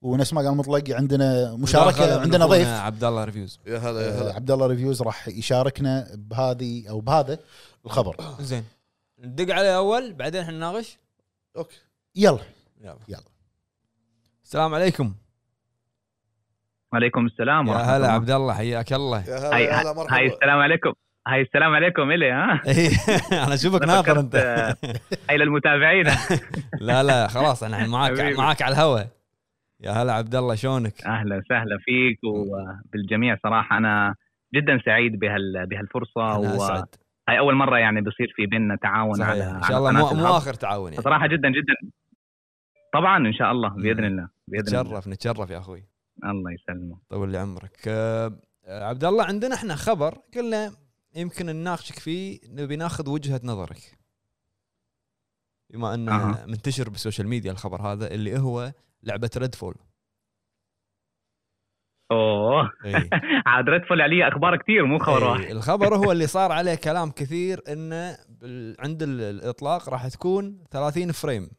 Speaker 3: ونفس ما قال مطلق عندنا
Speaker 2: مداخلة
Speaker 3: مشاركه
Speaker 2: من
Speaker 3: عندنا
Speaker 2: أخونا
Speaker 3: ضيف
Speaker 2: عبد الله ريفيوز
Speaker 1: يا هلا يا
Speaker 3: آه،
Speaker 1: هلا
Speaker 3: عبد الله ريفيوز راح يشاركنا بهذه او بهذا الخبر
Speaker 2: زين ندق عليه اول بعدين احنا نناقش
Speaker 1: اوكي
Speaker 3: يلا
Speaker 2: يلا
Speaker 3: يلا.
Speaker 2: السلام عليكم
Speaker 5: وعليكم السلام
Speaker 2: يا
Speaker 5: ورحمة
Speaker 2: هلا
Speaker 5: الله.
Speaker 2: عبد الله حياك الله
Speaker 1: يا هلا
Speaker 5: هاي
Speaker 1: يا هلا مرحبا
Speaker 5: هاي السلام عليكم هاي السلام عليكم الي ها
Speaker 2: إيه، انا اشوفك
Speaker 5: أنا
Speaker 2: نافر
Speaker 5: فكرت،
Speaker 2: انت
Speaker 5: هاي للمتابعين
Speaker 2: لا لا خلاص انا الحين معاك
Speaker 5: حبيبي.
Speaker 2: معاك على الهواء يا هلا عبد الله شلونك؟
Speaker 5: اهلا وسهلا فيك وبالجميع صراحه انا جدا سعيد بهال بهالفرصه
Speaker 2: انا
Speaker 5: وهاي
Speaker 2: اسعد
Speaker 5: اول مره يعني بيصير في بيننا تعاون على
Speaker 2: صحيح ان شاء
Speaker 5: على
Speaker 2: الله
Speaker 5: قناة
Speaker 2: مو, مو
Speaker 5: الهب.
Speaker 2: اخر تعاون يعني
Speaker 5: فصراحه جدا جدا طبعا ان شاء الله
Speaker 2: إيه.
Speaker 5: باذن الله باذن الله
Speaker 2: نتشرف نتشرف يا اخوي
Speaker 5: الله يسلمك
Speaker 2: طول لي عمرك آه، آه، عبد الله عندنا احنا خبر قلنا يمكن نناقشك فيه نبي ناخذ وجهه نظرك بما انه
Speaker 5: أها.
Speaker 2: منتشر بالسوشيال ميديا الخبر هذا اللي هو لعبه ريد فول
Speaker 5: اوه
Speaker 2: اي
Speaker 5: عاد ريدفول علي اخبار كثير مو خبر واحد
Speaker 2: إيه، الخبر هو اللي صار عليه كلام كثير انه بال- عند ال- الاطلاق راح تكون 30 فريم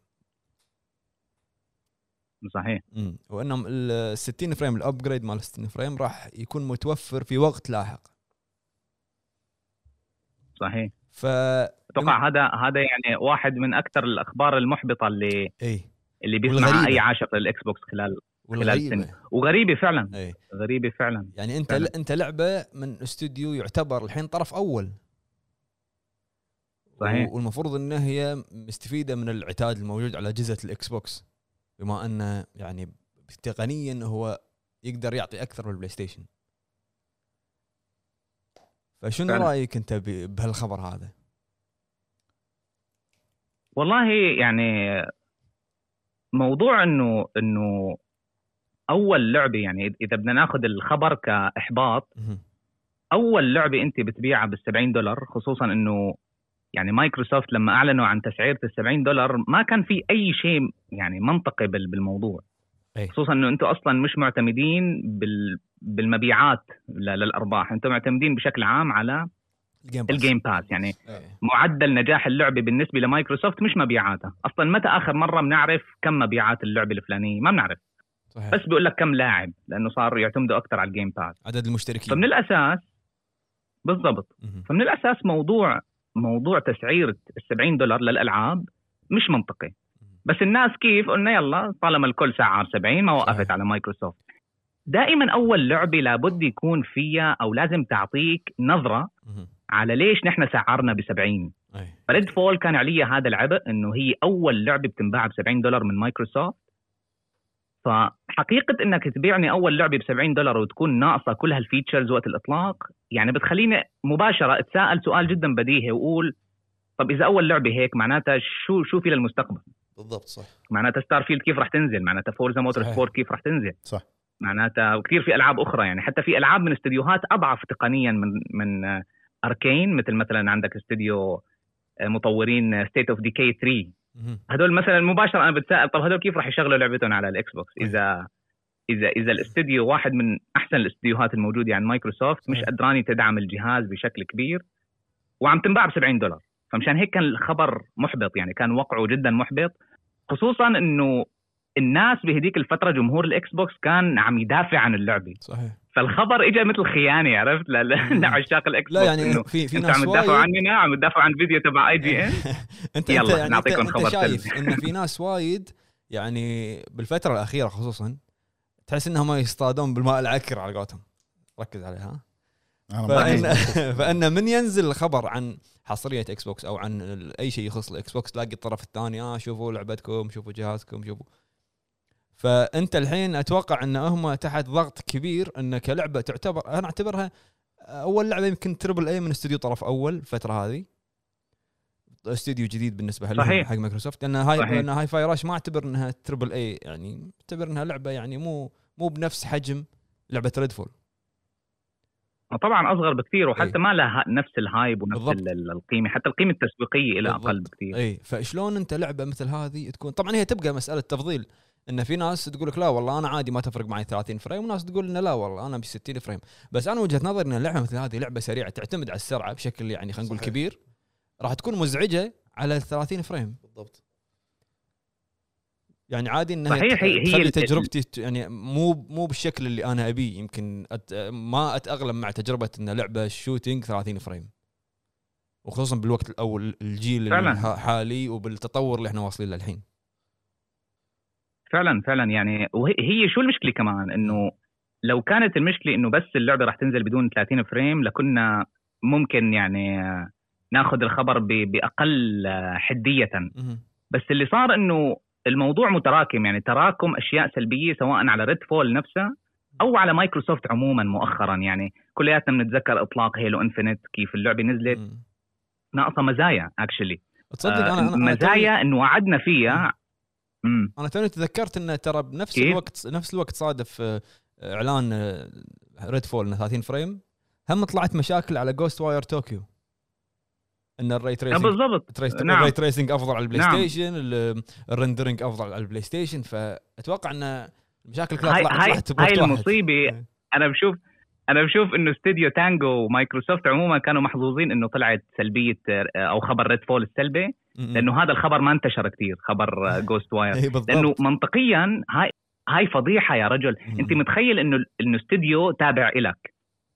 Speaker 5: صحيح
Speaker 2: مم. وانهم ال 60 فريم الابجريد مال 60 فريم راح يكون متوفر في وقت لاحق
Speaker 5: صحيح
Speaker 2: ف
Speaker 5: اتوقع هذا هذا يعني واحد من اكثر الاخبار المحبطه اللي
Speaker 2: اي
Speaker 5: اللي بيسمع
Speaker 2: والغريبة.
Speaker 5: اي عاشق للاكس بوكس خلال
Speaker 2: والغريبه
Speaker 5: السنة. وغريبه فعلا
Speaker 2: اي
Speaker 5: غريبه فعلا
Speaker 2: يعني انت
Speaker 5: فعلا.
Speaker 2: انت لعبه من استوديو يعتبر الحين طرف اول
Speaker 5: صحيح.
Speaker 2: و- والمفروض ان هي مستفيده من العتاد الموجود على اجهزه الاكس بوكس بما انه يعني تقنيا هو يقدر يعطي اكثر من البلاي ستيشن فشنو
Speaker 5: فعلا.
Speaker 2: رايك انت ب- بهالخبر هذا؟
Speaker 5: والله يعني موضوع انه انه اول لعبه يعني إذ- اذا بدنا ناخذ الخبر كاحباط
Speaker 2: مهم.
Speaker 5: اول لعبه انت بتبيعها بال 70 دولار خصوصا انه يعني مايكروسوفت لما اعلنوا عن تسعيره ال 70 دولار ما كان في اي شيء يعني منطقي بال- بالموضوع
Speaker 2: أي.
Speaker 5: خصوصا انه انتم اصلا مش معتمدين بال بالمبيعات ل- للارباح انتم معتمدين بشكل عام على
Speaker 2: الجيم باس.
Speaker 5: الجيم باس يعني
Speaker 2: إيه.
Speaker 5: معدل نجاح اللعبه بالنسبه لمايكروسوفت مش مبيعاتها اصلا متى اخر مره بنعرف كم مبيعات اللعبه الفلانيه ما بنعرف
Speaker 2: صحيح
Speaker 5: بس بيقول لك كم لاعب لانه صار يعتمدوا اكثر على الجيم باس
Speaker 2: عدد المشتركين
Speaker 5: فمن الاساس بالضبط
Speaker 2: مهم.
Speaker 5: فمن الاساس موضوع موضوع تسعيره ال 70 دولار للالعاب مش منطقي بس الناس كيف قلنا يلا طالما الكل سعر 70 ما وقفت
Speaker 2: صحيح.
Speaker 5: على مايكروسوفت دائما اول لعبه لابد يكون فيها او لازم تعطيك نظره
Speaker 2: مهم.
Speaker 5: على ليش نحن سعرنا ب 70
Speaker 2: أي.
Speaker 5: فريد فول كان عليها هذا العبء انه هي اول لعبه بتنباع ب 70 دولار من مايكروسوفت فحقيقه انك تبيعني اول لعبه ب 70 دولار وتكون ناقصه كل هالفيتشرز وقت الاطلاق يعني بتخليني مباشره اتساءل سؤال جدا بديهي واقول طب اذا اول لعبه هيك معناتها شو شو في للمستقبل؟
Speaker 1: بالضبط صح
Speaker 5: معناتها ستار فيلد كيف رح تنزل؟ معناتها فورزا موتور
Speaker 2: صحيح.
Speaker 5: سبورت كيف رح تنزل؟
Speaker 3: صح.
Speaker 5: معناتها وكثير في العاب اخرى يعني حتى في العاب من استديوهات اضعف تقنيا من من اركين مثل مثلا عندك استوديو آه، مطورين ستيت اوف ديكي 3
Speaker 2: مهم.
Speaker 5: هدول مثلا مباشره انا بتساءل طب هدول كيف راح يشغلوا لعبتهم على الاكس بوكس اذا اذا اذا الاستديو واحد من احسن الاستديوهات الموجوده عن يعني مايكروسوفت مش
Speaker 2: صحيح.
Speaker 5: قدراني تدعم الجهاز بشكل كبير وعم تنباع ب 70 دولار فمشان هيك كان الخبر محبط يعني كان وقعه جدا محبط خصوصا انه الناس بهديك الفتره جمهور الاكس بوكس كان عم يدافع عن اللعبه
Speaker 2: صحيح
Speaker 5: فالخبر اجى مثل خيانه عرفت ل- ل- لعشاق الاكس
Speaker 2: لا
Speaker 5: بوكس
Speaker 2: يعني
Speaker 5: انه
Speaker 2: في في
Speaker 5: انتوا
Speaker 2: ناس
Speaker 5: عم تدافعوا
Speaker 2: وايد يعني
Speaker 5: عننا عم تدافعوا عن فيديو تبع اي جي ان
Speaker 2: انت
Speaker 5: يلا،
Speaker 2: انت يعني
Speaker 5: نعطيكم
Speaker 2: انت, انت
Speaker 5: خبر
Speaker 2: شايف
Speaker 5: سلبي.
Speaker 2: ان في ناس وايد يعني بالفتره الاخيره خصوصا تحس انهم يصطادون بالماء العكر على قولتهم ركز عليها
Speaker 3: انا ما
Speaker 2: فان فان من ينزل الخبر عن حصريه اكس بوكس او عن ال- اي شيء يخص الاكس بوكس تلاقي الطرف الثاني اه شوفوا لعبتكم شوفوا جهازكم شوفوا فانت الحين اتوقع ان هم تحت ضغط كبير ان كلعبه تعتبر انا اعتبرها اول لعبه يمكن تربل اي من استوديو طرف اول الفتره هذه استوديو جديد بالنسبه لهم
Speaker 5: صحيح.
Speaker 2: حق مايكروسوفت لان هاي
Speaker 5: صحيح.
Speaker 2: لان هاي فاي راش ما اعتبر انها تربل اي يعني اعتبر انها لعبه يعني مو مو بنفس حجم لعبه ريدفول
Speaker 5: طبعا اصغر بكثير وحتى
Speaker 2: إيه.
Speaker 5: ما لها نفس الهايب ونفس
Speaker 2: بالضبط.
Speaker 5: ال- ال- القيمه حتى القيمه التسويقيه لها
Speaker 2: بالضبط. إيه.
Speaker 5: اقل بكثير
Speaker 2: اي فشلون انت لعبه مثل هذه تكون طبعا هي تبقى مساله تفضيل ان في ناس تقول لك لا والله انا عادي ما تفرق معي 30 فريم وناس تقول انه لا والله انا ب 60 فريم بس انا وجهه نظري ان لعبه مثل هذه لعبه سريعه تعتمد على السرعه بشكل يعني خلينا نقول
Speaker 1: صحيح.
Speaker 2: كبير راح تكون مزعجه على 30 فريم
Speaker 1: بالضبط
Speaker 2: يعني عادي انها
Speaker 5: صحيح،
Speaker 2: ت-
Speaker 5: هي- هي
Speaker 2: تخلي
Speaker 5: ال-
Speaker 2: تجربتي ت- يعني مو مو بالشكل اللي انا ابيه يمكن أت ما اتاقلم مع تجربه ان لعبه شوتينج 30 فريم وخصوصا بالوقت الاول الجيل
Speaker 5: فعلاً.
Speaker 2: الحالي وبالتطور اللي احنا واصلين له الحين
Speaker 5: فعلا فعلا يعني وهي هي شو المشكله كمان انه لو كانت المشكله انه بس اللعبه راح تنزل بدون 30 فريم لكنا ممكن يعني آه، ناخذ الخبر ب- باقل آه، حديه
Speaker 2: مهم.
Speaker 5: بس اللي صار انه الموضوع متراكم يعني تراكم اشياء سلبيه سواء على ريد فول نفسها او على مايكروسوفت عموما مؤخرا يعني كلياتنا بنتذكر اطلاق هيلو انفينيت كيف اللعبه نزلت
Speaker 2: مم.
Speaker 5: ناقصه مزايا اكشلي آه،
Speaker 2: تصدق انا انا أنا توني-
Speaker 5: مزايا انه وعدنا فيها امم
Speaker 2: انا توني تذكرت انه ترى بنفس
Speaker 5: كيف؟
Speaker 2: الوقت نفس الوقت صادف آه، اعلان ريد فول انه 30 فريم هم طلعت مشاكل على جوست واير طوكيو ان الري
Speaker 5: آه،
Speaker 2: تريسنج
Speaker 5: بالضبط
Speaker 2: تريس-
Speaker 5: نعم.
Speaker 2: الري تريسنج افضل على البلاي
Speaker 5: نعم.
Speaker 2: ستيشن ال- الرندرنج افضل على البلاي ستيشن فاتوقع ان المشاكل كلها
Speaker 5: هاي-
Speaker 2: طلعت
Speaker 5: هاي-
Speaker 2: طلعت بوقت
Speaker 5: هاي
Speaker 2: واحد.
Speaker 5: المصيبة.
Speaker 2: آه.
Speaker 5: انا بشوف انا بشوف انه استديو تانجو ومايكروسوفت عموما كانوا محظوظين انه طلعت سلبيه آه، او خبر ريد فول السلبي
Speaker 2: م-م.
Speaker 5: لانه هذا الخبر ما انتشر كثير خبر آه، جوست واير
Speaker 2: إيه، بالضبط.
Speaker 5: لانه منطقيا هاي هاي فضيحه يا رجل
Speaker 2: م-م.
Speaker 5: انت متخيل انه انه استوديو تابع إلك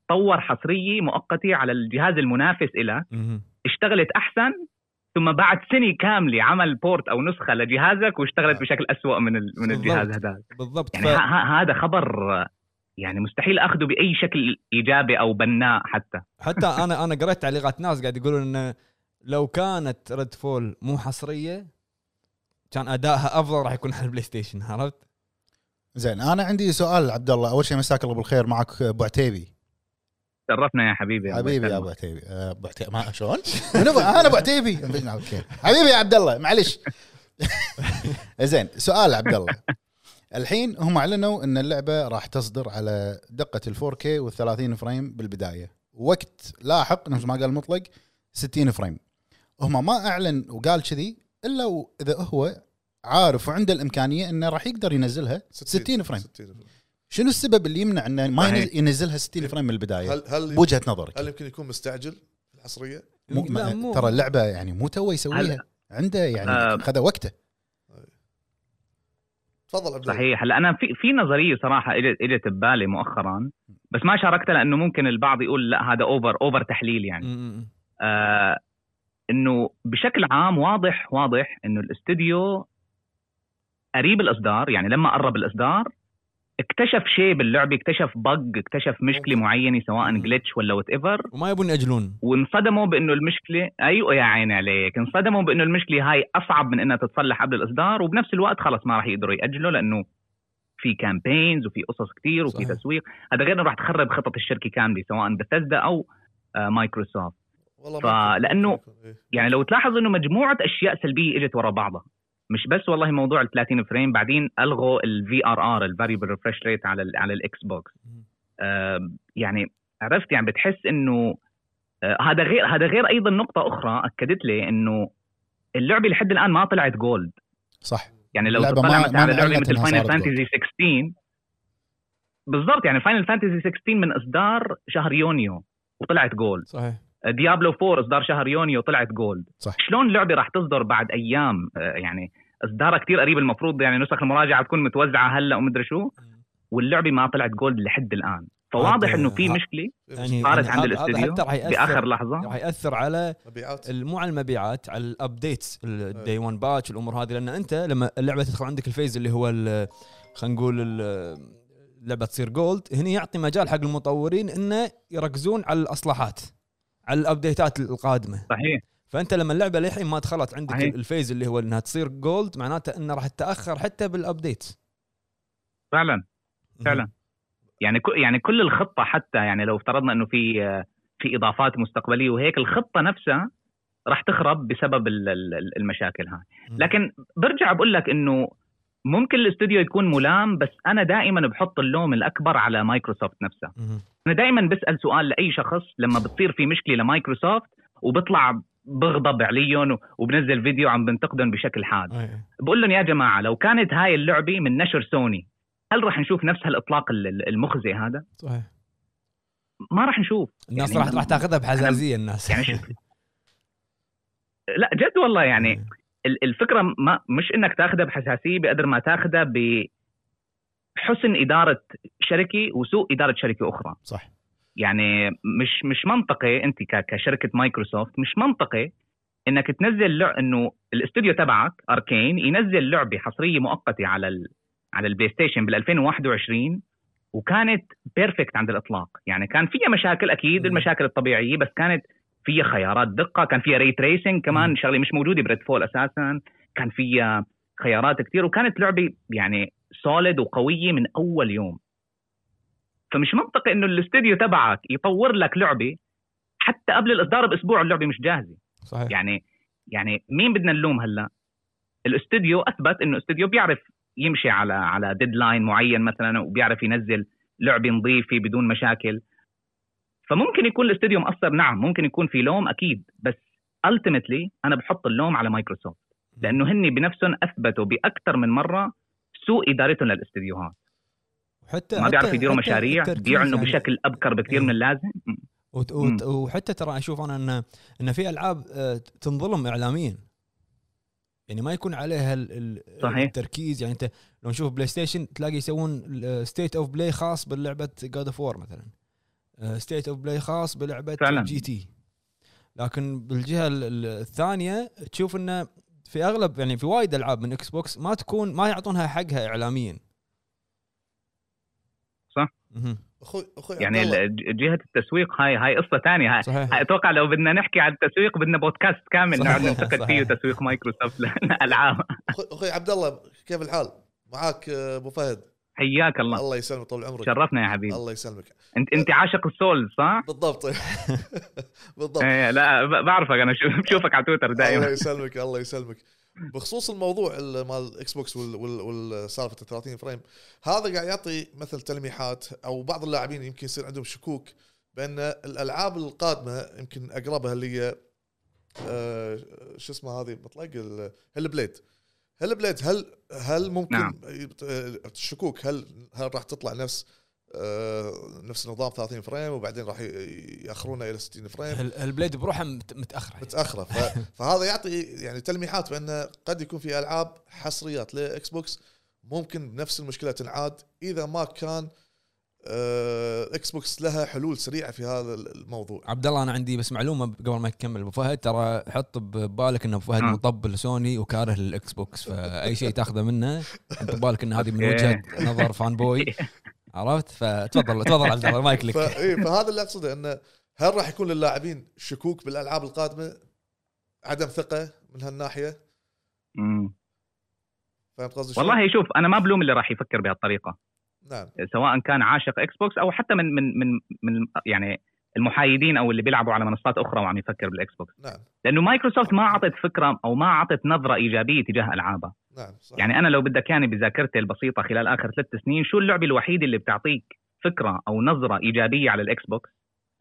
Speaker 5: طور حصريه مؤقته على الجهاز المنافس إلك
Speaker 2: م-م.
Speaker 5: اشتغلت احسن ثم بعد سنه كامله عمل بورت او نسخه لجهازك واشتغلت بشكل أسوأ من ال- من
Speaker 2: بالضبط.
Speaker 5: الجهاز هذا
Speaker 2: بالضبط
Speaker 5: يعني ه- ه- هذا خبر آه، يعني مستحيل اخذه باي شكل ايجابي او بناء حتى
Speaker 2: حتى انا انا قريت تعليقات ناس قاعد يقولون انه لو كانت ريد فول مو حصريه كان ادائها افضل راح يكون على البلاي ستيشن عرفت؟
Speaker 3: زين انا عندي سؤال عبد الله اول شيء مساك الله بالخير معك ابو عتيبي
Speaker 5: شرفنا يا حبيبي
Speaker 3: حبيبي يا ابو عتيبي آه، ابو عتيبي ما شلون؟ من أبو- انا ابو عتيبي اوكي حبيبي يا عبد الله معلش زين سؤال عبد الله الحين هم اعلنوا ان اللعبه راح تصدر على دقه ال 4K وال 30 فريم بالبدايه وقت لاحق نفس ما قال مطلق 60 فريم هم ما اعلن وقال كذي الا و- اذا هو عارف وعنده الامكانيه انه راح يقدر ينزلها 60 فريم
Speaker 1: 60 فريم
Speaker 3: شنو السبب اللي يمنع انه ما
Speaker 5: صحيح.
Speaker 3: ينز- ينزلها 60 فريم من البدايه
Speaker 1: هل هل
Speaker 3: بوجهه نظرك
Speaker 1: هل يمكن يكون مستعجل في الحصريه؟
Speaker 3: مو
Speaker 2: لا، مو-
Speaker 3: ما ترى اللعبه يعني مو تو يسويها عنده
Speaker 5: آه.
Speaker 3: يعني خذ وقته
Speaker 1: تفضل عبد الله
Speaker 5: صحيح هلا انا في في نظريه صراحه إجت- اجت ببالي مؤخرا بس ما شاركتها لانه ممكن البعض يقول لا هذا اوفر اوفر تحليل يعني
Speaker 2: م- م-
Speaker 5: آه انه بشكل عام واضح واضح انه الاستوديو قريب الاصدار يعني لما قرب الاصدار اكتشف شيء باللعبه اكتشف بق اكتشف مشكله معينه سواء
Speaker 2: مم.
Speaker 5: جلتش ولا وات ايفر
Speaker 2: وما يبون ياجلون
Speaker 5: وانصدموا بانه المشكله ايوه يا عيني عليك انصدموا بانه المشكله هاي اصعب من انها تتصلح قبل الاصدار وبنفس الوقت خلص ما راح يقدروا ياجلوا لانه في كامبينز وفي قصص كتير وفي
Speaker 2: صحيح.
Speaker 5: تسويق هذا غير انه راح تخرب خطط الشركه كامله سواء بثزدا او آه، مايكروسوفت
Speaker 1: والله
Speaker 5: فا-
Speaker 1: ممكن-
Speaker 5: لأنه-
Speaker 1: ممكن يكون، إيه.
Speaker 5: يعني لو تلاحظ انه مجموعه اشياء سلبيه اجت ورا بعضها مش بس والله موضوع ال 30 فريم بعدين الغوا الفي ار ار الفاريبل ريفرش ريت على ال على الاكس بوكس آم، يعني عرفت يعني بتحس انه آه، هذا غير هذا غير ايضا نقطه اخرى اكدت لي انه اللعبه لحد الان ما طلعت جولد
Speaker 3: صح
Speaker 5: يعني لو
Speaker 3: اللعبة
Speaker 5: تطلع
Speaker 3: ما-
Speaker 5: مثلا
Speaker 3: ما
Speaker 5: على لعبه
Speaker 3: أعلنت
Speaker 5: مثل
Speaker 3: إنها
Speaker 5: فاينل
Speaker 3: صارت
Speaker 5: فانتزي 16 بالضبط يعني فاينل فانتزي 16 من اصدار شهر يونيو وطلعت جولد
Speaker 2: صحيح
Speaker 5: ديابلو 4 اصدار شهر يونيو طلعت جولد
Speaker 3: صح.
Speaker 5: شلون لعبه راح تصدر بعد ايام آه، يعني اصدارها كتير قريب المفروض يعني نسخ المراجعه تكون متوزعه هلا ومدري شو واللعبه ما طلعت جولد لحد الان فواضح
Speaker 2: هذا-
Speaker 5: انه في
Speaker 2: ه-
Speaker 5: مشكله
Speaker 1: إيه،
Speaker 2: يعني
Speaker 5: صارت
Speaker 2: هذا-
Speaker 5: عند
Speaker 2: هذا
Speaker 5: الاستديو
Speaker 2: حتى راح يأثر-
Speaker 5: باخر لحظه
Speaker 2: راح ياثر على
Speaker 1: مبيعات
Speaker 2: ال- مو على المبيعات على الابديتس
Speaker 3: إيه.
Speaker 2: الدي 1 باتش الامور هذه لان انت لما اللعبه تدخل عندك الفيز اللي هو ال- خلينا نقول ال- اللعبه تصير جولد هنا يعطي مجال حق المطورين انه يركزون على الاصلاحات على الابديتات القادمه
Speaker 5: صحيح
Speaker 2: فانت لما اللعبه للحين ما دخلت عندك
Speaker 5: صحيح.
Speaker 2: الفيز اللي هو انها تصير جولد معناته انه راح تتاخر حتى بالابديت
Speaker 5: فعلا فعلا يعني كو يعني كل الخطه حتى يعني لو افترضنا انه في آه، في اضافات مستقبليه وهيك الخطه نفسها راح تخرب بسبب ال- ال- المشاكل هاي
Speaker 2: مم.
Speaker 5: لكن برجع بقول لك انه ممكن الاستوديو يكون ملام بس انا دائما بحط اللوم الاكبر على مايكروسوفت نفسها
Speaker 2: مم.
Speaker 5: انا دائما بسال سؤال لاي شخص لما بتصير في مشكله لمايكروسوفت وبطلع بغضب عليهم و- وبنزل فيديو عم بنتقدهم بشكل حاد
Speaker 2: أي.
Speaker 5: بقول لهم يا جماعه لو كانت هاي اللعبه من نشر سوني هل راح نشوف نفس هالاطلاق ال- ال- المخزي هذا
Speaker 2: صحيح
Speaker 5: ما راح نشوف
Speaker 2: الناس
Speaker 5: يعني
Speaker 2: راح راح تاخذها بحزازيه الناس
Speaker 5: يعني شو- لا جد والله يعني ال- الفكره ما مش انك تاخذها بحساسيه بقدر ما تاخذها بحسن اداره شركه وسوء اداره شركه اخرى
Speaker 3: صح
Speaker 5: يعني مش مش منطقي انت ك- كشركه مايكروسوفت مش منطقي انك تنزل لع... انه الاستوديو تبعك اركين ينزل لعبه حصريه مؤقته على ال... على البلاي ستيشن بال 2021 وكانت بيرفكت عند الاطلاق يعني كان فيها مشاكل اكيد
Speaker 2: مم.
Speaker 5: المشاكل الطبيعيه بس كانت فيها خيارات دقه كان فيها ري تريسنج
Speaker 2: مم.
Speaker 5: كمان شغله مش موجوده بريد فول اساسا كان فيها خيارات كثير وكانت لعبه يعني سوليد وقويه من اول يوم فمش منطقي انه الاستوديو تبعك يطور لك لعبه حتى قبل الاصدار باسبوع اللعبه مش جاهزه
Speaker 2: صحيح
Speaker 5: يعني يعني مين بدنا نلوم هلا الاستوديو اثبت انه استوديو بيعرف يمشي على على ديدلاين معين مثلا وبيعرف ينزل لعبه نظيفه بدون مشاكل فممكن يكون الاستوديو مقصر نعم ممكن يكون في لوم اكيد بس التيمتلي انا بحط اللوم على مايكروسوفت لانه هن بنفسهم اثبتوا باكثر من مره سوء ادارتهم للاستديوهات
Speaker 2: حتى
Speaker 5: ما بيعرفوا يديروا
Speaker 2: حتى
Speaker 5: مشاريع
Speaker 2: التركيز
Speaker 5: بيعنوا
Speaker 2: يعني-
Speaker 5: بشكل ابكر بكثير
Speaker 2: إيه.
Speaker 5: من اللازم
Speaker 2: وت-
Speaker 5: مم.
Speaker 2: وت- وحتى ترى اشوف انا ان ان في العاب آه، تنظلم اعلاميا يعني ما يكون عليها ال- ال-
Speaker 5: صحيح.
Speaker 2: التركيز يعني انت لو نشوف بلاي ستيشن تلاقي يسوون ستيت اوف بلاي خاص بلعبه جاد اوف وور مثلا ستيت اوف بلاي خاص بلعبه
Speaker 5: فعلاً.
Speaker 2: جي تي لكن بالجهه ال- ال- الثانيه تشوف انه في اغلب يعني في وايد العاب من اكس بوكس ما تكون ما يعطونها حقها اعلاميا
Speaker 5: صح.
Speaker 2: مهم.
Speaker 1: اخوي اخوي
Speaker 5: يعني
Speaker 1: عبد الله،
Speaker 5: ال- ج- جهه التسويق هاي هاي قصه ثانيه هاي
Speaker 2: صحيح
Speaker 5: اتوقع لو بدنا نحكي عن التسويق بدنا بودكاست كامل
Speaker 2: صحيح،
Speaker 5: نقعد ننتقد
Speaker 2: صحيح.
Speaker 5: فيه تسويق مايكروسوفت للالعاب
Speaker 1: أخوي- اخوي عبد الله كيف الحال؟ معاك آه، ابو فهد
Speaker 5: حياك الله
Speaker 1: الله يسلمك طول عمرك
Speaker 5: شرفنا يا حبيبي
Speaker 1: الله يسلمك
Speaker 5: انت انت عاشق السولز صح؟
Speaker 1: بالضبط بالضبط
Speaker 5: ايه لا ب- بعرفك انا شو- بشوفك على تويتر
Speaker 1: الله
Speaker 2: أيوة.
Speaker 5: دائما
Speaker 1: يسلمك الله يسلمك بخصوص الموضوع ال- مال الاكس بوكس وال- وال- والسالفه ال 30 فريم هذا قاعد يعطي مثل تلميحات او بعض اللاعبين يمكن يصير عندهم شكوك بان الالعاب القادمه يمكن اقربها اللي هي آه، شو اسمها هذه مطلق ال- هيل بليد هيل بليد هل هل ممكن
Speaker 5: نعم.
Speaker 1: آه، الشكوك هل هل راح تطلع نفس آه، نفس نظام 30 فريم وبعدين راح ي- ياخرونه الى 60 فريم
Speaker 6: ال- البليد بروحه مت- متاخره
Speaker 1: متاخره ف... فهذا يعطي يعني تلميحات بانه قد يكون في العاب حصريات لاكس بوكس ممكن بنفس المشكله تنعاد اذا ما كان آه، اكس بوكس لها حلول سريعه في هذا الموضوع
Speaker 2: عبد الله انا عندي بس معلومه قبل ما تكمل ابو فهد ترى حط ببالك ان ابو فهد
Speaker 5: نعم.
Speaker 2: مطبل سوني وكاره للاكس بوكس فاي شيء تاخذه منه حط ببالك ان هذه من
Speaker 5: أوكي.
Speaker 2: وجهه نظر فان بوي عرفت فتفضل تفضل عبد الله المايك
Speaker 1: ف...
Speaker 2: لك
Speaker 1: إيه، فهذا اللي اقصده انه هل راح يكون للاعبين شكوك بالالعاب القادمه عدم ثقه من هالناحيه
Speaker 5: مم.
Speaker 1: فهمت قصدي شلون؟
Speaker 5: والله شوف انا ما بلوم اللي راح يفكر بهالطريقه
Speaker 1: نعم
Speaker 5: سواء كان عاشق اكس بوكس او حتى من من من من يعني المحايدين او اللي بيلعبوا على منصات اخرى وعم يفكر بالاكس بوكس
Speaker 1: نعم
Speaker 5: لانه مايكروسوفت ما اعطت فكره او ما اعطت نظره ايجابيه تجاه العابها
Speaker 1: نعم صح
Speaker 5: يعني انا لو بدك يعني بذاكرتي البسيطه خلال اخر ثلاث سنين شو اللعبه الوحيده اللي بتعطيك فكره او نظره ايجابيه على الاكس بوكس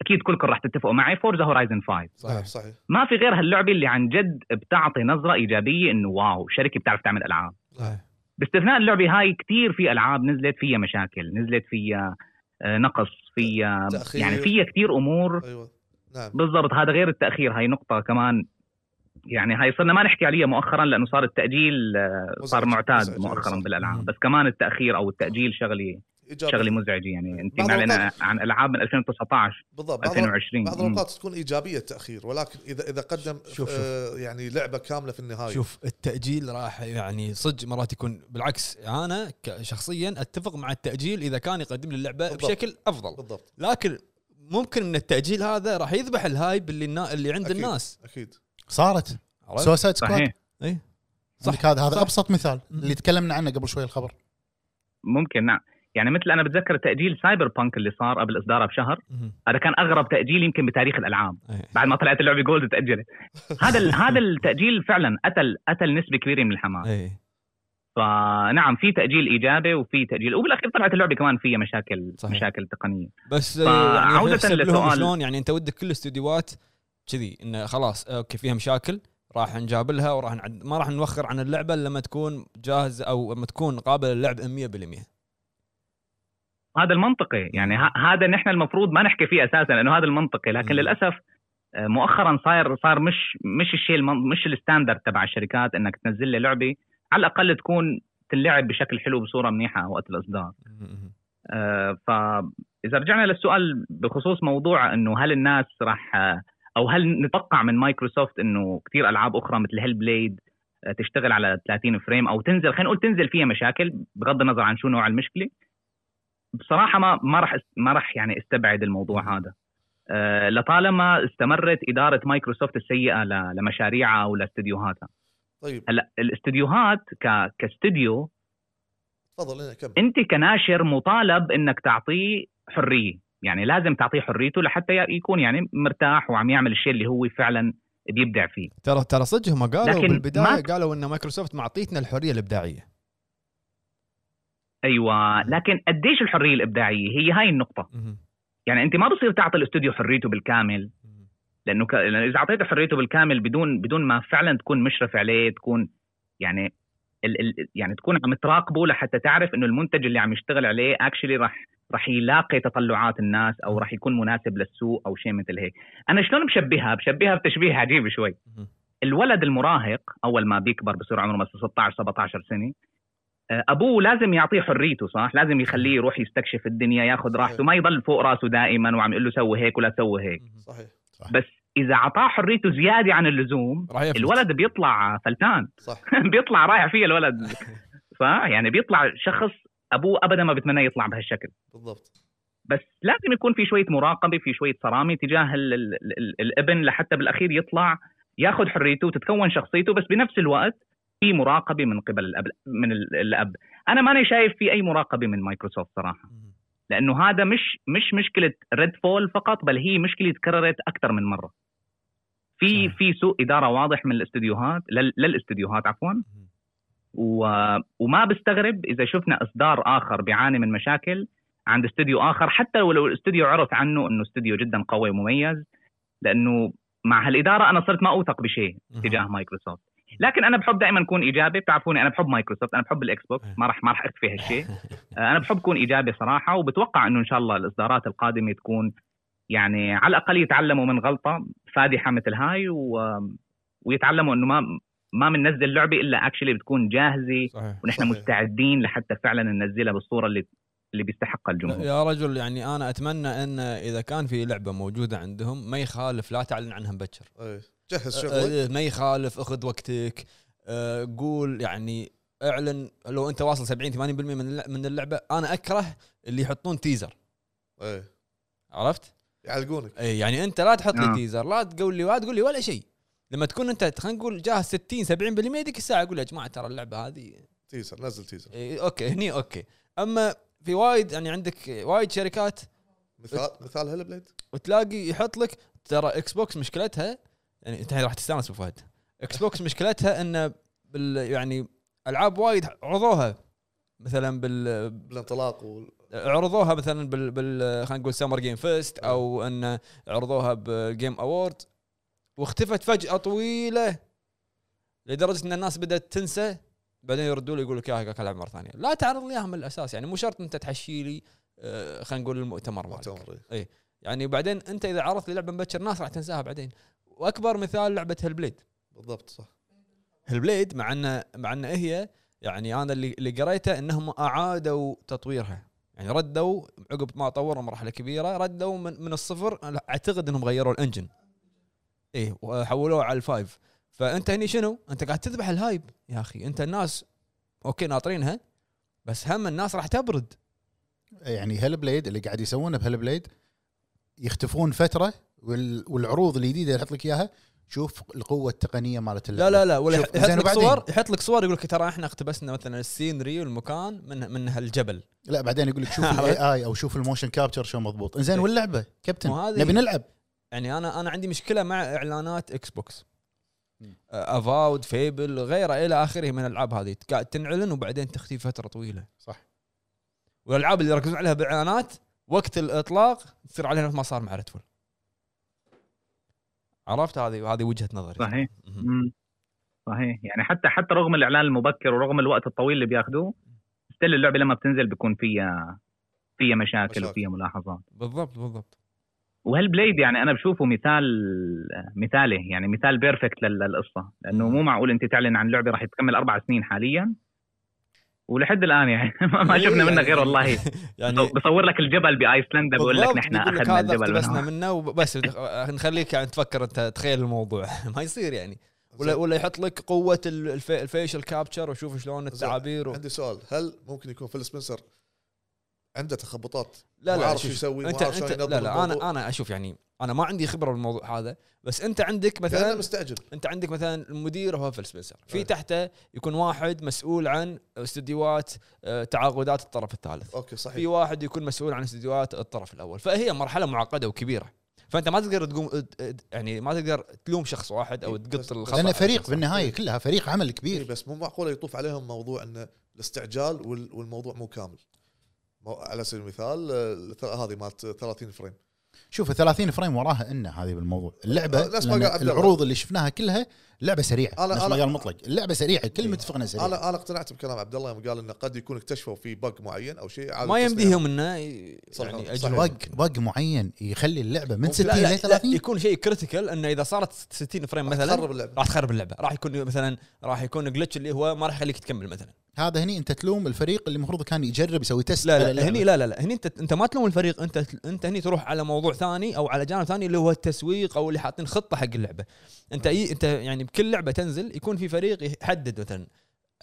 Speaker 5: اكيد كلكم راح تتفقوا معي فورزا هورايزن 5
Speaker 1: صحيح صحيح
Speaker 5: ما في غير هاللعبه اللي عن جد بتعطي نظره ايجابيه انه واو شركه بتعرف تعمل العاب
Speaker 1: نعم.
Speaker 5: باستثناء اللعبه هاي كثير في العاب نزلت فيها مشاكل نزلت فيها آه، نقص فيها
Speaker 1: تأخير.
Speaker 5: يعني فيها كثير امور
Speaker 1: ايوه نعم
Speaker 5: بالضبط هذا غير التاخير هاي نقطه كمان يعني هاي صرنا ما نحكي عليها مؤخرا لانه صار التاجيل آه، صار
Speaker 1: مزعج-
Speaker 5: معتاد
Speaker 1: مزعج،
Speaker 5: مؤخرا
Speaker 1: صح.
Speaker 5: بالالعاب
Speaker 2: مم.
Speaker 5: بس كمان التاخير او التاجيل شغله
Speaker 1: إيجابي.
Speaker 5: شغله مزعجه يعني انت
Speaker 1: بعض
Speaker 5: معلن
Speaker 1: الأوقات-
Speaker 5: عن العاب من 2019
Speaker 1: بالضبط بعض-
Speaker 5: 2020
Speaker 1: بعض
Speaker 5: مم.
Speaker 1: الاوقات تكون ايجابيه التاخير ولكن اذا اذا قدم
Speaker 2: شوف- شوف.
Speaker 1: آه يعني لعبه كامله في النهايه
Speaker 2: شوف التاجيل راح يعني صدق مرات يكون بالعكس انا ك- شخصيا اتفق مع التاجيل اذا كان يقدم لي اللعبه
Speaker 1: بالضبط.
Speaker 2: بشكل افضل
Speaker 1: بالضبط
Speaker 2: لكن ممكن ان التاجيل هذا راح يذبح الهايب اللي النا... اللي عند
Speaker 1: أكيد.
Speaker 2: الناس
Speaker 1: اكيد
Speaker 3: صارت
Speaker 2: عرفت؟
Speaker 3: سوسايد سكواد
Speaker 5: صحيح
Speaker 2: صح.
Speaker 3: صح هذا
Speaker 2: صح.
Speaker 3: هذا ابسط مثال
Speaker 2: مم.
Speaker 3: اللي تكلمنا عنه قبل شوي الخبر
Speaker 5: ممكن نعم يعني مثل انا بتذكر تاجيل سايبر بانك اللي صار قبل اصدارها بشهر
Speaker 2: مهم.
Speaker 5: هذا كان اغرب تاجيل يمكن بتاريخ الالعاب
Speaker 2: إيه.
Speaker 5: بعد ما طلعت اللعبه جولد تاجلت هذا ال- هذا التاجيل فعلا قتل قتل نسبه كبيره من الحماس
Speaker 2: ايه
Speaker 5: فنعم في تاجيل ايجابي وفي تاجيل وبالاخير طلعت اللعبه كمان فيها مشاكل
Speaker 2: صحيح.
Speaker 5: مشاكل تقنيه
Speaker 2: بس
Speaker 5: فعودة
Speaker 2: يعني يحسب لهم
Speaker 5: للسؤال.
Speaker 2: شلون يعني انت ودك كل الاستديوهات كذي انه خلاص اوكي فيها مشاكل راح نجاب لها وراح نعد ما راح نوخر عن اللعبه إلا لما تكون جاهزه او لما تكون قابله للعب 100%
Speaker 5: هذا المنطقي يعني ه- هذا نحن المفروض ما نحكي فيه اساسا لانه هذا المنطقي لكن
Speaker 2: مم.
Speaker 5: للاسف آه، مؤخرا صاير صار مش مش الشيء المن- مش الستاندرد تبع الشركات انك تنزل لي لعبه على الاقل تكون تنلعب بشكل حلو بصوره منيحه وقت الاصدار
Speaker 2: مهم.
Speaker 5: آه، فاذا رجعنا للسؤال بخصوص موضوع انه هل الناس راح آه، او هل نتوقع من مايكروسوفت انه كثير العاب اخرى مثل هيل بليد آه، تشتغل على 30 فريم او تنزل خلينا نقول تنزل فيها مشاكل بغض النظر عن شو نوع المشكله بصراحه ما ما راح ما راح يعني استبعد الموضوع هذا آه، لطالما استمرت اداره مايكروسوفت السيئه ل- لمشاريعها ولاستديوهاتها
Speaker 1: طيب
Speaker 5: هلا الاستديوهات ك- كاستديو
Speaker 1: تفضل هنا كمل
Speaker 5: انت كناشر مطالب انك تعطيه حريه يعني لازم تعطيه حريته لحتى ي- يكون يعني مرتاح وعم يعمل الشيء اللي هو فعلا بيبدع فيه
Speaker 2: ترى ترى صدق هم قالوا
Speaker 5: لكن
Speaker 2: بالبدايه
Speaker 5: ما-
Speaker 2: قالوا ان مايكروسوفت معطيتنا الحريه الابداعيه
Speaker 5: ايوه لكن قديش الحريه الابداعيه هي هاي النقطه
Speaker 2: مهم.
Speaker 5: يعني انت ما بصير تعطي الاستوديو حريته بالكامل
Speaker 2: مهم.
Speaker 5: لانه ك... لأنه اذا اعطيته حريته بالكامل بدون بدون ما فعلا تكون مشرف عليه تكون يعني ال... ال... يعني تكون عم تراقبه لحتى تعرف انه المنتج اللي عم يشتغل عليه اكشلي راح راح يلاقي تطلعات الناس او راح يكون مناسب للسوق او شيء مثل هيك انا شلون بشبهها بشبهها بتشبيه عجيب شوي
Speaker 2: مهم.
Speaker 5: الولد المراهق اول ما بيكبر بصير عمره مثلا 16 17 سنه آه، ابوه لازم يعطيه حريته صح لازم يخليه يروح يستكشف الدنيا ياخذ راحته ما يضل فوق راسه دائما وعم يقول له سوي هيك ولا تسوي هيك
Speaker 1: صحيح
Speaker 5: بس اذا اعطاه حريته زياده عن اللزوم
Speaker 2: راح يفلت.
Speaker 5: الولد بيطلع فلتان
Speaker 1: صح
Speaker 5: بيطلع رايح فيه الولد صح يعني بيطلع شخص ابوه ابدا ما بتمنى يطلع بهالشكل
Speaker 1: بالضبط
Speaker 5: بس لازم يكون في شويه مراقبه في شويه صرامه تجاه ال ال ال الابن لحتى بالاخير يطلع ياخذ حريته وتتكون شخصيته بس بنفس الوقت في مراقبه من قبل الاب من ال- الاب انا ماني شايف في اي مراقبه من مايكروسوفت صراحه لانه هذا مش مش مشكله ريد فول فقط بل هي مشكله تكررت اكثر من مره في في سوء اداره واضح من الاستديوهات لل- للاستديوهات عفوا و... وما بستغرب اذا شفنا اصدار اخر بيعاني من مشاكل عند استوديو اخر حتى ولو الاستوديو عرف عنه انه استوديو جدا قوي ومميز لانه مع هالاداره انا صرت ما اوثق بشيء تجاه مايكروسوفت لكن انا بحب دائما اكون ايجابي بتعرفوني انا بحب مايكروسوفت انا بحب الاكس بوكس ما راح ما راح اخفي هالشيء آه، انا بحب اكون ايجابي صراحه وبتوقع انه ان شاء الله الاصدارات القادمه تكون يعني على الاقل يتعلموا من غلطه فادحه مثل هاي و... ويتعلموا انه ما ما بننزل لعبه الا اكشلي بتكون جاهزه
Speaker 2: صحيح
Speaker 1: صحيح.
Speaker 5: ونحن مستعدين لحتى فعلا ننزلها بالصوره اللي اللي بيستحقها الجمهور
Speaker 2: يا رجل يعني انا اتمنى ان اذا كان في لعبه موجوده عندهم ما يخالف لا تعلن عنها مبكر
Speaker 1: إيه. جهز شغلك
Speaker 2: آه، ما يخالف اخذ وقتك آه، قول يعني اعلن لو انت واصل 70 80% من اللع- من اللعبه انا اكره اللي يحطون تيزر
Speaker 1: إيه.
Speaker 2: عرفت؟
Speaker 1: يعلقونك
Speaker 2: اي يعني انت لا تحط لي
Speaker 5: آه.
Speaker 2: تيزر لا تقول لي ولا تقول لي ولا شيء لما تكون انت خلينا نقول جاهز 60 70% ديك الساعه اقول يا جماعه ترى اللعبه هذه
Speaker 1: تيزر نزل تيزر
Speaker 2: إيه، اوكي هني اوكي اما في وايد يعني عندك وايد شركات إيه.
Speaker 1: مثال مثال هلا بليد
Speaker 2: وتلاقي يحط لك ترى اكس بوكس مشكلتها يعني انت الحين راح تستانس أبو فهد اكس بوكس مشكلتها انه بال يعني العاب وايد عرضوها مثلا بال
Speaker 1: بالانطلاق وال...
Speaker 2: عرضوها مثلا بال, بال خلينا نقول سمر جيم فيست او ان عرضوها بالجيم اوورد واختفت فجاه طويله لدرجه ان الناس بدات تنسى بعدين يردوا لي يقول لك يا العب مره ثانيه لا تعرض لي اياها من الاساس يعني مو شرط انت تحشي لي آه، خلينا نقول المؤتمر مالك
Speaker 1: مؤتمر إيه.
Speaker 2: يعني وبعدين انت اذا عرضت لي لعبه مبكر ناس راح تنساها بعدين واكبر مثال لعبه هالبليد
Speaker 1: بالضبط صح
Speaker 2: هالبليد مع ان مع ان هي يعني انا اللي اللي قريته انهم اعادوا تطويرها يعني ردوا عقب ما طوروا مرحله كبيره ردوا من من الصفر أنا اعتقد انهم غيروا الانجن ايه وحولوه على الفايف فانت هني شنو؟ انت قاعد تذبح الهايب يا اخي انت الناس اوكي ناطرينها بس هم الناس راح تبرد
Speaker 3: يعني هل بليد اللي قاعد يسوونه بهل بليد يختفون فتره وال- والعروض الجديده يحط لك اياها شوف القوه التقنيه مالت
Speaker 2: لا لا لا ولا
Speaker 3: شوف،
Speaker 2: يح- يحط
Speaker 3: زين
Speaker 2: لك
Speaker 3: وبعدين؟
Speaker 2: صور يحط لك صور يقول لك ترى احنا اقتبسنا مثلا السينري والمكان من من هالجبل
Speaker 3: لا بعدين يقول لك شوف الاي اي او شوف الموشن كابتشر شو مضبوط انزين
Speaker 2: إيه.
Speaker 3: واللعبه كابتن
Speaker 2: وهذه-
Speaker 3: نبي نلعب
Speaker 2: يعني انا انا عندي مشكله مع اعلانات اكس بوكس
Speaker 3: مم.
Speaker 2: آه، افاود فيبل غيره الى اخره من الالعاب هذه قاعد تنعلن وبعدين تختفي فتره طويله
Speaker 3: صح.
Speaker 2: والالعاب اللي يركزون عليها باعلانات وقت الاطلاق تصير عليها مثل ما صار مع ريدفول عرفت هذه هذه وجهه نظري
Speaker 5: صحيح.
Speaker 2: مهم.
Speaker 5: مم. صحيح يعني حتى حتى رغم الاعلان المبكر ورغم الوقت الطويل اللي بياخذوه ستيل اللعبه لما بتنزل بيكون فيها فيها مشاكل
Speaker 1: مشاكل.
Speaker 5: وفيها ملاحظات
Speaker 2: بالضبط بالضبط
Speaker 5: وهالبليد يعني انا بشوفه مثال مثاله يعني مثال بيرفكت لل- للقصه لانه مو معقول انت تعلن عن لعبه راح تكمل اربع سنين حاليا ولحد الان يعني ما شفنا منها غير والله
Speaker 2: إيه، يعني
Speaker 5: بصور لك الجبل بايسلندا بقول لك
Speaker 2: بالضبط،
Speaker 5: نحن
Speaker 2: يقول لك
Speaker 5: اخذنا
Speaker 2: هذا
Speaker 5: الجبل
Speaker 2: اقتبسنا
Speaker 5: منهم
Speaker 2: منه وبس نخليك يعني تفكر انت تخيل الموضوع ما يصير يعني ولا
Speaker 1: زين.
Speaker 2: ولا يحط لك قوه ال- الف- الفيشل كابتشر وشوف شلون التعابير و...
Speaker 1: عندي سؤال هل ممكن يكون فيل سبنسر عنده تخبطات
Speaker 2: لا لا
Speaker 1: وعارف شو
Speaker 2: شوف،
Speaker 1: يسوي
Speaker 2: انت
Speaker 1: وعارف شلون
Speaker 2: انت
Speaker 1: ينظم
Speaker 2: لا لا
Speaker 1: الموضوع؟
Speaker 2: انا انا اشوف يعني انا ما عندي خبره بالموضوع هذا بس انت عندك
Speaker 1: مثلا
Speaker 2: مثلا
Speaker 1: مستعجل
Speaker 2: انت عندك مثلا المدير هو فيل سبنسر في
Speaker 1: أي.
Speaker 2: تحته يكون واحد مسؤول عن استديوهات آه، تعاقدات الطرف الثالث
Speaker 1: اوكي
Speaker 2: في
Speaker 1: صحيح
Speaker 2: واحد يكون مسؤول عن استديوهات الطرف الاول فهي مرحله معقده وكبيره فانت ما تقدر تقوم يعني ما تقدر تلوم شخص واحد او تقط الخطا
Speaker 3: لان
Speaker 2: على
Speaker 3: فريق
Speaker 2: شخص.
Speaker 3: بالنهايه كلها فريق عمل
Speaker 1: إيه
Speaker 3: كبير
Speaker 1: بس مو معقوله يطوف عليهم موضوع ان الاستعجال وال- والموضوع مو كامل مو- على سبيل المثال آه، الث- هذه مالت 30 فريم
Speaker 3: شوف 30 فريم وراها ان هذه بالموضوع اللعبه
Speaker 1: آه، نفس ما
Speaker 3: لأن
Speaker 1: قال عبد الله.
Speaker 3: العروض اللي شفناها كلها لعبه سريعه
Speaker 1: أنا-
Speaker 3: نفس ما
Speaker 1: أنا-
Speaker 3: قال مطلق اللعبه سريعه كل
Speaker 1: إيه.
Speaker 3: متفقنا سريعه
Speaker 1: انا انا اقتنعت بكلام عبد الله يوم قال انه قد يكون اكتشفوا في بق معين او شيء عادة
Speaker 2: ما
Speaker 1: تصليح.
Speaker 2: يمديهم انه
Speaker 1: صح،
Speaker 2: يعني
Speaker 1: صح.
Speaker 2: أجلون.
Speaker 3: بق بق معين يخلي اللعبه من 60
Speaker 2: لا، لا، لا،
Speaker 3: ل 30
Speaker 2: يكون شيء كريتيكال انه اذا صارت 60 فريم
Speaker 1: راح
Speaker 2: مثلا
Speaker 1: تخرب اللعبه
Speaker 2: راح تخرب اللعبه راح يكون مثلا راح يكون جلتش اللي هو ما راح يخليك تكمل مثلا
Speaker 3: هذا هني انت تلوم الفريق اللي المفروض كان يجرب يسوي تست على
Speaker 2: لا لا
Speaker 3: اللعبة.
Speaker 2: هني لا لا لا هني انت انت ما تلوم الفريق انت انت هني تروح على موضوع ثاني او على جانب ثاني اللي هو التسويق او اللي حاطين خطه حق اللعبه انت إيه انت يعني بكل لعبه تنزل يكون في فريق يحدد مثلا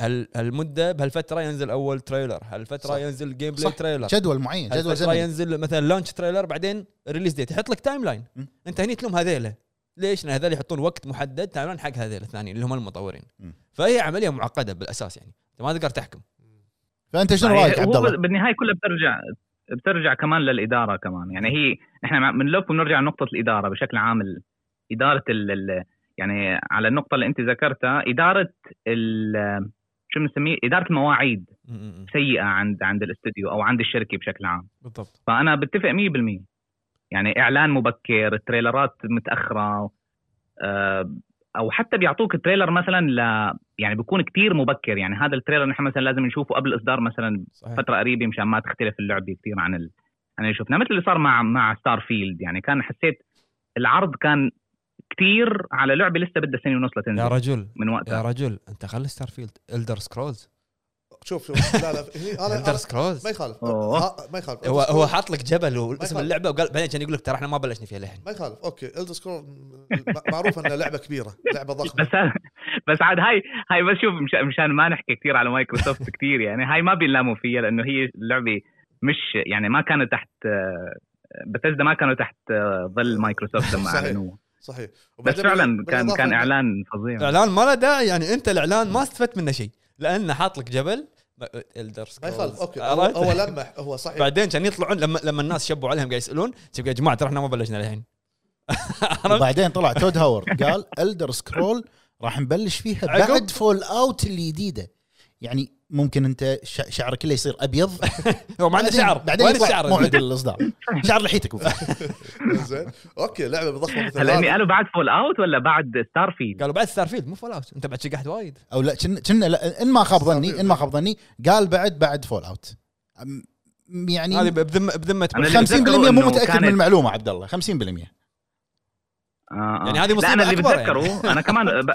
Speaker 2: هل هالمده بهالفتره ينزل اول تريلر هالفتره
Speaker 1: صح.
Speaker 2: ينزل جيم بلاي
Speaker 3: صح.
Speaker 2: تريلر
Speaker 3: جدول معين جدول
Speaker 2: هالفتره
Speaker 3: زمني
Speaker 2: ينزل مثلا لانش تريلر بعدين ريليز ديت يحط لك تايم لاين
Speaker 3: م.
Speaker 2: انت هني تلوم هذيله ليش؟ لان هذول يحطون وقت محدد تايم لاين حق هذيل الثانيين اللي هم المطورين
Speaker 3: م.
Speaker 2: فهي عمليه معقده بالاساس يعني انت ما تقدر تحكم
Speaker 3: فانت شنو
Speaker 5: يعني
Speaker 3: رايك
Speaker 5: هو
Speaker 3: عبد الله؟
Speaker 5: بالنهايه كلها بترجع بترجع كمان للاداره كمان يعني هي احنا بنلف ونرجع لنقطه الاداره بشكل عام ال- اداره ال ال- يعني على النقطه اللي انت ذكرتها اداره ال شو بنسميه اداره المواعيد
Speaker 2: م- م-
Speaker 5: سيئه عند عند الاستوديو او عند الشركه بشكل عام
Speaker 2: بالضبط
Speaker 5: فانا بتفق 100% يعني اعلان مبكر التريلرات متاخره آه، او حتى بيعطوك تريلر مثلا ل يعني بيكون كتير مبكر يعني هذا التريلر نحن مثلا لازم نشوفه قبل الاصدار مثلا
Speaker 3: طيب،
Speaker 2: صحيح
Speaker 5: فتره قريبه مشان ما تختلف اللعبه كثير عن ال... عن اللي شفناه مثل اللي صار مع مع ستار فيلد يعني كان حسيت العرض كان كتير على لعبه لسه بدها سنه ونص
Speaker 2: يا
Speaker 5: لتنزل
Speaker 2: رجل
Speaker 5: من
Speaker 2: يا
Speaker 5: وقتها
Speaker 2: رجل انت خلي ستار فيلد الدر سكرولز
Speaker 1: شوف شوف لا لا هني انا
Speaker 2: الدر
Speaker 1: أنا-
Speaker 2: سكرولز
Speaker 1: ما يخالف
Speaker 5: أوه.
Speaker 1: ها- ما يخالف
Speaker 2: هو هو حاط لك جبل واسم
Speaker 1: يخالف.
Speaker 2: اللعبه وقال بعدين كان يقول لك ترى احنا ما بلشنا فيها لحن
Speaker 1: ما يخالف اوكي الدر سكرول معروف انها لعبه كبيره لعبه ضخمه
Speaker 5: بس بس عاد هاي هاي بس شوف مش- مشان ما نحكي كثير على مايكروسوفت كثير يعني هاي ما بينلاموا فيها لانه هي اللعبه مش يعني ما كانوا تحت بتزدا ما كانوا تحت آه، ظل مايكروسوفت لما
Speaker 1: صحيح.
Speaker 5: اعلنوها
Speaker 1: صحيح
Speaker 5: بس
Speaker 1: وبعدين
Speaker 5: فعلا كان
Speaker 1: بالإضافة
Speaker 5: كان
Speaker 1: إنه-
Speaker 5: اعلان فظيع
Speaker 2: الاعلان ما له داعي يعني انت الاعلان ما استفدت منه شيء لانه حاط لك جبل الدر
Speaker 1: ما يخالف اوكي هو
Speaker 2: عرفت؟
Speaker 1: هو لمح هو صحيح
Speaker 2: بعدين كان يطلعون لما لما الناس شبوا عليهم قاعد يسالون تبقى يا جماعه ترى احنا ما بلشنا للحين
Speaker 3: وبعدين طلع تود هاور قال الدر سكرول راح نبلش فيها
Speaker 2: عقب.
Speaker 3: بعد فول اوت الجديده يعني ممكن انت ش- شعرك كله يصير ابيض
Speaker 2: هو ما عنده
Speaker 3: بعدين-
Speaker 2: شعر
Speaker 3: بعدين
Speaker 2: وين
Speaker 3: يطلع
Speaker 2: الشعر
Speaker 3: موعد الاصدار شعر لحيتك
Speaker 1: زين اوكي لعبه ضخمه مثل
Speaker 5: هلا هني
Speaker 1: هذه
Speaker 5: قالوا بعد فول اوت ولا بعد ستار فيلد
Speaker 2: قالوا بعد ستار فيلد مو فول اوت انت بعد شي قاعد وايد
Speaker 3: او لا كنا كنا لا، ان ما خاب ظني ان ما خاب ظني قال بعد بعد فول اوت أم- يعني
Speaker 2: هذه بذمه بذمه
Speaker 5: أنا اللي
Speaker 3: 50%
Speaker 5: متذكره
Speaker 3: مو
Speaker 5: إنه
Speaker 3: متاكد من
Speaker 5: كانت-
Speaker 3: المعلومه عبد الله 50%
Speaker 5: آه.
Speaker 2: يعني هذه
Speaker 5: لا
Speaker 2: مصيبة
Speaker 5: انا اللي
Speaker 2: أكبر يعني.
Speaker 5: بتذكره انا كمان ب...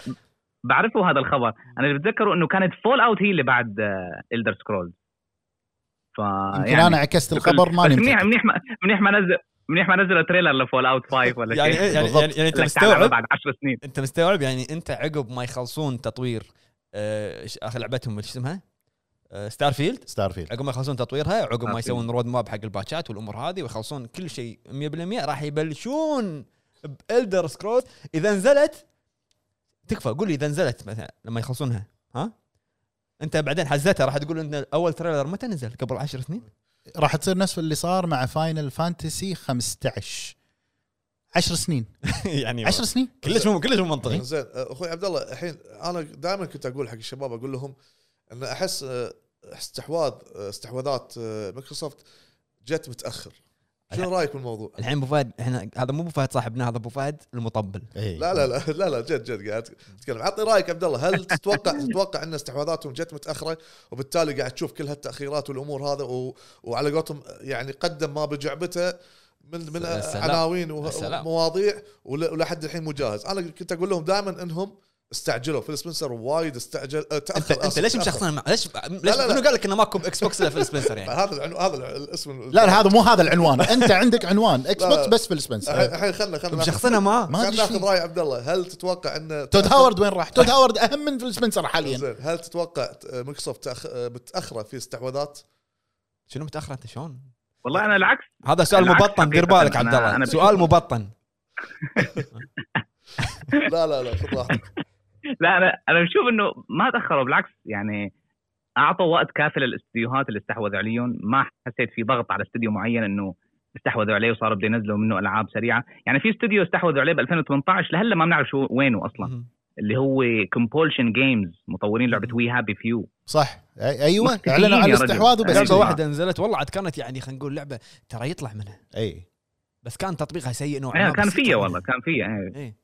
Speaker 5: بعرفه هذا الخبر انا اللي بتذكره انه كانت فول اوت هي اللي بعد الدر سكرولز ف
Speaker 3: يمكن
Speaker 5: يعني
Speaker 3: انا عكست الخبر ماني
Speaker 5: بس منيح
Speaker 3: متأكد.
Speaker 5: منيح ما منيح ما نزل منيح ما نزلوا تريلر لفول اوت 5 ولا
Speaker 2: يعني
Speaker 5: شيء
Speaker 2: يعني
Speaker 3: بالضبط.
Speaker 2: يعني, يعني انت
Speaker 5: لك تعال لعبها
Speaker 2: مستوعب
Speaker 5: بعد 10 سنين
Speaker 2: انت مستوعب يعني انت عقب ما يخلصون تطوير آه، إيش- اخر لعبتهم شو اسمها؟ ستار فيلد
Speaker 3: ستار فيلد
Speaker 2: عقب ما يخلصون تطويرها عقب ما
Speaker 5: Starfield.
Speaker 2: يسوون رود ماب حق الباتشات والامور هذه ويخلصون كل شيء 100% راح يبلشون بالدر سكرول اذا نزلت تكفى قول لي اذا نزلت مثلا لما يخلصونها ها انت بعدين حزتها راح تقول ان اول تريلر متى نزل قبل 10 سنين
Speaker 3: راح تصير نفس اللي صار مع فاينل فانتسي 15 10 سنين
Speaker 2: يعني
Speaker 3: 10 سنين إيه.
Speaker 2: كلش مو كلش مو منطقي
Speaker 1: زين اخوي عبد الله الحين انا دائما كنت اقول حق الشباب اقول لهم ان احس آه، استحواذ آه، استحواذات آه، مايكروسوفت جت متاخر شنو رايك بالموضوع؟
Speaker 2: الحين ابو فهد احنا هذا مو ابو فهد صاحبنا هذا ابو فهد المطبل
Speaker 3: إيه.
Speaker 1: لا لا لا لا لا جد جد قاعد اتكلم عطني رايك عبد الله هل تتوقع تتوقع ان استحواذاتهم جت متاخره وبالتالي قاعد تشوف كل هالتاخيرات والامور هذا و... وعلى قولتهم يعني قدم ما بجعبته من من
Speaker 2: السلام.
Speaker 1: عناوين وه-
Speaker 2: السلام.
Speaker 1: ومواضيع ول- ولحد الحين مو جاهز انا كنت اقول لهم دائما انهم استعجلوا فيل سبنسر وايد استعجل أه، تاخر
Speaker 2: انت انت
Speaker 1: أصلاً،
Speaker 2: ليش
Speaker 1: تأخر.
Speaker 2: مشخصنا مع- ليش ليش
Speaker 1: لا، لا.
Speaker 2: منو قال لك انه ماكو اكس بوكس الا فيل سبنسر يعني
Speaker 1: هذا العنو... هذا الع- الاسم
Speaker 3: لا لا، هذا مو هذا العنوان انت عندك عنوان اكس
Speaker 1: لا، لا.
Speaker 3: بوكس بس في السبنسر
Speaker 1: الحين الحين خلنا خلنا ناخذ-
Speaker 2: مشخصنا معاه
Speaker 3: ما
Speaker 1: خلنا
Speaker 3: أدري شو.
Speaker 1: ناخذ راي عبد الله هل تتوقع ان
Speaker 3: تود هاورد وين راح؟ تود هاورد اهم من فيل سبنسر حاليا
Speaker 1: زين هل تتوقع مايكروسوفت تأخ... متاخره في استحواذات؟
Speaker 2: شنو متاخر انت شلون؟
Speaker 5: والله انا العكس
Speaker 2: هذا سؤال
Speaker 5: العكس
Speaker 2: مبطن دير
Speaker 5: حقيقة
Speaker 2: بالك
Speaker 5: أنا-
Speaker 2: عبد الله
Speaker 5: أنا
Speaker 2: سؤال
Speaker 5: بشوف-
Speaker 2: مبطن
Speaker 1: لا لا لا خذ راحتك
Speaker 5: لا انا انا بشوف انه ما تاخروا بالعكس يعني اعطوا وقت كافي للاستديوهات اللي استحوذوا عليهم ما حسيت في ضغط على استوديو معين انه استحوذوا عليه وصاروا بده ينزلوا منه العاب سريعه يعني في استوديو استحوذوا عليه ب 2018 لهلا ما بنعرف شو وينه اصلا
Speaker 2: مهم.
Speaker 5: اللي هو كومبولشن جيمز مطورين لعبه وي هابي فيو
Speaker 3: صح أي- ايوه
Speaker 5: مختفيين
Speaker 3: اعلنوا عن
Speaker 5: يا رجل.
Speaker 3: الاستحواذ وبس
Speaker 2: لعبه
Speaker 5: أيوة.
Speaker 2: واحده نزلت والله عاد كانت يعني خلينا نقول لعبه ترى يطلع منها
Speaker 3: اي
Speaker 2: بس كان تطبيقها سيء نوعا ما
Speaker 5: يعني كان
Speaker 2: بس
Speaker 5: فيها
Speaker 2: يطلع
Speaker 5: والله
Speaker 2: منها.
Speaker 5: كان فيها إيه،
Speaker 2: إيه.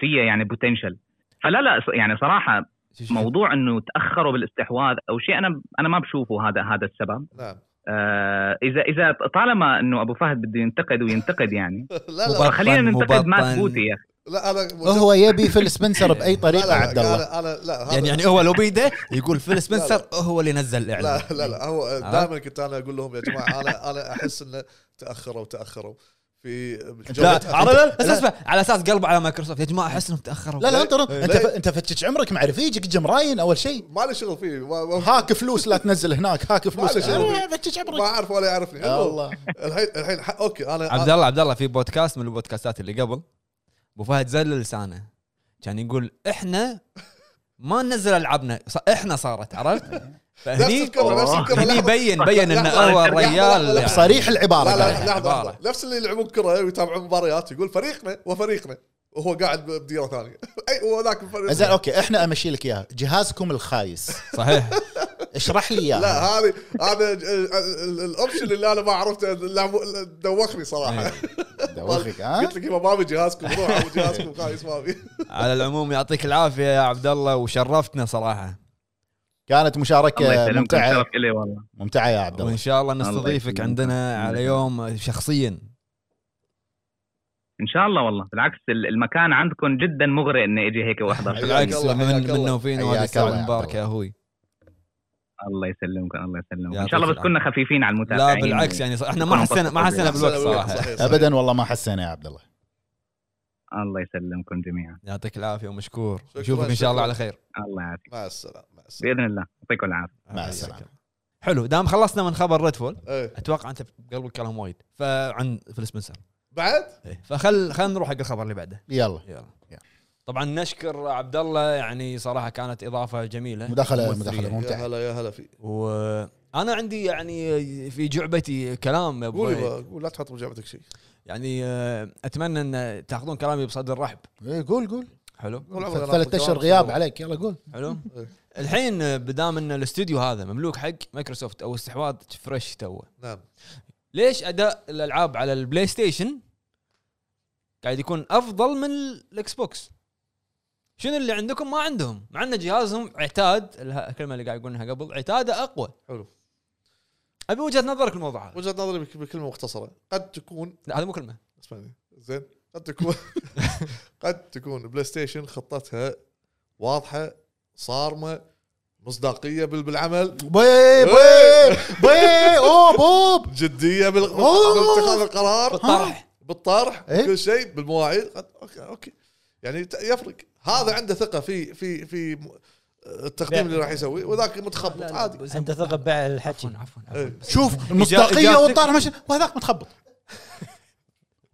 Speaker 5: فيها يعني بوتنشل فلا لا يعني صراحه
Speaker 2: شو- شو-
Speaker 5: موضوع انه تاخروا بالاستحواذ او شيء انا انا ما بشوفه هذا هذا السبب
Speaker 1: نعم
Speaker 5: آه، اذا اذا طالما انه ابو فهد بده ينتقد وينتقد يعني
Speaker 1: لا
Speaker 2: مبارك.
Speaker 1: لا
Speaker 5: خلينا
Speaker 2: مبطن-
Speaker 5: ننتقد مات
Speaker 2: مبطن.
Speaker 5: بوتي يا اخي
Speaker 1: لا انا
Speaker 3: هو يبي فيل سبنسر باي
Speaker 1: لا
Speaker 3: طريقه
Speaker 1: إيه. لا
Speaker 3: عبد الله
Speaker 1: انا انا لا هذا-
Speaker 2: يعني يعني هو لو بيده يقول فيل سبنسر هو اللي نزل الاعلان
Speaker 1: لا لا لا هو
Speaker 2: يعني. ها؟
Speaker 1: دائما كنت انا اقول لهم يا جماعه انا انا احس انه تاخروا تاخروا في
Speaker 2: لا
Speaker 1: جودة-
Speaker 2: على لا بس اسمع على اساس قلب على مايكروسوفت يا جماعه احس انهم تاخروا
Speaker 3: لا لا انت
Speaker 1: إيه.
Speaker 3: انت انت فتش عمرك مع رفيجك جمراين اول شيء
Speaker 1: ما لي شغل فيه ما, ما,
Speaker 3: هاك فلوس لا تنزل هناك هاك فلوس
Speaker 1: له شغل.
Speaker 3: أنا فتش
Speaker 1: ما
Speaker 3: عمرك
Speaker 1: اعرف ولا يعرفني
Speaker 3: الله
Speaker 1: الحين الحين ح- اوكي انا
Speaker 2: عبد الله عبد الله في بودكاست من البودكاستات اللي قبل ابو فهد زل لسانه كان يقول احنا ما ننزل العابنا ص- احنا صارت عرفت؟
Speaker 1: نفس
Speaker 2: فهني
Speaker 1: الكره نفس الكره
Speaker 2: هني
Speaker 1: لحظة.
Speaker 2: بين بين ان
Speaker 1: لحظة،
Speaker 2: هو
Speaker 5: لحظة،
Speaker 2: الريال
Speaker 1: لحظة.
Speaker 2: يعني.
Speaker 3: صريح العباره
Speaker 1: لا
Speaker 3: لا
Speaker 1: لا
Speaker 2: عبارة.
Speaker 1: لحظه لحظه نفس اللي يلعبون كره ويتابعون مباريات يقول فريقنا وفريقنا وهو قاعد بديره ثانيه اي وذاك الفريق
Speaker 3: زين اوكي احنا امشي لك اياها جهازكم الخايس
Speaker 2: صحيح
Speaker 3: اشرح لي اياها
Speaker 1: لا هذه هذا ج- ال- ال- الاوبشن اللي انا ما عرفته اللعب- دوخني صراحه
Speaker 3: دوخك ها
Speaker 1: قلت لك ما في جهازكم روح أبو جهازكم خايس ما في
Speaker 2: على العموم يعطيك العافيه يا عبد الله وشرفتنا صراحه
Speaker 3: كانت
Speaker 5: الله
Speaker 3: مشاركه
Speaker 5: يسلمك
Speaker 3: ممتعه
Speaker 5: شرف الي والله
Speaker 3: ممتعه يا عبد الله
Speaker 2: وان شاء الله
Speaker 5: الله
Speaker 2: نستضيفك
Speaker 5: يسلمك.
Speaker 2: عندنا على يوم شخصيا
Speaker 5: ان شاء الله والله بالعكس ال- المكان عندكم جدا مغري اني اجي هيك واحضر
Speaker 1: حبيبي.
Speaker 2: بالعكس
Speaker 1: الله،
Speaker 2: من
Speaker 1: حياك الله.
Speaker 2: منا وفينا وهذه
Speaker 3: حياك
Speaker 2: الساعه
Speaker 3: الله يا عبد
Speaker 2: المباركه يا
Speaker 3: الله.
Speaker 2: اخوي
Speaker 5: الله يسلمك الله يسلمك
Speaker 2: يعطيك
Speaker 5: ان شاء الله بس
Speaker 2: العافية.
Speaker 5: كنا خفيفين على
Speaker 2: لا
Speaker 5: المتابعين
Speaker 2: بالعكس يعني احنا ما حسينا ما حسينا بالوقت صراحه
Speaker 1: صحيح، صحيح.
Speaker 3: ابدا والله ما حسينا يا عبد الله
Speaker 5: الله يسلمكم جميعا
Speaker 2: يعطيك العافيه ومشكور
Speaker 1: شكراً،
Speaker 2: نشوفك ان شاء
Speaker 1: شكراً.
Speaker 2: الله على خير
Speaker 5: الله يعافيك
Speaker 1: مع السلامه مع السلامه
Speaker 5: باذن الله يعطيكم العافيه
Speaker 3: مع
Speaker 2: حياك
Speaker 3: السلامة.
Speaker 2: الله. آه، إيه، حلو دام خلصنا من خبر ريدفول
Speaker 1: إيه.
Speaker 2: اتوقع انت بقلبك كلام وايد فعن فيل سبنسر
Speaker 1: بعد
Speaker 2: إيه. فخل خلينا نروح حق الخبر اللي بعده
Speaker 3: يلا
Speaker 2: يلا
Speaker 3: يلا.
Speaker 2: طبعا نشكر عبد الله يعني صراحه كانت اضافه جميله
Speaker 3: مداخله
Speaker 2: مؤثرية.
Speaker 3: مداخله
Speaker 1: يا
Speaker 3: ممتعه
Speaker 1: هلا يا هلا في
Speaker 2: وانا عندي يعني في جعبتي كلام يا
Speaker 1: قول
Speaker 2: أبوي.
Speaker 1: يبا، قول لا تحط بجعبتك شيء
Speaker 2: يعني آه، اتمنى ان تاخذون كلامي بصدر رحب
Speaker 3: إيه، قول قول
Speaker 2: حلو
Speaker 1: قول عمرك أنا
Speaker 3: ثلاث
Speaker 1: أخذ
Speaker 3: اشهر
Speaker 1: جواب.
Speaker 3: غياب عليك يلا قول
Speaker 2: حلو
Speaker 1: إيه.
Speaker 2: الحين آه، بدام ان الاستوديو هذا مملوك حق مايكروسوفت او استحواذ فريش توه
Speaker 1: نعم
Speaker 2: ليش اداء الالعاب على البلاي ستيشن قاعد يكون افضل من الاكس بوكس شنو اللي عندكم ما عندهم مع ان جهازهم عتاد اله- الكلمه اللي قاعد يقولونها قبل عتاده اقوى
Speaker 1: حلو
Speaker 2: ابي وجهه نظرك الموضوع هذا
Speaker 1: وجهه نظري بك- بكلمه مختصره قد تكون
Speaker 2: لا هذا مو كلمه
Speaker 1: اسمعني زين قد تكون قد تكون بلاي ستيشن خطتها واضحه صارمه مصداقيه بال- بالعمل إيه.
Speaker 3: بي بي بي اوه بوب
Speaker 1: جديه بال-
Speaker 3: أوه.
Speaker 1: باتخاذ القرار
Speaker 2: بالطرح
Speaker 1: بالطرح
Speaker 3: إيه؟
Speaker 1: كل شيء بالمواعيد قد- اوكي اوكي يعني ت- يفرق هذا عنده ثقه في في في م- التقديم اللي راح يسويه وذاك متخبط عادي
Speaker 4: انت ثقه ببيع الحكي
Speaker 2: عفوا عفوا
Speaker 1: إيه.
Speaker 2: عفوا.
Speaker 3: شوف المصداقيه
Speaker 2: إجابتك-
Speaker 3: والطار مش وهذاك متخبط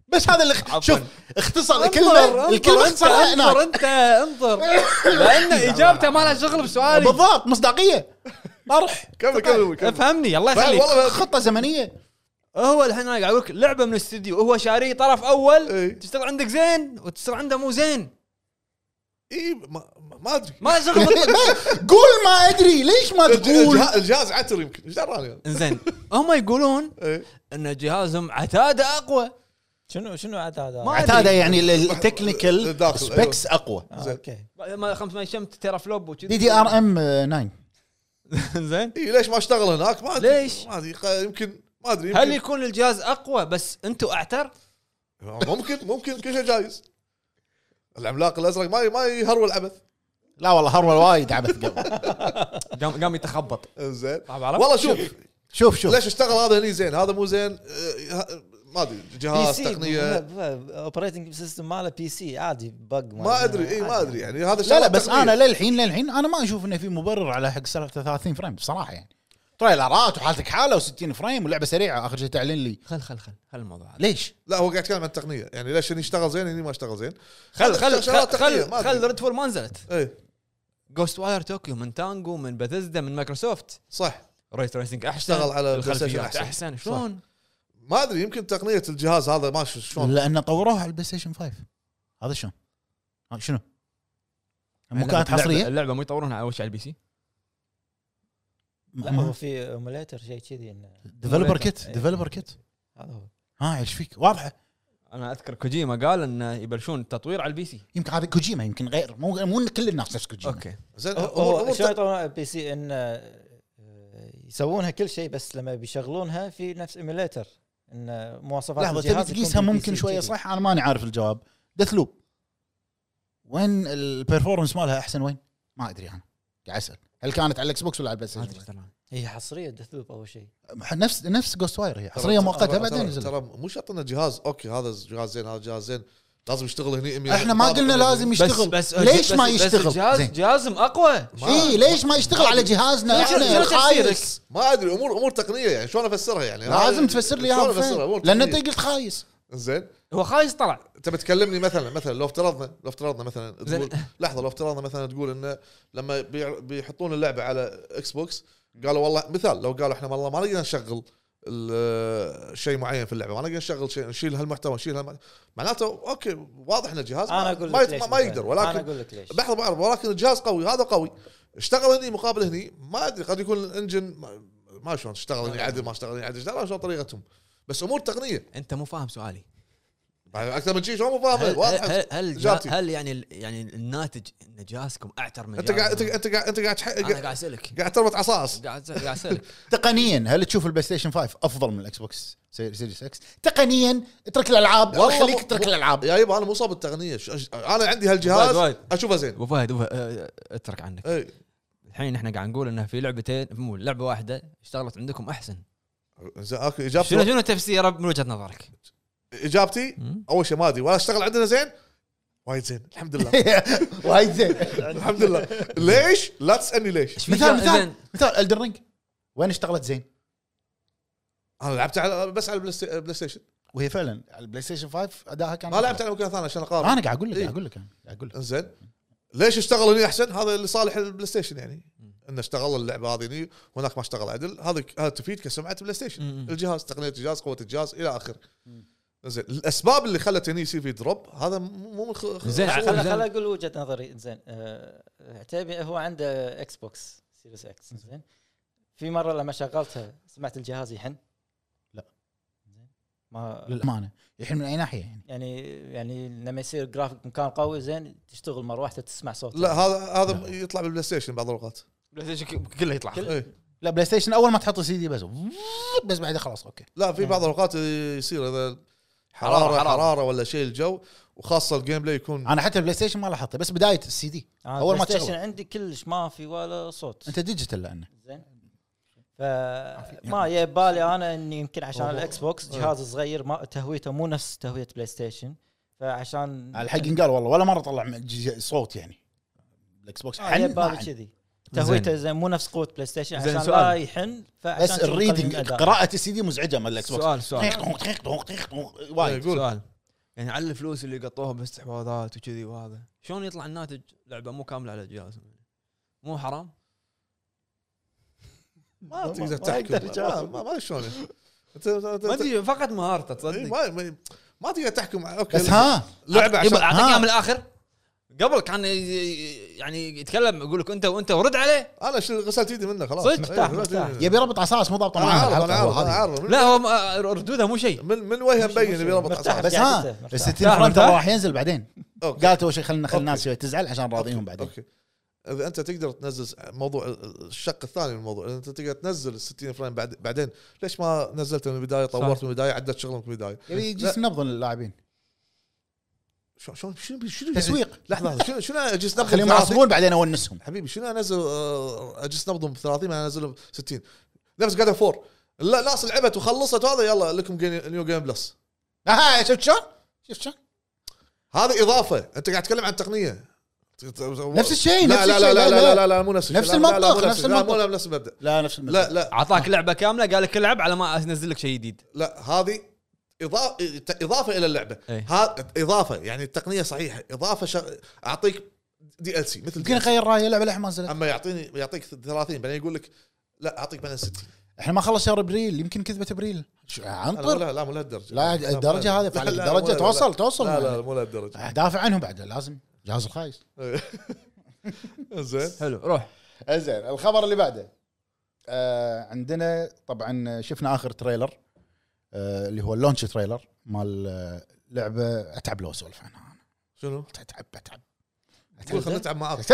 Speaker 3: بس هذا اللي
Speaker 2: عفواً.
Speaker 3: اخ- شوف اختصر
Speaker 2: انظر،
Speaker 3: الكلمه
Speaker 2: انظر،
Speaker 3: الكلمه
Speaker 2: انت
Speaker 3: اختصرها
Speaker 2: انظر
Speaker 3: هناك
Speaker 2: انت انظر لان اجابته ما لها شغل بسؤالي
Speaker 3: بالضبط مصداقيه طرح
Speaker 1: كمل كمل كمل
Speaker 2: افهمني الله يخليك
Speaker 1: والله
Speaker 3: خطه زمنيه
Speaker 2: هو الحين انا قاعد اقول لك لعبه من الاستديو هو شاريه طرف اول
Speaker 1: إيه.
Speaker 2: تشتغل عندك زين وتشتغل عنده مو زين
Speaker 1: اي ما ما- ما ادري
Speaker 2: ما شغل
Speaker 3: قول ما ادري ليش ما
Speaker 1: الج-
Speaker 3: تقول
Speaker 1: الجه- الجهاز عتر يمكن ايش دراني أنا؟
Speaker 2: زين هم يقولون
Speaker 1: إيه.
Speaker 2: ان جهازهم عتاده اقوى
Speaker 4: شنو شنو عاد هذا؟
Speaker 2: ما-
Speaker 3: عتاده يعني ال- التكنيكال
Speaker 1: داخل،
Speaker 3: سبيكس اقوى
Speaker 4: آه، اوكي
Speaker 2: ما 500 تيرا فلوب وكذي
Speaker 3: دي دي ار ام 9
Speaker 2: زين
Speaker 1: اي ليش ما اشتغل هناك ما ادري
Speaker 2: ليش؟
Speaker 1: ما ادري قا- يمكن ما ادري
Speaker 2: هل
Speaker 1: يمكن
Speaker 2: يكون الجهاز اقوى بس انتم اعتر؟
Speaker 1: ممكن ممكن كل شيء جايز العملاق الازرق ما ي- ما يهرول عبث
Speaker 3: لا والله هرول وايد عبث قبل
Speaker 2: قام قام يتخبط
Speaker 1: زين
Speaker 2: طيب عرفت؟
Speaker 1: والله شوف
Speaker 3: شوف شوف
Speaker 1: ليش اشتغل هذا هني زين هذا مو زين آه، ه- ما ادري جهاز تقنيه
Speaker 4: اوبريتنج سيستم ماله بي سي عادي بق
Speaker 1: ما ادري اي ما
Speaker 4: عادي.
Speaker 1: ادري يعني هذا
Speaker 3: لا
Speaker 1: شغلة
Speaker 3: لا بس
Speaker 1: تقنية.
Speaker 3: انا للحين للحين انا ما اشوف انه في مبرر على حق سالفه 30 فريم بصراحه يعني تريلرات وحالتك حاله و60 فريم ولعبه سريعه اخر شيء تعلن لي
Speaker 2: خل خل خل خل الموضوع هذا
Speaker 3: ليش؟
Speaker 1: لا هو قاعد يتكلم عن التقنيه يعني ليش هني اشتغل زين هني ما اشتغل زين
Speaker 2: خل
Speaker 1: هذا
Speaker 2: خل
Speaker 1: شغلات
Speaker 2: خل
Speaker 1: تقنية،
Speaker 2: خل,
Speaker 1: ما أدري.
Speaker 2: خل ريد فول ما نزلت
Speaker 1: ايه
Speaker 2: جوست واير طوكيو من تانجو من بثزدا من مايكروسوفت
Speaker 1: صح
Speaker 2: ريت تريسنج احسن
Speaker 1: اشتغل على PlayStation
Speaker 2: الخلفيات
Speaker 1: أحسن.
Speaker 2: احسن شلون؟
Speaker 1: ما ادري يمكن تقنيه الجهاز هذا ما ش- شلون
Speaker 3: لان طوروها على البلاي ستيشن 5 هذا شلون؟ ها، شنو؟ مو كانت
Speaker 2: اللعبة-
Speaker 3: حصريه؟
Speaker 2: اللعبه مو يطورونها اول شيء على البي سي
Speaker 4: لا هو في ايموليتر شيء كذي انه
Speaker 3: ديفلوبر كيت ديفلوبر كيت
Speaker 4: هذا هو
Speaker 3: ها ايش فيك؟ واضحه
Speaker 2: انا اذكر كوجيما قال انه يبلشون التطوير على البي سي
Speaker 3: يمكن هذا كوجيما يمكن غير مو مو إن كل الناس نفس كوجيما
Speaker 2: اوكي
Speaker 1: زين
Speaker 4: هو-
Speaker 1: أمور-
Speaker 4: هو
Speaker 1: أمور
Speaker 4: شلون
Speaker 1: تق-
Speaker 4: يطورون على البي سي ان آه، يسوونها كل شيء بس لما بيشغلونها في نفس ايميليتر ان آه، مواصفات
Speaker 3: لحظه تبي
Speaker 4: الجهاز
Speaker 3: تقيسها
Speaker 4: يكون بالPC
Speaker 3: ممكن شويه
Speaker 4: كذي.
Speaker 3: صح انا ماني عارف الجواب ديث لوب وين البرفورمنس مالها احسن وين؟ ما ادري انا قاعد اسال هل كانت على الاكس بوكس ولا على البلاي
Speaker 2: ما
Speaker 3: ستيشن؟
Speaker 2: ادري ترى.
Speaker 4: هي حصريه دثلوب اول شيء
Speaker 3: نفس نفس جوست واير هي حصريه
Speaker 1: ترى-
Speaker 3: مؤقته
Speaker 1: ترى-
Speaker 3: بعدين
Speaker 1: ترى-
Speaker 3: نزل
Speaker 1: ترى مو شرط انه جهاز اوكي هذا جهاز زين هذا جهاز زين لازم يشتغل هني 100
Speaker 3: احنا ما قلنا لازم يشتغل ليش ما يشتغل؟
Speaker 2: جهاز
Speaker 3: زين.
Speaker 2: جهازهم اقوى
Speaker 3: اي ليش ما يشتغل على
Speaker 2: شنو-
Speaker 3: جهازنا احنا
Speaker 2: شنو تفسيرك؟
Speaker 3: الخايس
Speaker 1: ما ادري امور امور تقنيه يعني شلون افسرها يعني
Speaker 3: لازم
Speaker 1: هذا-
Speaker 3: تفسر لي
Speaker 1: شلون
Speaker 3: اياها
Speaker 1: افسرها
Speaker 3: بفهم.
Speaker 1: أمور
Speaker 3: لان
Speaker 1: تقنية.
Speaker 3: انت قلت خايس
Speaker 1: زين
Speaker 6: هو خايس طلع
Speaker 1: تبي تكلمني مثلا مثلا لو افترضنا لو افترضنا مثلا
Speaker 6: زين.
Speaker 1: تقول لحظه لو افترضنا مثلا تقول انه لما بيع- بيحطون اللعبه على اكس بوكس قالوا والله مثال لو قالوا احنا والله ما نقدر نشغل ال- شيء معين في اللعبه ما نقدر نشغل شيء نشيل هالمحتوى نشيل هالمحتوى معناته اوكي واضح ان الجهاز
Speaker 4: انا
Speaker 1: ما-
Speaker 4: اقول
Speaker 1: ما,
Speaker 4: لك
Speaker 1: يت-
Speaker 4: ليش
Speaker 1: ما, ما يقدر
Speaker 4: مثلاً. انا
Speaker 1: ولكن
Speaker 4: اقول لك ليش
Speaker 1: بحضر بعرض ولكن الجهاز قوي هذا قوي اشتغل هني مقابل هني ما ادري قد يكون الانجن ما- ما شلون اشتغل هني عدل ما اشتغل هني عدل اشتغل شلون طريقتهم بس امور تقنيه
Speaker 2: انت مو فاهم سؤالي
Speaker 1: اكثر من شيء شلون مو فاهم
Speaker 2: هل
Speaker 1: واضح
Speaker 2: هل هل,
Speaker 1: إجابتي.
Speaker 2: هل, هل يعني ال- يعني الناتج ان جهازكم اعتر من
Speaker 1: انت قاعد انت
Speaker 2: جهازنا؟
Speaker 1: انت قاعد انت قاعد تح-
Speaker 2: انا
Speaker 1: يعني قاعد
Speaker 2: قاعد اسالك
Speaker 1: قاعد تربط عصاص
Speaker 2: قاعد قاعد اسالك
Speaker 3: تقنيا هل تشوف البلاي ستيشن 5 افضل من الاكس بوكس سيريس اكس تقنيا اترك الالعاب
Speaker 1: والله
Speaker 3: خليك
Speaker 1: مو-
Speaker 3: اترك
Speaker 1: مو-
Speaker 3: الالعاب
Speaker 1: يا يبا انا مو صاب التقنيه ش- أش- انا عندي
Speaker 2: وايد-
Speaker 1: هالجهاز
Speaker 2: وايد.
Speaker 1: اشوفه زين إيه.
Speaker 2: ابو فهد أبو فهد، أه، اترك عنك
Speaker 1: اي
Speaker 2: الحين احنا قاعد نقول انه في لعبتين مو لعبه واحده اشتغلت عندكم احسن
Speaker 1: زين اكو
Speaker 2: شنو
Speaker 1: اجابتي
Speaker 2: شنو تفسيره من وجهه نظرك؟
Speaker 1: اجابتي
Speaker 2: مم؟
Speaker 1: اول شيء ما ادري ولا اشتغل عندنا زين وايد زين الحمد لله
Speaker 3: وايد زين
Speaker 1: الحمد لله ليش؟ لا تسالني ليش
Speaker 2: إيش في
Speaker 3: مثال
Speaker 2: جا-
Speaker 3: مثال
Speaker 2: إذن-
Speaker 3: مثال الدن رينج وين اشتغلت زين
Speaker 1: انا لعبت على بس على البلاي ست- البلاي ستيشن
Speaker 3: وهي فعلا على البلاي ستيشن 5 اداها كان
Speaker 1: ما لعبت على مكان ثاني عشان اقارن
Speaker 3: انا قاعد اقول لك
Speaker 1: إيه.
Speaker 3: قاعد اقول لك أنا قاعد اقول لك
Speaker 1: زين ليش اشتغل هني احسن؟ هذا اللي صالح البلاي ستيشن يعني انه اشتغل اللعبه هذه هني وهناك ما اشتغل عدل هذا هذا تفيد كسمعه بلاي ستيشن
Speaker 2: مم.
Speaker 1: الجهاز تقنيه الجهاز قوه الجهاز الى اخره زين الاسباب اللي خلت هني يصير في دروب هذا مو مو من خ...
Speaker 2: زين،
Speaker 1: خ-
Speaker 2: خل-
Speaker 4: خل خل اقول وجهه نظري زين آه، عتيبي هو عنده اكس بوكس سيريس اكس زين في مره لما شغلتها سمعت الجهاز يحن
Speaker 3: لا.
Speaker 4: زين ما
Speaker 3: للامانه الحين من اي ناحيه يعني
Speaker 4: يعني يعني لما يصير جرافيك مكان قوي زين تشتغل مروحته تسمع صوت
Speaker 1: لا هذا هذا يطلع بالبلاي ستيشن بعض الاوقات
Speaker 6: بلاي ستيشن كله يطلع
Speaker 4: كل-
Speaker 1: إيه.
Speaker 3: لا بلاي ستيشن اول ما تحط السي دي بس بس بعدها خلاص اوكي
Speaker 1: لا في بعض الاوقات يصير اذا حراره
Speaker 6: حرارة.
Speaker 1: حراره ولا شيء الجو وخاصه الجيم بلاي يكون
Speaker 3: انا حتى البلاي ستيشن ما لاحظته بس بدايه السي دي أول
Speaker 4: اول
Speaker 3: ما
Speaker 4: ما
Speaker 3: تشغله.
Speaker 4: آه، عندي كلش ما في ولا صوت
Speaker 3: انت ديجيتال لانه
Speaker 4: زين
Speaker 3: يعني.
Speaker 4: فما يا بالي انا اني يمكن عشان الاكس بوكس جهاز صغير ما تهويته مو نفس تهويه بلاي ستيشن فعشان
Speaker 3: الحق قال والله ولا مره طلع م- ج- صوت يعني الاكس بوكس
Speaker 4: آه، يا
Speaker 3: حن ما
Speaker 4: بالي
Speaker 3: حن.
Speaker 4: كذي تهويته زين مو نفس قوه بلاي ستيشن
Speaker 2: زين،
Speaker 4: عشان لا
Speaker 2: سؤال.
Speaker 4: يحن فعشان
Speaker 3: بس الريدنج قراءه السي دي مزعجه مال الاكس بوكس
Speaker 2: سؤال سؤال
Speaker 3: طنق، طنق، طنق، طنق، طنق،
Speaker 1: إيه،
Speaker 3: وايد
Speaker 1: يقول
Speaker 2: سؤال إيه، يعني على الفلوس اللي قطوها باستحواذات وكذي وهذا شلون يطلع الناتج لعبه مو كامله على الجهاز مو حرام؟
Speaker 1: ما تقدر
Speaker 3: ما يقدر
Speaker 1: تحكم ما-
Speaker 3: يجاوب.
Speaker 1: ما ما شلون يعني؟ أنت- أنت- أنت-
Speaker 2: ما ادري فقط مهارته
Speaker 1: إيه،
Speaker 2: تصدق
Speaker 1: ما ما- ما تقدر تحكم اوكي
Speaker 3: بس ها
Speaker 1: لعبه
Speaker 2: يبا،
Speaker 1: عشان
Speaker 2: اعطيك
Speaker 3: ها.
Speaker 2: اياها من الاخر قبل كان ي- ي- يعني يتكلم يقول لك انت وانت ورد عليه
Speaker 1: انا شل- آه، غسلت ايدي منه خلاص
Speaker 2: صدق؟
Speaker 1: إيه، غسلت
Speaker 4: مرتاح.
Speaker 1: إيدي منه.
Speaker 3: يبي ربط عصاص مو ضابطه
Speaker 1: انا
Speaker 3: معاه
Speaker 1: عارف انا
Speaker 3: الحلقة،
Speaker 1: عارف
Speaker 3: هو
Speaker 1: انا
Speaker 3: هذه.
Speaker 1: عارف من-
Speaker 2: لا هو ما- ردودها مو شيء
Speaker 1: من من وجه مبين يبي يربط
Speaker 4: مرتاح.
Speaker 1: عصاص
Speaker 3: بس ها
Speaker 4: مرتاح.
Speaker 3: الستيل فرونت
Speaker 2: مرتاح.
Speaker 3: راح ينزل بعدين
Speaker 1: أوكي.
Speaker 3: قالت اول شيء خلينا نخلي
Speaker 1: أوكي.
Speaker 3: الناس شوي تزعل عشان راضيهم بعدين
Speaker 1: اوكي اذا انت تقدر تنزل موضوع الشق الثاني من الموضوع إذا انت تقدر تنزل ال 60 فريم بعد بعدين ليش ما نزلت من البدايه طورت من البدايه عدت شغلك من البدايه
Speaker 3: يبي يجلس نبضن اللاعبين
Speaker 1: شلون شلون شنو شنو
Speaker 3: تسويق
Speaker 1: لحظه شنو شنو اجهزه نبض
Speaker 3: خليهم
Speaker 1: 30
Speaker 3: يعصبون بعدين اونسهم
Speaker 1: حبيبي شنو انزل آه، اجهزه نبض ب 30 انا انزله ب 60 نفس جاد 4 لا ناس لعبت وخلصت وهذا يلا لكم جي- نيو جيم بلس
Speaker 3: ها شفت شلون؟ شفت شلون؟
Speaker 1: هذه اضافه انت قاعد تتكلم عن التقنيه نفس
Speaker 3: نفس الشيء
Speaker 1: لا
Speaker 3: نفس
Speaker 1: لا
Speaker 3: الشيء.
Speaker 1: لا لا لا لا, لا مو نفس الشيء.
Speaker 3: نفس
Speaker 1: لا- لا- لا، مو
Speaker 3: المنطق،
Speaker 1: نفس
Speaker 3: نفس
Speaker 1: الشيء. لا، مو
Speaker 3: المنطق.
Speaker 1: نفس المبدا
Speaker 3: لا نفس
Speaker 1: لا لا
Speaker 2: اعطاك لعبه كامله قال لك العب على ما انزل لك شيء جديد
Speaker 1: لا هذه إضافة إضافة إلى اللعبة
Speaker 2: إيه.
Speaker 1: ها إضافة يعني التقنية صحيحة إضافة شغ... أعطيك دي ال سي مثل
Speaker 3: يمكن
Speaker 1: DLC.
Speaker 3: اغير رايي اللعبه للحين ما نزلت
Speaker 1: أما يعطيني يعطيك 30 بعدين يقول لك لا أعطيك بعدين 60
Speaker 3: احنا ما خلص شهر ابريل يمكن كذبه ابريل شو-
Speaker 1: أنا مو
Speaker 3: عنطر
Speaker 1: لا لا مو لهالدرجة
Speaker 3: لا الدرجة هذه
Speaker 1: لا،
Speaker 3: فعلا
Speaker 1: لا،
Speaker 3: الدرجة
Speaker 1: مو لهالدرجة.
Speaker 3: توصل- توصل.
Speaker 1: لا لا مو لهالدرجة
Speaker 3: دافع عنهم بعد لازم جهاز الخايس
Speaker 1: زين
Speaker 2: حلو روح
Speaker 3: زين الخبر اللي بعده آه عندنا طبعا شفنا اخر تريلر آه اللي هو اللونش تريلر مال آه، لعبه اتعب لو اسولف عنها انا
Speaker 1: شنو؟
Speaker 3: اتعب اتعب
Speaker 1: قول خلنا نتعب معاك
Speaker 3: شو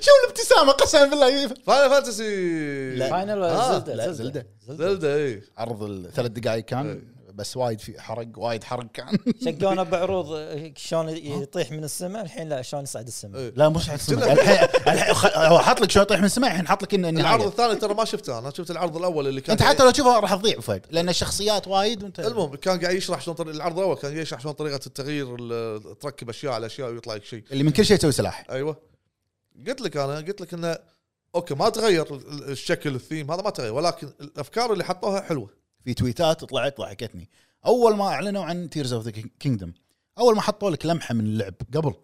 Speaker 3: شو الابتسامه قسما بالله
Speaker 1: فاينل فانتسي
Speaker 3: لا.
Speaker 4: فاينل
Speaker 1: آه،
Speaker 3: لا،
Speaker 4: ولا
Speaker 3: زلدة.
Speaker 4: زلدة زلدة زلدة
Speaker 1: زلدة اي
Speaker 3: عرض الثلاث دقائق كان
Speaker 1: إيه.
Speaker 3: بس وايد في حرق وايد حرق كان
Speaker 4: شقونا بعروض آه، شلون يطيح من السماء الحين لا شلون يصعد السماء
Speaker 1: إيه.
Speaker 3: لا مش حق السماء. الحين الحين خ- هو حاط لك شوي طيح من السماء الحين حاط لك إن-
Speaker 1: العرض
Speaker 3: النهايه
Speaker 1: الثاني ترى ما شفته أنا شفت العرض الأول اللي كان إيه.
Speaker 3: انت حتى لو تشوفها راح تضيع فهد لان الشخصيات وايد وانت
Speaker 1: المهم كان قاعد يشرح شلون طريقة العرض الاول كان قاعد يشرح شلون طريقه التغيير ال- تركب اشياء على اشياء ويطلع لك شيء
Speaker 3: اللي من كل شيء تسوي سلاح
Speaker 1: ايوه قلت لك انا قلت لك انه اوكي ما تغير ال- الشكل الثيم هذا ما تغير ولكن الافكار اللي حطوها حلوه
Speaker 3: في تويتات طلعت ضحكتني اول ما اعلنوا عن تيرز اوف ذا كينجدم اول ما حطوا لك لمحه من اللعب قبل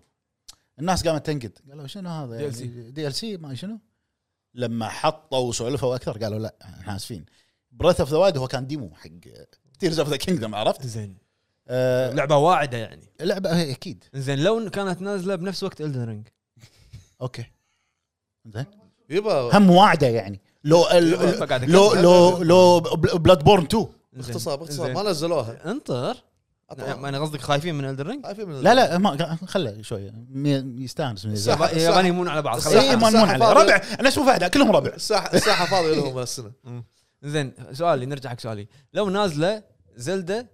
Speaker 3: الناس قامت تنقد قالوا شنو هذا يعني؟
Speaker 2: DLC.
Speaker 3: دي ال سي ما شنو لما حطوا وسولفوا اكثر قالوا لا احنا اسفين بريث اوف ذا وايد هو كان ديمو حق تيرز اوف ذا كينجدم عرفت؟ إيه،
Speaker 2: زين
Speaker 3: آه
Speaker 2: لعبه واعده يعني
Speaker 3: لعبه هي اكيد
Speaker 2: زين لو إن كانت نازله بنفس وقت الدن رينج
Speaker 3: اوكي زين
Speaker 1: يبا
Speaker 3: هم واعده يعني لو ال- لو لو لو بلاد بورن 2
Speaker 1: باختصار باختصار ما نزلوها
Speaker 2: انطر
Speaker 1: أطلع.
Speaker 2: ما انا قصدك خايفين من الدن رينج
Speaker 1: خايفين من
Speaker 3: لا لا ما خله شوي مي- يستانس من
Speaker 1: الساحة-
Speaker 2: يابا-
Speaker 1: الساحة-
Speaker 2: ياباني يمون على بعض خلاص. إيه،
Speaker 3: اي ما نمون
Speaker 1: الساحة
Speaker 3: عليه
Speaker 1: فاضية.
Speaker 3: ربع انا اشوف فهد كلهم ربع
Speaker 1: الساحه الساحه فاضيه لهم من السنه
Speaker 2: زين سؤالي نرجع حق سؤالي لو نازله زلده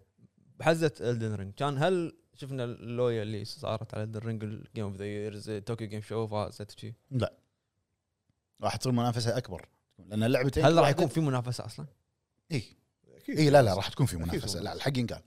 Speaker 2: بحزه الدن رينج كان هل شفنا اللويا اللي صارت على الدن رينج الجيم اوف ذا ييرز توكيو جيم شو فازت شي
Speaker 3: راح تصير منافسه اكبر لان اللعبتين
Speaker 2: هل راح يكون في منافسه اصلا؟
Speaker 3: اي اي إيه. لا لا راح تكون في
Speaker 1: أكيد
Speaker 3: منافسه
Speaker 1: في
Speaker 3: لا الحق ينقال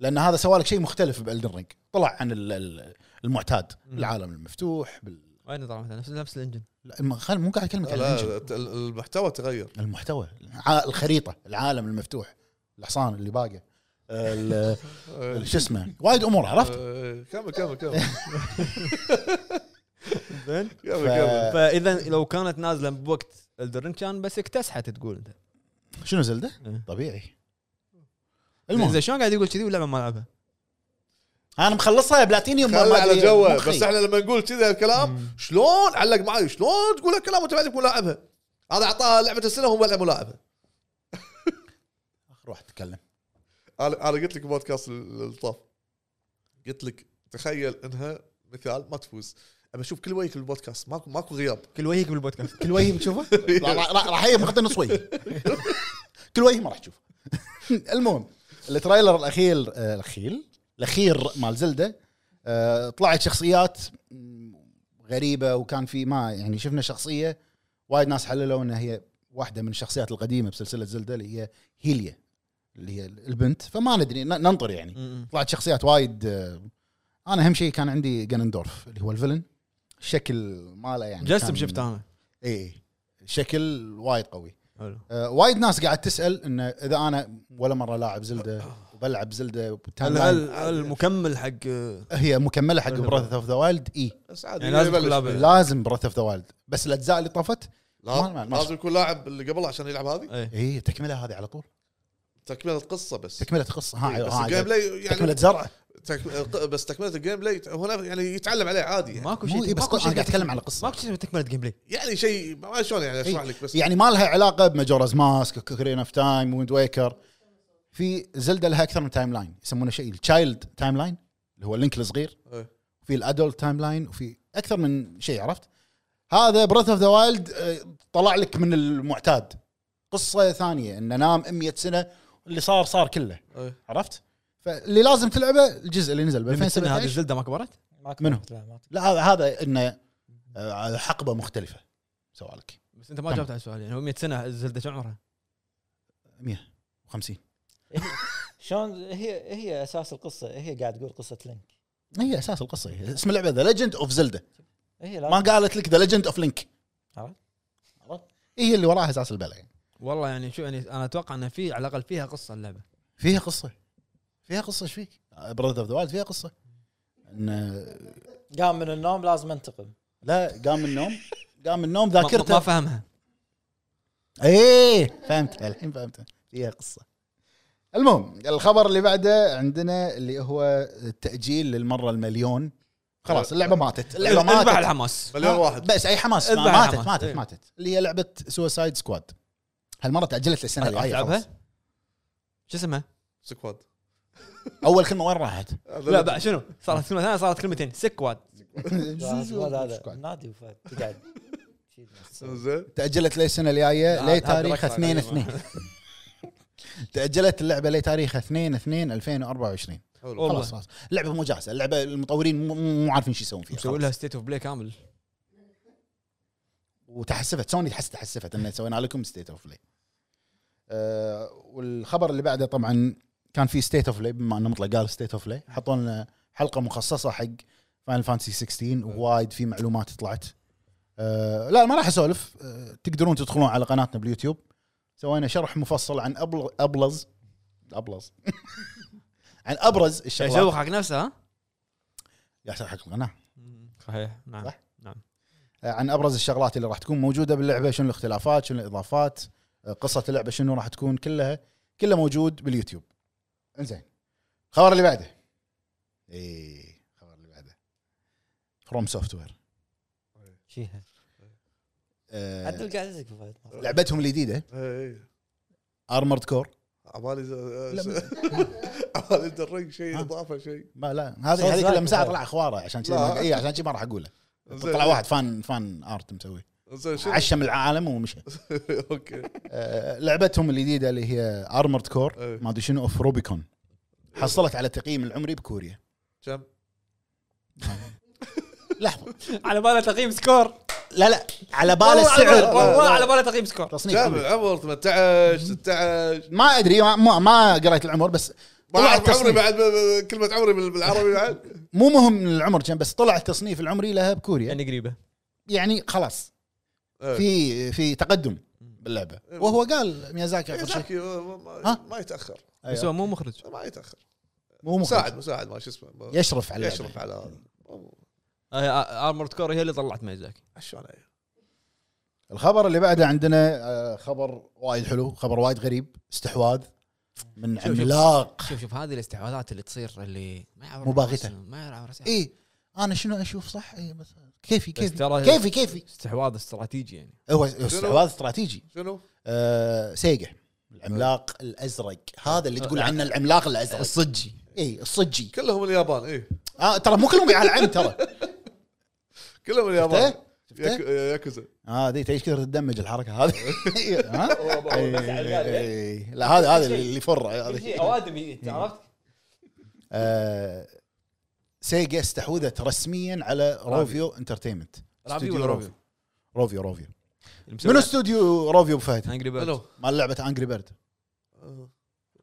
Speaker 3: لان هذا سوى لك شيء مختلف بالدن رينج طلع عن ال- ال- المعتاد
Speaker 2: مم.
Speaker 3: العالم المفتوح بال...
Speaker 2: وين طلع مثلا نفس نفس الانجن
Speaker 3: لا ما- خل مو قاعد اكلمك عن
Speaker 1: لا
Speaker 3: الانجن
Speaker 1: ت- ال- المحتوى تغير
Speaker 3: المحتوى الع- الخريطه العالم المفتوح الحصان اللي باقي ال-
Speaker 1: آه،
Speaker 3: شو اسمه وايد امور عرفت
Speaker 1: آه، كمل كمل كمل
Speaker 2: زين
Speaker 1: كمل
Speaker 3: ف-
Speaker 2: آه.
Speaker 1: كمل
Speaker 2: فاذا لو كانت نازله بوقت الدرن كان بس اكتسحت تقول انت
Speaker 3: شنو زلده
Speaker 2: إيه.
Speaker 3: طبيعي
Speaker 2: المهم
Speaker 3: المهم
Speaker 2: زين شلون قاعد يقول كذي واللعبه ما لعبها؟
Speaker 3: انا مخلصها بلاتينيوم ما-
Speaker 1: خلي
Speaker 3: ما
Speaker 1: على
Speaker 3: أدري
Speaker 1: جوه
Speaker 3: مخي.
Speaker 1: بس احنا لما نقول كذا الكلام شلون علق معي شلون تقول هالكلام وانت بعدك ملاعبها هذا اعطاها لعبه السنه وهو لعب ملاعبها
Speaker 3: روح تتكلم
Speaker 1: انا انا قلت لك بودكاست ال- الطاف قلت لك تخيل انها مثال ما تفوز ابى اشوف كل وجهك بالبودكاست ماكو ماكو غياب
Speaker 2: كل وجهك بالبودكاست
Speaker 3: كل وجه بتشوفه راح- راح راح يجي مغطي نص وجه كل وجه ما راح تشوفه المهم التريلر الاخير آه، الاخير الاخير مال زلده آه، طلعت شخصيات مم، غريبه وكان في ما يعني شفنا شخصيه وايد ناس حللوا انها هي واحده من الشخصيات القديمه بسلسله زلده اللي هي هيليا اللي هي البنت فما ندري ن- ننطر يعني طلعت شخصيات وايد آه، انا اهم شيء كان عندي جانندورف اللي هو الفيلن الشكل ماله يعني
Speaker 2: جسم
Speaker 3: كان-
Speaker 2: شفت انا
Speaker 3: اي إيه، شكل وايد قوي
Speaker 2: حلو
Speaker 3: آه وايد ناس قاعد تسال انه اذا انا ولا مره لاعب زلده وبلعب زلده بالتايم
Speaker 2: هل
Speaker 3: لاين،
Speaker 2: هل هل مكمل حق
Speaker 3: هي مكمله حق براث اوف ذا وايلد اي
Speaker 1: بس عادي
Speaker 2: يعني لازم
Speaker 1: يبلش.
Speaker 2: تكون لاعب.
Speaker 3: إيه، لازم براث اوف ذا وايلد بس الاجزاء اللي طافت ما- ما-
Speaker 1: لا،
Speaker 3: ما-
Speaker 1: لازم يكون لاعب اللي قبل عشان يلعب هذه
Speaker 2: إيه.
Speaker 3: اي تكمله إيه، هذه على طول
Speaker 1: تكمله قصه بس
Speaker 3: تكمله قصه ها,
Speaker 1: إيه، بس
Speaker 3: ها
Speaker 2: آه،
Speaker 1: الجيم بلاي
Speaker 3: تكمله
Speaker 1: يعني
Speaker 3: زرع
Speaker 1: تك- بس تكمله الجيم بلاي هنا يعني يتعلم عليه عادي يعني,
Speaker 2: ماكو
Speaker 3: مو إيه،
Speaker 2: شيء
Speaker 3: بس
Speaker 2: ماكو
Speaker 3: انا
Speaker 2: شيء
Speaker 3: قاعد اتكلم على
Speaker 2: ماكو
Speaker 3: قصه
Speaker 2: شيء اسمه تكمله جيم بلاي
Speaker 1: يعني شيء ما ما شلون يعني اشرح لك بس
Speaker 3: يعني ما لها علاقه بماجورز ماسك كوكرين اوف تايم ويند ويكر في زلده لها اكثر من تايم لاين يسمونه شيء التشايلد تايم لاين اللي هو اللينك الصغير
Speaker 1: إيه.
Speaker 3: في الادولت تايم لاين وفي اكثر من شيء عرفت هذا بريث اوف ذا وايلد آه، طلع لك من المعتاد قصه ثانيه انه نام 100 سنه اللي صار صار كله
Speaker 1: أي.
Speaker 3: عرفت فاللي لازم تلعبه الجزء اللي نزل ب
Speaker 2: هذه
Speaker 3: 2017
Speaker 2: الزلده ما كبرت؟
Speaker 4: ما كبرت،
Speaker 3: منو؟
Speaker 4: لا ما
Speaker 3: لا هذا- هذا انه آه، حقبه مختلفه سؤالك
Speaker 2: بس انت ما جاوبت على السؤال يعني هو 100 سنه الزلده شو عمرها؟
Speaker 3: 50
Speaker 4: شلون هي هي اساس القصه هي قاعد تقول قصه لينك
Speaker 3: إيه، هي اساس القصه هي. اسم اللعبه ذا ليجند اوف زلدا
Speaker 4: هي
Speaker 3: ما
Speaker 4: لازم
Speaker 3: قالت لك ذا ليجند اوف لينك
Speaker 4: عرفت.
Speaker 3: عرفت؟ إيه هي اللي وراها اساس البلا يعني
Speaker 2: والله يعني شو يعني انا اتوقع انه في على الاقل فيها قصه اللعبه
Speaker 3: فيها قصه فيها قصه ايش فيك؟ براذر اوف ذا وايلد فيها قصه انه
Speaker 4: قام من النوم لازم انتقم
Speaker 3: لا قام من النوم قام من النوم
Speaker 2: ما- ما ما
Speaker 3: ذاكرته
Speaker 2: فهمها
Speaker 3: ايه فهمتها الحين فهمتها فيها قصه المهم الخبر اللي بعده عندنا اللي هو التاجيل للمره المليون
Speaker 2: أه.
Speaker 3: خلاص اللعبه ماتت اللعبه
Speaker 2: اذبح
Speaker 3: ماتت
Speaker 2: الحماس
Speaker 1: مليون واحد
Speaker 3: بس اي حماس
Speaker 2: اذبح
Speaker 3: ما- ماتت
Speaker 2: الحماس.
Speaker 3: ماتت
Speaker 2: إيه.
Speaker 3: ماتت اللي هي لعبه سوسايد سكواد هالمره تاجلت للسنه
Speaker 2: هل
Speaker 3: الجايه
Speaker 2: تلعبها؟
Speaker 3: خلاص.
Speaker 2: شو اسمها؟
Speaker 1: سكواد
Speaker 3: اول كلمه وين راحت؟
Speaker 2: لا بقى شنو؟ صارت كلمه ثانيه صارت كلمتين سكواد
Speaker 4: هذا هذا نادي وفهد تقعد
Speaker 1: زين
Speaker 3: تاجلت للسنه الجايه
Speaker 2: هذا- هذا
Speaker 3: لتاريخ
Speaker 2: ركض
Speaker 3: 2
Speaker 2: عليهم.
Speaker 3: 2 تاجلت اللعبه لتاريخ 2 2 2024
Speaker 1: حلو
Speaker 2: والله.
Speaker 3: خلاص خلاص اللعبه مو جاهزه اللعبه المطورين مو- مو عارفين شو يسوون فيها
Speaker 2: مسوي لها
Speaker 3: خلاص.
Speaker 2: ستيت اوف بلاي كامل
Speaker 3: وتحسفت سوني تحس تحسفت ان سوينا لكم ستيت اوف بلاي آه، والخبر اللي بعده طبعا كان في ستيت اوف بلاي بما انه مطلق قال ستيت اوف بلاي حطوا لنا حلقه مخصصه حق فاينل فانتسي 16 ووايد في معلومات طلعت آه، لا ما راح اسولف آه، تقدرون تدخلون على قناتنا باليوتيوب سوينا شرح مفصل عن أبل- ابلز ابلز عن ابرز
Speaker 6: يسوق
Speaker 3: الشغلات
Speaker 6: حق نفسه ها
Speaker 3: يحسب حق القناه
Speaker 2: صحيح نعم
Speaker 3: صح؟ عن ابرز الشغلات اللي راح تكون موجوده باللعبه شنو الاختلافات شنو الاضافات قصه اللعبه شنو راح تكون كلها كله موجود باليوتيوب انزين الخبر اللي بعده اي الخبر اللي بعده فروم سوفت وير
Speaker 4: شيها عدل قاعد يزق فهد.
Speaker 3: آه، لعبتهم الجديده
Speaker 1: اي
Speaker 3: ارمرد كور
Speaker 1: عبالي
Speaker 3: لا.
Speaker 1: عبالي الدرج شيء
Speaker 3: ها.
Speaker 1: اضافه شيء
Speaker 3: ما لا
Speaker 4: صوت
Speaker 3: هذه هذيك
Speaker 4: زايد
Speaker 3: لما ساعه
Speaker 4: وفايد.
Speaker 3: طلع خواره عشان كذي
Speaker 1: لا.
Speaker 3: ما- اي عشان كذي ما راح اقوله
Speaker 1: زين.
Speaker 3: طلع واحد فان فان ارت مسوي
Speaker 1: زين شنو
Speaker 3: عشم العالم ومشى
Speaker 1: اوكي
Speaker 3: آه، لعبتهم الجديده اللي هي ارمرد كور
Speaker 1: إيه.
Speaker 3: ما ادري شنو اوف روبيكون حصلت على تقييم العمري بكوريا
Speaker 1: كم
Speaker 3: لحظه
Speaker 6: على باله تقييم سكور
Speaker 3: لا لا على بال
Speaker 6: والله
Speaker 3: السعر
Speaker 6: على- والله على باله تقييم سكور
Speaker 3: تصنيف
Speaker 1: كم
Speaker 3: عمري.
Speaker 1: العمر 18 16
Speaker 3: ما ادري ما, ما, ما قريت العمر بس
Speaker 1: ما
Speaker 3: طلع
Speaker 1: اعرف عمري
Speaker 3: التصنيف
Speaker 1: بعد كلمه عمري بال- بالعربي بعد
Speaker 3: مو مهم العمر كم بس طلع التصنيف العمري لها بكوريا
Speaker 2: يعني قريبه
Speaker 3: يعني خلاص
Speaker 1: إيه.
Speaker 3: في في تقدم باللعبه وهو قال ميازاكي آخر شيء.
Speaker 1: ميازاكي ما- ما-
Speaker 3: ها؟
Speaker 1: ما يتاخر
Speaker 2: بس
Speaker 3: أيوة.
Speaker 2: هو مو مخرج
Speaker 1: ما يتاخر
Speaker 3: مو مساعد
Speaker 1: مساعد مساعد ما شو اسمه ما-
Speaker 3: يشرف على اللعبة.
Speaker 1: يشرف على هذا
Speaker 2: ارمورد كور هي اللي طلعت ميزاكي
Speaker 1: شلون أي-
Speaker 3: الخبر اللي بعده عندنا آه، خبر وايد حلو خبر وايد غريب استحواذ من
Speaker 2: شوف.
Speaker 3: عملاق
Speaker 2: شوف شوف هذه الاستحواذات اللي تصير اللي ما يعرف
Speaker 3: مو باغتة.
Speaker 2: رأسها، ما يعرف راسها
Speaker 3: اي انا إيه، شنو اشوف صح اي بس كيفي
Speaker 2: بس
Speaker 3: كيفي
Speaker 2: ترى-
Speaker 3: كيفي كيفي
Speaker 2: استحواذ استراتيجي يعني
Speaker 3: هو استحواذ استراتيجي
Speaker 1: شنو؟
Speaker 3: آه سيجا العملاق الازرق هذا اللي تقول عنه العملاق الازرق الصجي اي الصجي
Speaker 1: كلهم اليابان إيه. اي
Speaker 3: آه ترى مو كلهم يعلعن ترى
Speaker 1: كلهم اليابان
Speaker 3: شفته؟
Speaker 1: ياك- ياكوزا
Speaker 3: اه دي ايش كثر تدمج الحركه هذه إيه، ها؟
Speaker 2: بس على إيه، البال، إيه.
Speaker 3: إي، إي. لا هذا هذا اللي يفر هذا
Speaker 6: اوادم عرفت
Speaker 3: آه، سيجا استحوذت رسميا على روفيو انترتينمنت
Speaker 2: رافيو
Speaker 3: استوديو
Speaker 2: ولا روفيو؟
Speaker 3: روفيو روفيو منو
Speaker 2: المسوي
Speaker 3: استوديو روفيو بفهد
Speaker 2: هانجري بيرد
Speaker 1: منو؟
Speaker 3: مال لعبه انجري بيرد
Speaker 1: آه.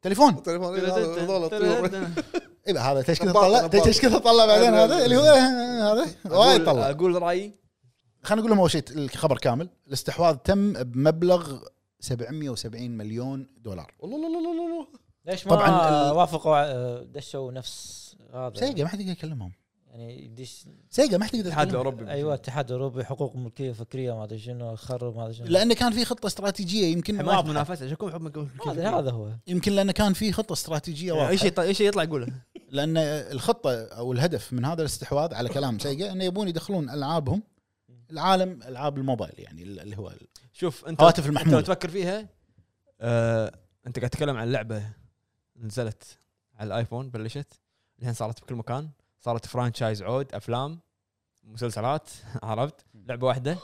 Speaker 3: تليفون
Speaker 1: التليفون إي، هذا- هذول الطيور.
Speaker 3: اي بقى هذا تيش كذا
Speaker 1: نباط-
Speaker 3: طلع
Speaker 1: نباط.
Speaker 3: تيش كذا طلع بعدين هذا اللي هو هذا وايد طلع
Speaker 2: اقول رايي
Speaker 3: خلينا نقول لهم اول شيء الخبر كامل الاستحواذ تم بمبلغ 770 مليون دولار
Speaker 1: والله والله والله والله
Speaker 4: ليش
Speaker 3: طبعاً
Speaker 4: ما
Speaker 3: ال-
Speaker 4: وافقوا آه، دشوا نفس هذا
Speaker 3: سيجا ما حد يقدر يكلمهم
Speaker 4: يعني يدش
Speaker 3: سيجا ما حد يقدر
Speaker 2: الاتحاد
Speaker 3: يكلمهم.
Speaker 2: الاوروبي
Speaker 4: ايوه اتحاد اوروبي حقوق ملكيه فكريه ما ادري شنو خرب ما ادري شنو
Speaker 3: لانه كان في خطه استراتيجيه يمكن
Speaker 2: حمايه
Speaker 3: واضحه
Speaker 2: منافسه شكون حب
Speaker 4: هذا هذا هو
Speaker 3: يمكن لانه كان في خطه استراتيجيه
Speaker 2: اي
Speaker 3: واضحه
Speaker 2: شيء اي شيء يطلع يقوله
Speaker 3: لان الخطه او الهدف من هذا الاستحواذ على كلام سيجا انه يبون يدخلون العابهم العالم العاب الموبايل يعني اللي هو
Speaker 2: شوف انت
Speaker 3: الهواتف
Speaker 2: انت لو
Speaker 3: المحموله
Speaker 2: تفكر فيها آه، انت قاعد تتكلم عن لعبه نزلت على الايفون بلشت الحين صارت بكل مكان صارت فرانشايز عود افلام مسلسلات عرفت لعبه واحده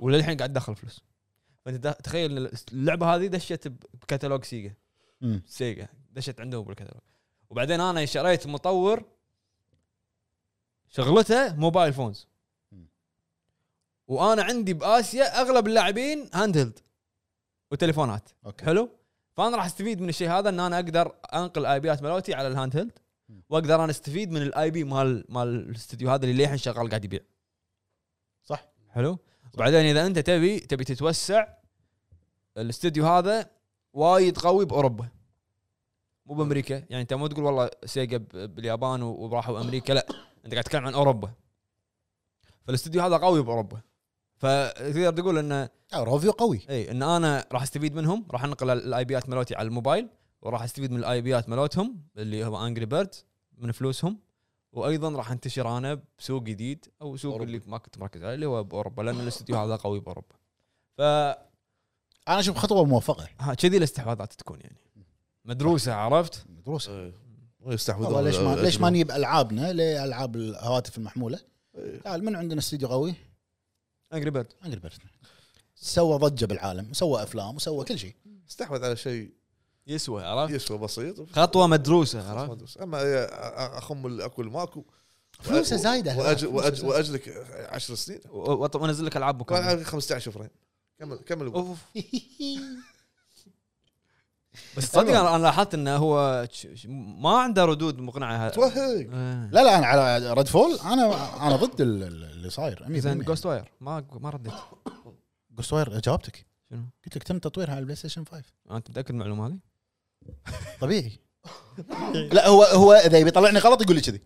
Speaker 2: وللحين قاعد تدخل فلوس فانت دا- تخيل إن اللعبه هذه دشت ب- بكتالوج سيجا
Speaker 3: مم.
Speaker 2: سيجا دشت عندهم بالكتالوج وبعدين انا شريت مطور شغلته موبايل فونز
Speaker 3: مم.
Speaker 2: وانا عندي باسيا اغلب اللاعبين هاند هيلد وتليفونات
Speaker 3: اوكي
Speaker 2: حلو فانا راح استفيد من الشيء هذا ان انا اقدر انقل ايبيات ملوتي على الهاند هيلد
Speaker 3: مم.
Speaker 2: واقدر انا استفيد من الاي بي مال مال الاستديو هذا اللي للحين شغال قاعد يبيع
Speaker 3: صح.
Speaker 2: حلو وبعدين اذا انت تبي تبي تتوسع الاستديو هذا وايد قوي باوروبا مو بامريكا يعني انت مو تقول والله سيجا ب- باليابان و- وراحوا امريكا لا انت قاعد تتكلم عن اوروبا فالاستديو هذا قوي باوروبا فتقدر تقول انه
Speaker 3: آه، روفيو قوي
Speaker 2: اي ان انا إيه، راح استفيد منهم راح انقل الاي بيات مالتي على الموبايل وراح استفيد من الاي بيات مالتهم اللي هو انجري بيرد من فلوسهم وايضا راح انتشر انا بسوق جديد او سوق
Speaker 1: أوروبا.
Speaker 2: أوروبا. اللي ما كنت مركز عليه اللي هو باوروبا لان الاستوديو هذا قوي باوروبا فكذي
Speaker 3: انا اشوف خطوه موفقه
Speaker 2: الاستحواذات تكون يعني مدروسه عرفت
Speaker 3: مدروسه
Speaker 1: ما يستحوذون
Speaker 3: والله ليش ما
Speaker 1: على-
Speaker 3: ليش ما نجيب العابنا لالعاب الهواتف المحموله تعال من عندنا استديو قوي
Speaker 2: انجري بيرد
Speaker 3: انجل بيرد سوى ضجه بالعالم وسوى افلام وسوى كل شيء
Speaker 1: استحوذ على شيء
Speaker 2: يسوى عرفت
Speaker 1: يسوى بسيط
Speaker 2: خطوه مدروسه
Speaker 1: خلاص ما
Speaker 2: عرفت
Speaker 1: أدرس. اما يا- أ- اخم الاكل ماكو
Speaker 3: فلوسه
Speaker 1: وأ-
Speaker 3: زايده
Speaker 1: وأج-
Speaker 3: فلوسه
Speaker 1: وأج-
Speaker 3: زايدة.
Speaker 1: واجلك 10 سنين
Speaker 2: و- وأط- وانزل لك العاب
Speaker 1: كان
Speaker 2: مكان
Speaker 1: عندي 15 فريم كمل كمل
Speaker 2: اوف بس صدق أنا- انا لاحظت انه هو ش- ش- ما عنده ردود مقنعه
Speaker 1: توهق
Speaker 2: آه.
Speaker 3: لا لا انا على ريد فول انا انا ضد ال- ال- اللي صاير
Speaker 2: زين جوست واير ما ما رديت
Speaker 3: جوست واير جاوبتك
Speaker 2: شنو؟
Speaker 3: قلت لك تم تطويرها على البلاي ستيشن 5
Speaker 2: انت متاكد من المعلومه هذه؟
Speaker 3: طبيعي لا هو هو اذا يبي يطلعني غلط يقول لي كذي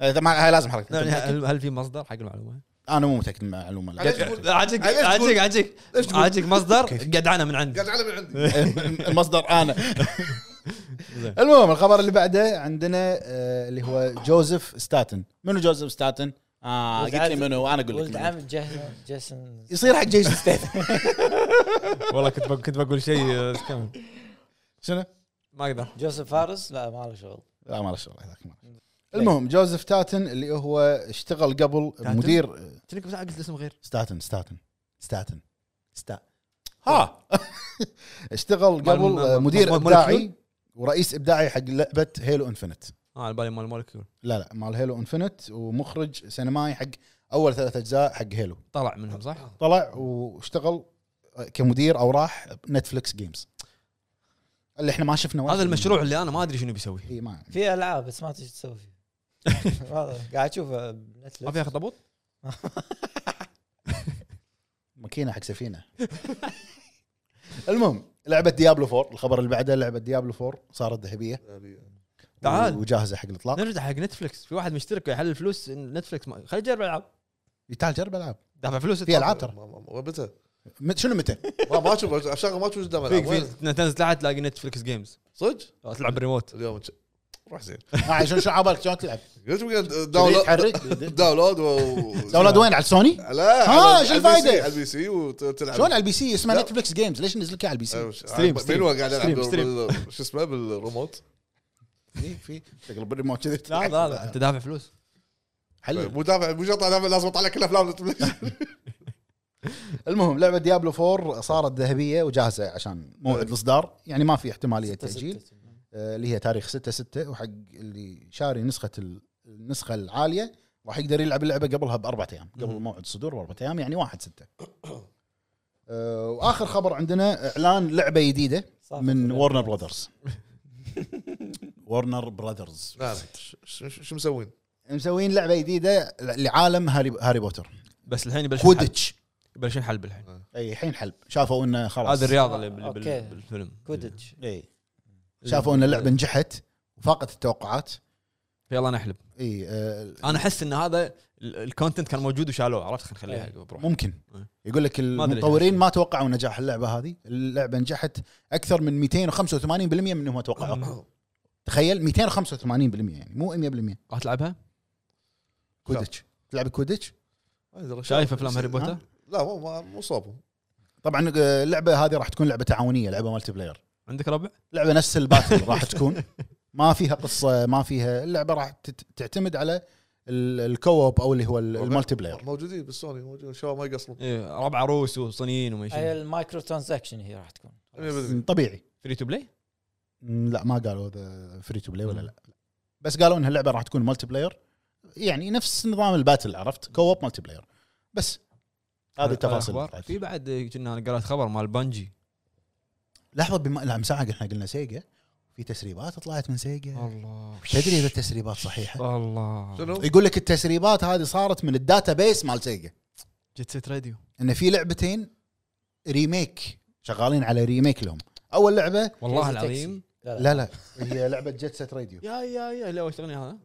Speaker 3: هذا ما- هاي لازم حركه
Speaker 2: يعني هل هل في مصدر حق المعلومه؟
Speaker 3: انا مو متاكد من المعلومه لا.
Speaker 1: عليش تقول-
Speaker 2: عاجيك
Speaker 1: عليش تقول-
Speaker 2: عاجيك عاجيك
Speaker 1: ليش تقول؟
Speaker 2: عاجيك مصدر قدعانه من عندي
Speaker 1: قاعد على من عندي
Speaker 3: المصدر انا المهم الخبر اللي بعده عندنا آه، اللي هو جوزيف ستاتن منو جوزيف ستاتن؟ اه
Speaker 4: ولد
Speaker 3: قلت لي
Speaker 4: عم-
Speaker 3: منو انا اقول لك
Speaker 4: ولد
Speaker 3: منو.
Speaker 4: عم جه- جيسون
Speaker 3: يصير حق جيش ستاتن
Speaker 2: والله كنت بق- كنت بقول شيء آه، كمل.
Speaker 3: شنو؟
Speaker 2: ما اقدر
Speaker 4: جوزيف فارس لا ما له شغل
Speaker 3: لا آه، ما له شغل هذاك ما له. المهم جوزيف تاتن اللي هو اشتغل قبل
Speaker 2: تاتن؟
Speaker 3: مدير آه،
Speaker 2: تلك بس قلت اسم غير
Speaker 3: ستاتن ستاتن ستاتن ستا ها اشتغل
Speaker 2: مال- مال-
Speaker 3: قبل آه،
Speaker 2: مال-
Speaker 3: مدير
Speaker 2: مال-
Speaker 3: ابداعي
Speaker 2: مولكيول؟
Speaker 3: ورئيس ابداعي حق لعبه هيلو انفنت
Speaker 2: اه على بالي مال مولكيول
Speaker 3: لا لا مال هيلو انفنت ومخرج سينمائي حق اول ثلاث اجزاء حق هيلو
Speaker 2: طلع منهم صح؟
Speaker 3: طلع واشتغل آه، كمدير او راح نتفلكس جيمز اللي احنا ما شفنا واحد
Speaker 2: هذا
Speaker 3: منه.
Speaker 2: المشروع اللي انا ما ادري شنو بيسوي
Speaker 3: اي ما أعرف.
Speaker 4: في العاب بس ما تدري شو تسوي فيها هذا قاعد اشوفه
Speaker 2: ما فيها
Speaker 4: بنتفلكس
Speaker 2: خطبوط؟
Speaker 3: ماكينه حق سفينه المهم لعبه ديابلو 4 الخبر اللي بعده لعبه ديابلو 4 صارت ذهبيه
Speaker 2: تعال.
Speaker 3: وجاهزه حق الاطلاق
Speaker 2: نرجع حق نتفلكس في واحد مشترك يحلل فلوس نتفلكس ما... خلينا نجرب العاب
Speaker 3: تعال جرب العاب
Speaker 2: دافع فلوس
Speaker 3: في العاب ترى
Speaker 1: متى؟
Speaker 3: مت- شنو متى؟
Speaker 1: ما ما اشوف اشغل ما اشوف قدام
Speaker 2: فيك
Speaker 1: العب وين؟
Speaker 2: فيك تنزل تحت تلاقي نتفلكس جيمز
Speaker 1: صدق؟
Speaker 2: تلعب ريموت
Speaker 1: اليوم ش- روح زين
Speaker 3: آه، شنو شنو عبالك شلون تلعب؟
Speaker 1: قلت بقى
Speaker 3: داونلود
Speaker 1: داونلود
Speaker 3: تحرك
Speaker 1: داونلود و
Speaker 3: داونلود وين على سوني؟
Speaker 1: لا
Speaker 3: ها،
Speaker 1: على-
Speaker 3: شو
Speaker 1: على
Speaker 3: الفايدة؟
Speaker 1: البي سي- على البي سي وتلعب آه،
Speaker 3: شلون على البي سي اسمه
Speaker 1: لا.
Speaker 3: نتفلكس جيمز ليش نزل لك إياه على البي
Speaker 2: ستريم،
Speaker 3: سي؟
Speaker 1: ستريم
Speaker 2: ستريم،
Speaker 1: ستريم قاعد العب
Speaker 2: ستريم،
Speaker 1: بال-
Speaker 2: ستريم.
Speaker 1: بال- شو اسمه بالريموت
Speaker 3: في في تقلب الريموت كذي
Speaker 2: لا لا لا انت دافع فلوس
Speaker 3: حلو
Speaker 1: مو دافع مو شرط دافع لازم اطلع لك الافلام
Speaker 3: المهم لعبه ديابلو 4 صارت ذهبيه وجاهزه عشان موعد الاصدار يعني ما في احتماليه تاجيل آه، اللي هي تاريخ 6 6 وحق اللي شاري نسخه ال- النسخه العاليه راح يقدر يلعب اللعبه قبلها باربع ايام قبل
Speaker 2: مم.
Speaker 3: موعد الصدور باربع ايام يعني 1 6 آه، واخر خبر عندنا اعلان لعبه جديده من ورنر براذرز ورنر براذرز
Speaker 1: نعم ش- ش- شو مسوين؟
Speaker 3: مسوين لعبه جديده لعالم هاري, هاري بوتر
Speaker 2: بس الحين يبلشون حلب
Speaker 3: كودتش
Speaker 2: يبلشون حلب الحين
Speaker 3: اي الحين حلب شافوا انه خلاص
Speaker 2: هذه الرياضه اللي بال...
Speaker 4: أوكي.
Speaker 2: بال... بالفيلم
Speaker 4: كودج
Speaker 3: اي شافوا ان اللعبه نجحت وفاقت التوقعات
Speaker 2: يلا نحلب
Speaker 3: اي آه،
Speaker 2: انا احس ان هذا ال- الكونتنت كان موجود وشالوه عرفت خلينا نخليها
Speaker 4: إيه.
Speaker 2: حق بروح
Speaker 3: ممكن
Speaker 2: إيه.
Speaker 3: يقول لك
Speaker 2: ما أدري
Speaker 3: المطورين
Speaker 2: شو.
Speaker 3: ما توقعوا نجاح اللعبه هذه اللعبه نجحت اكثر من 285% من هم
Speaker 2: آه.
Speaker 3: توقعوا
Speaker 2: أه.
Speaker 3: تخيل 285% يعني مو 100%
Speaker 2: راح تلعبها؟
Speaker 3: كودتش تلعب كودتش
Speaker 1: ما أدري.
Speaker 2: شايف افلام هاري بوتر؟
Speaker 1: لا مو ما- مو صابهم
Speaker 3: طبعا آه، اللعبه هذه راح تكون لعبه تعاونيه لعبه مالتي بلاير
Speaker 2: عندك ربع؟
Speaker 3: لعبه نفس الباتل راح تكون ما فيها قصه ما فيها اللعبه راح تت- تعتمد على ال- الكووب او اللي هو ال- المالتي بلاير
Speaker 1: موجودين بالسوني موجودين شباب ما يقصرون
Speaker 2: إيه، ربع روس وصينيين وما
Speaker 4: هي
Speaker 2: شيء
Speaker 4: المايكرو ترانزاكشن هي راح تكون
Speaker 1: 100%.
Speaker 3: طبيعي
Speaker 2: فري تو بلاي؟
Speaker 3: م، لا ما قالوا اذا فري تو بلاي ولا لا بس قالوا ان اللعبه راح تكون مالتي بلاير يعني نفس نظام الباتل عرفت كووب مالتي بلاير بس هذه التفاصيل
Speaker 2: الأخبار. في بعد آه، كنا انا قرأت خبر مال بانجي
Speaker 3: لحظه بما لا من ساعه احنا قلنا سيجا في تسريبات طلعت من
Speaker 2: آه.
Speaker 3: سيجا
Speaker 2: الله
Speaker 3: تدري اذا التسريبات
Speaker 2: آه.
Speaker 3: صحيحه
Speaker 2: الله
Speaker 1: شنو؟
Speaker 3: يقول لك التسريبات هذه صارت من الداتا بيس مال سيجا
Speaker 2: جيت سيت راديو
Speaker 3: ان في لعبتين ريميك شغالين على ريميك لهم اول لعبه
Speaker 2: والله
Speaker 4: كريزي
Speaker 2: العظيم
Speaker 3: لا لا هي لعبه جيت سيت راديو
Speaker 2: يا يا يا لا وش الاغنيه هذا؟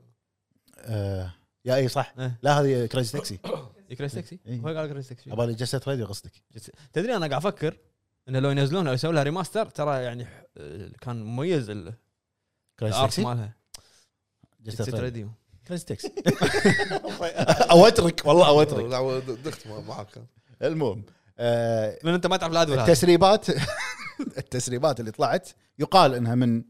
Speaker 3: آه يا اي صح
Speaker 2: إيه.
Speaker 3: لا هذه كريزي تاكسي
Speaker 2: كريس تاكسي؟
Speaker 3: إيه.
Speaker 2: هو قال كريس تاكسي
Speaker 3: ابالي جيت سيت راديو قصدك
Speaker 2: تدري انا قاعد افكر انه لو ينزلونها او يسوون لها ريماستر ترى يعني ح- آه، كان مميز ال-
Speaker 3: كريزي
Speaker 2: الارت
Speaker 3: تاكسي
Speaker 2: مالها جيت سيت راديو
Speaker 3: كريزي تاكسي اوترك والله اوترك
Speaker 1: آه، لا دخت مع- معك
Speaker 3: المهم آه
Speaker 2: لان انت ما تعرف لا هذا ولا هذا.
Speaker 3: التسريبات التسريبات اللي طلعت يقال انها من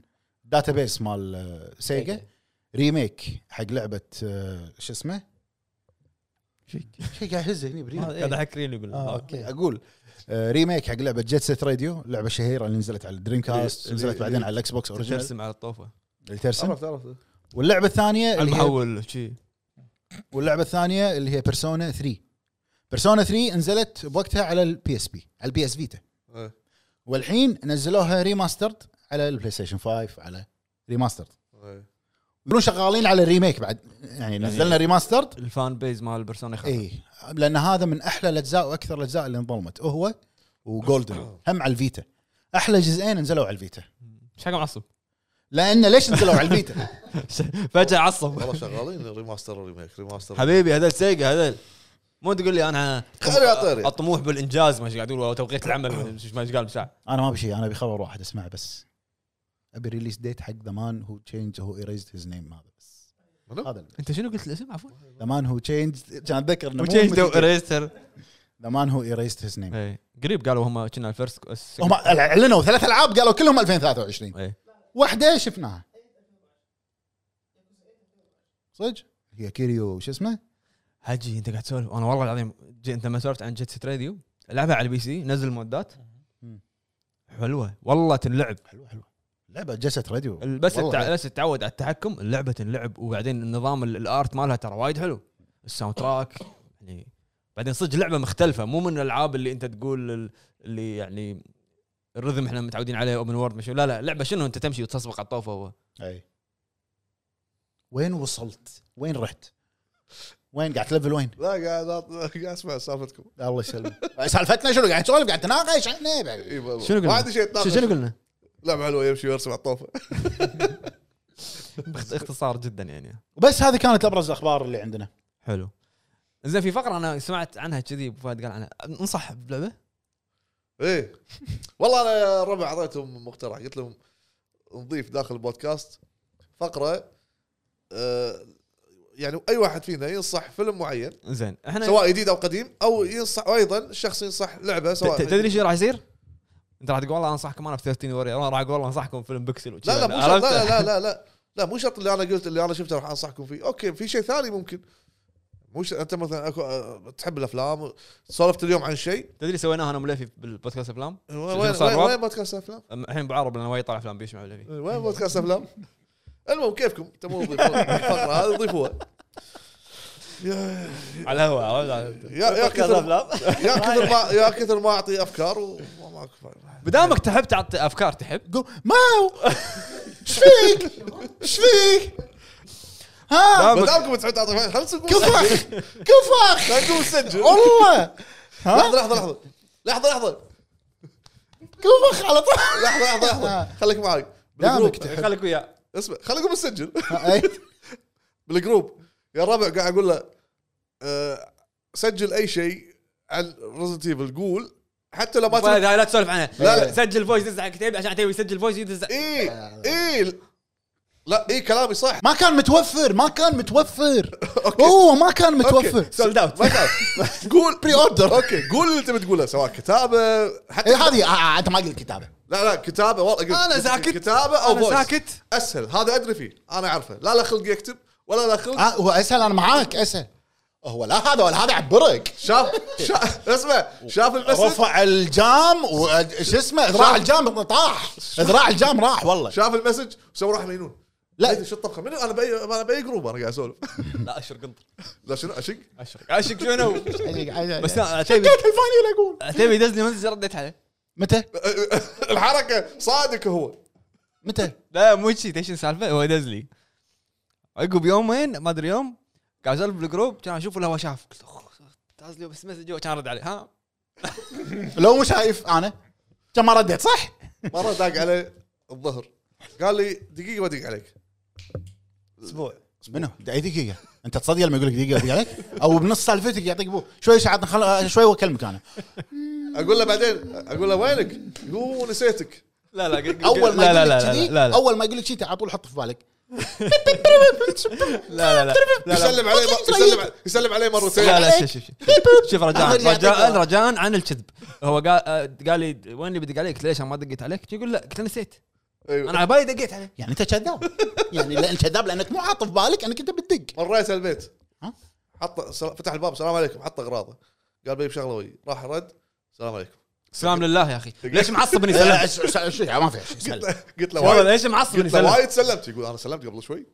Speaker 3: داتابيس مال آه، سيجا
Speaker 2: إيه.
Speaker 3: ريميك حق لعبه آه، شو اسمه؟ شيء قاعد يهزه هني بريميك
Speaker 2: قاعد احكريني
Speaker 4: آه،
Speaker 2: بال
Speaker 4: اوكي
Speaker 3: اقول آه، ريميك حق لعبه جيت سيت راديو لعبه شهيره اللي نزلت على الدريم كاست
Speaker 2: اللي-
Speaker 3: نزلت
Speaker 2: اللي-
Speaker 3: بعدين على الاكس بوكس اوريجنال
Speaker 2: ترسم على الطوفه
Speaker 3: اللي ترسم
Speaker 1: عرفت عرفت
Speaker 3: واللعبه الثانيه اللي هي
Speaker 2: المحول شي
Speaker 3: واللعبه الثانيه اللي هي بيرسونا 3 بيرسونا 3 نزلت بوقتها على البي اس بي على البي اس فيتا
Speaker 1: إيه.
Speaker 3: والحين نزلوها ريماسترد على البلاي ستيشن 5 على ريماسترد
Speaker 1: إيه.
Speaker 3: يقولون شغالين على الريميك بعد يعني نزلنا ريماسترد
Speaker 2: الفان بيز مال بيرسونا خمسة.
Speaker 3: اي لان هذا من احلى الاجزاء واكثر الاجزاء اللي انظلمت هو وجولدن هم على الفيتا احلى جزئين نزلوا على الفيتا
Speaker 2: ايش حق معصب
Speaker 3: لان ليش نزلوا على البيتا؟
Speaker 2: فجاه عصب
Speaker 1: والله شغالين ريماستر وريميك ريماستر
Speaker 2: حبيبي هذول سيجا هذول مو تقول لي انا
Speaker 1: خلي أطير.
Speaker 2: الطموح بالانجاز ما ايش قاعد يقول توقيت العمل ما ايش ما ايش قال بساعه
Speaker 3: انا ما بشي انا بخبر واحد اسمعه بس ابي ريليس ديت حق ذا مان هو تشينج هو ايريزد هيز نيم هذا بس
Speaker 1: منو؟
Speaker 3: هذا
Speaker 2: انت شنو قلت الاسم عفوا؟
Speaker 3: ذا مان هو تشينج كان اتذكر انه
Speaker 2: ريستر
Speaker 3: ذا مان هو ايريزد هيز نيم
Speaker 2: إيه. قريب قالوا هم كنا الفيرست
Speaker 3: هم اعلنوا ثلاث العاب قالوا كلهم 2023
Speaker 2: إيه.
Speaker 3: واحده شفناها صدق هي كيريو شو اسمه؟
Speaker 2: هجي انت قاعد تسولف انا والله العظيم جي انت لما سولفت عن جيت ست راديو العبها على البي سي نزل مودات
Speaker 3: مم.
Speaker 2: حلوه والله تنلعب
Speaker 3: حلوه حلوه لعبه جلسه راديو
Speaker 2: بس
Speaker 3: والله.
Speaker 1: يعني.
Speaker 2: التع... بس تعود على التحكم اللعبه تنلعب وبعدين النظام ال- الارت مالها ترى وايد حلو الساوند تراك يعني بعدين صدق لعبه مختلفه مو من الالعاب اللي انت تقول ال- اللي يعني الرذم احنا متعودين عليه اوبن وورد مش لا لا لعبه شنو انت تمشي وتسبق على الطوفه و...
Speaker 3: اي وين وصلت؟ وين رحت؟ وين قاعد تلفل وين؟
Speaker 1: لا قاعد أط- قاعد اسمع سالفتكم
Speaker 3: الله يسلمك سالفتنا شنو قاعد تسولف قاعد تناقش عنه بعد.
Speaker 1: إي إيه، والله.
Speaker 2: شنو
Speaker 1: ما
Speaker 2: قلنا؟
Speaker 1: عندي شيء
Speaker 2: شو-
Speaker 1: يتناقش
Speaker 2: شنو قلنا؟
Speaker 1: لعبه حلوه يمشي ويرسم على الطوفه
Speaker 2: باخت- اختصار جدا يعني
Speaker 3: وبس هذه كانت ابرز الاخبار اللي عندنا
Speaker 2: حلو زين في فقره انا سمعت عنها كذي ابو فهد قال عنها انصح بلعبه
Speaker 1: ايه والله انا الربع اعطيتهم مقترح قلت لهم نضيف داخل البودكاست فقره آه، يعني اي واحد فينا ينصح فيلم معين
Speaker 2: زين احنا
Speaker 1: سواء جديد او قديم او ينصح وايضا الشخص ينصح لعبه
Speaker 2: ت-
Speaker 1: سواء إيه.
Speaker 2: ت- تدري شو راح يصير؟ انت راح تقول والله انصحكم انا في 13 ورير انا راح اقول والله انصحكم فيلم بيكسل وشي.
Speaker 1: لا لا مو شرط
Speaker 2: عرفت؟
Speaker 1: لا لا لا لا لا مو شرط اللي انا قلت اللي انا شفته راح انصحكم فيه اوكي في شيء ثاني ممكن مو شرط- انت مثلا أكو آه، تحب الافلام سولفت اليوم عن شيء
Speaker 2: تدري سويناها انا مليفي بالبودكاست افلام
Speaker 1: وين
Speaker 2: صار
Speaker 1: وين
Speaker 2: رعب؟
Speaker 1: وين بودكاست افلام؟
Speaker 2: أم- الحين ابو عرب لانه وايد طالع افلام بيشمع مليفي
Speaker 1: وين بودكاست افلام؟ المهم كيفكم تبون تضيفون الفقره هذه ضيفوها يا
Speaker 2: على الهواء عرفت؟
Speaker 1: يا يا كثر يا كثر ما يا كثر ما اعطي افكار وما ماكو فايدة.
Speaker 2: بدامك تحب تعطي افكار تحب
Speaker 3: قو- ماو ايش فيك؟ ايش فيك؟ ها
Speaker 2: بدامك-
Speaker 1: بدامكم تحب تعطي فايدة، خلص نقول سجل.
Speaker 3: كفخ كفخ
Speaker 1: لا نقول سجل
Speaker 3: والله
Speaker 1: لحظه لحظه لحظه لحظه لحظه
Speaker 3: كفخ على طول
Speaker 1: لحظه لحظه لحظه خليك معي بالجروب
Speaker 3: دامك تحب
Speaker 2: خليك وياه
Speaker 1: اسمع خليكم نسجل
Speaker 3: أي.
Speaker 1: بالجروب يا الربع قاعد اقول له آه، سجل اي شيء عن ريزنت ايفل قول حتى لو ما
Speaker 2: فهد،
Speaker 1: تبي
Speaker 2: هاي لا تسولف عنها
Speaker 1: لا، لا.
Speaker 2: سجل فويس دز على كتاب عشان تبي يسجل فويس يدز
Speaker 1: اي اي إيه، لا اي كلامي صح
Speaker 3: ما كان متوفر ما كان متوفر
Speaker 1: أوكي.
Speaker 3: هو ما كان
Speaker 1: أوكي.
Speaker 3: متوفر
Speaker 2: سولد اوت
Speaker 1: ما تعرف. قول بري اوردر اوكي قول اللي تبي تقوله سواء كتابه حتى
Speaker 3: إيه، هذه آه، آه، انت ما قلت كتابه
Speaker 1: لا لا كتابه والله
Speaker 2: أنا ساكت.
Speaker 1: كتابه او
Speaker 2: أنا
Speaker 1: voice.
Speaker 2: ساكت.
Speaker 1: اسهل هذا ادري فيه انا اعرفه لا لا خلق يكتب ولا لا خلق
Speaker 3: آه، هو اسهل انا معاك اسهل هو لا هذا ولا هذا عبرك
Speaker 1: شاف شاف اسمع شاف المسج
Speaker 3: رفع الجام وش اسمه ذراع الجام طاح ذراع الجام راح والله
Speaker 1: شاف المسج وسوى روح مجنون
Speaker 3: لا.
Speaker 1: لا شو الطبخه منو انا باي انا باي جروب انا قاعد اسولف
Speaker 2: لا اشر قنطر
Speaker 1: لا شنو اشق
Speaker 2: اشر اشك شنو بس
Speaker 3: بس
Speaker 2: لا، عتيبي
Speaker 3: الفانيل اقول
Speaker 2: عتيبي دزني مسج رديت عليه
Speaker 3: متى
Speaker 1: الحركه صادق هو
Speaker 3: متى
Speaker 2: لا مو شي تدري شنو السالفه هو دز لي عقب يومين ما ادري يوم قاعد اسولف بالجروب كان اشوف ولا هو شاف قلت له أخ، داز لي بس مسج كان رد عليه ها
Speaker 3: لو مو شايف انا كم ما رديت صح
Speaker 1: مره داق علي الظهر قال لي دقيقه بدق عليك
Speaker 4: اسبوع
Speaker 3: منو اي دقيقه انت تصدق لما يقول لك دقيقه دقيقه عليك او بنص سالفتك يعطيك بو شوي ساعات خل... شوي واكلمك انا
Speaker 1: اقول له بعدين اقول له وينك؟ يقول نسيتك
Speaker 2: لا لا قل- قل-
Speaker 3: اول ما
Speaker 2: لا لا
Speaker 3: يقول لك
Speaker 2: لا
Speaker 3: كذي،
Speaker 2: لا لا
Speaker 3: اول ما يقول لك شيء على طول حطه في بالك
Speaker 2: لا لا لا لا لا
Speaker 1: يسلم علي
Speaker 3: مو صحيح.
Speaker 1: يسلم يسلم علي
Speaker 2: لا
Speaker 1: مرتين
Speaker 2: لا شوف شوف شوف. شوف
Speaker 3: أخر
Speaker 2: رجاء
Speaker 3: يعطيك
Speaker 2: رجاء
Speaker 3: الله.
Speaker 2: رجاء عن الكذب هو قال آه، قال لي وين اللي بدق عليك ليش أنا ما دقيت عليك يقول لا قلت له نسيت
Speaker 1: أيوه.
Speaker 2: انا على بالي دقيت عليه
Speaker 3: يعني انت كذاب يعني لا، انت كذاب لانك مو حاط في بالك انك انت بتدق
Speaker 1: مريت البيت
Speaker 3: ها؟
Speaker 1: حط سل- فتح الباب السلام عليكم حط اغراضه قال بيجيب شغله وي راح رد السلام عليكم
Speaker 2: سلام لله يا اخي ليش معصبني سلام
Speaker 3: س- س- شو- ما في شيء سهل.
Speaker 1: قلت له
Speaker 2: والله
Speaker 1: وايد
Speaker 2: ليش معصبني
Speaker 1: قلت له
Speaker 2: سلام
Speaker 1: وايد سلمت يقول انا سلمت قبل شوي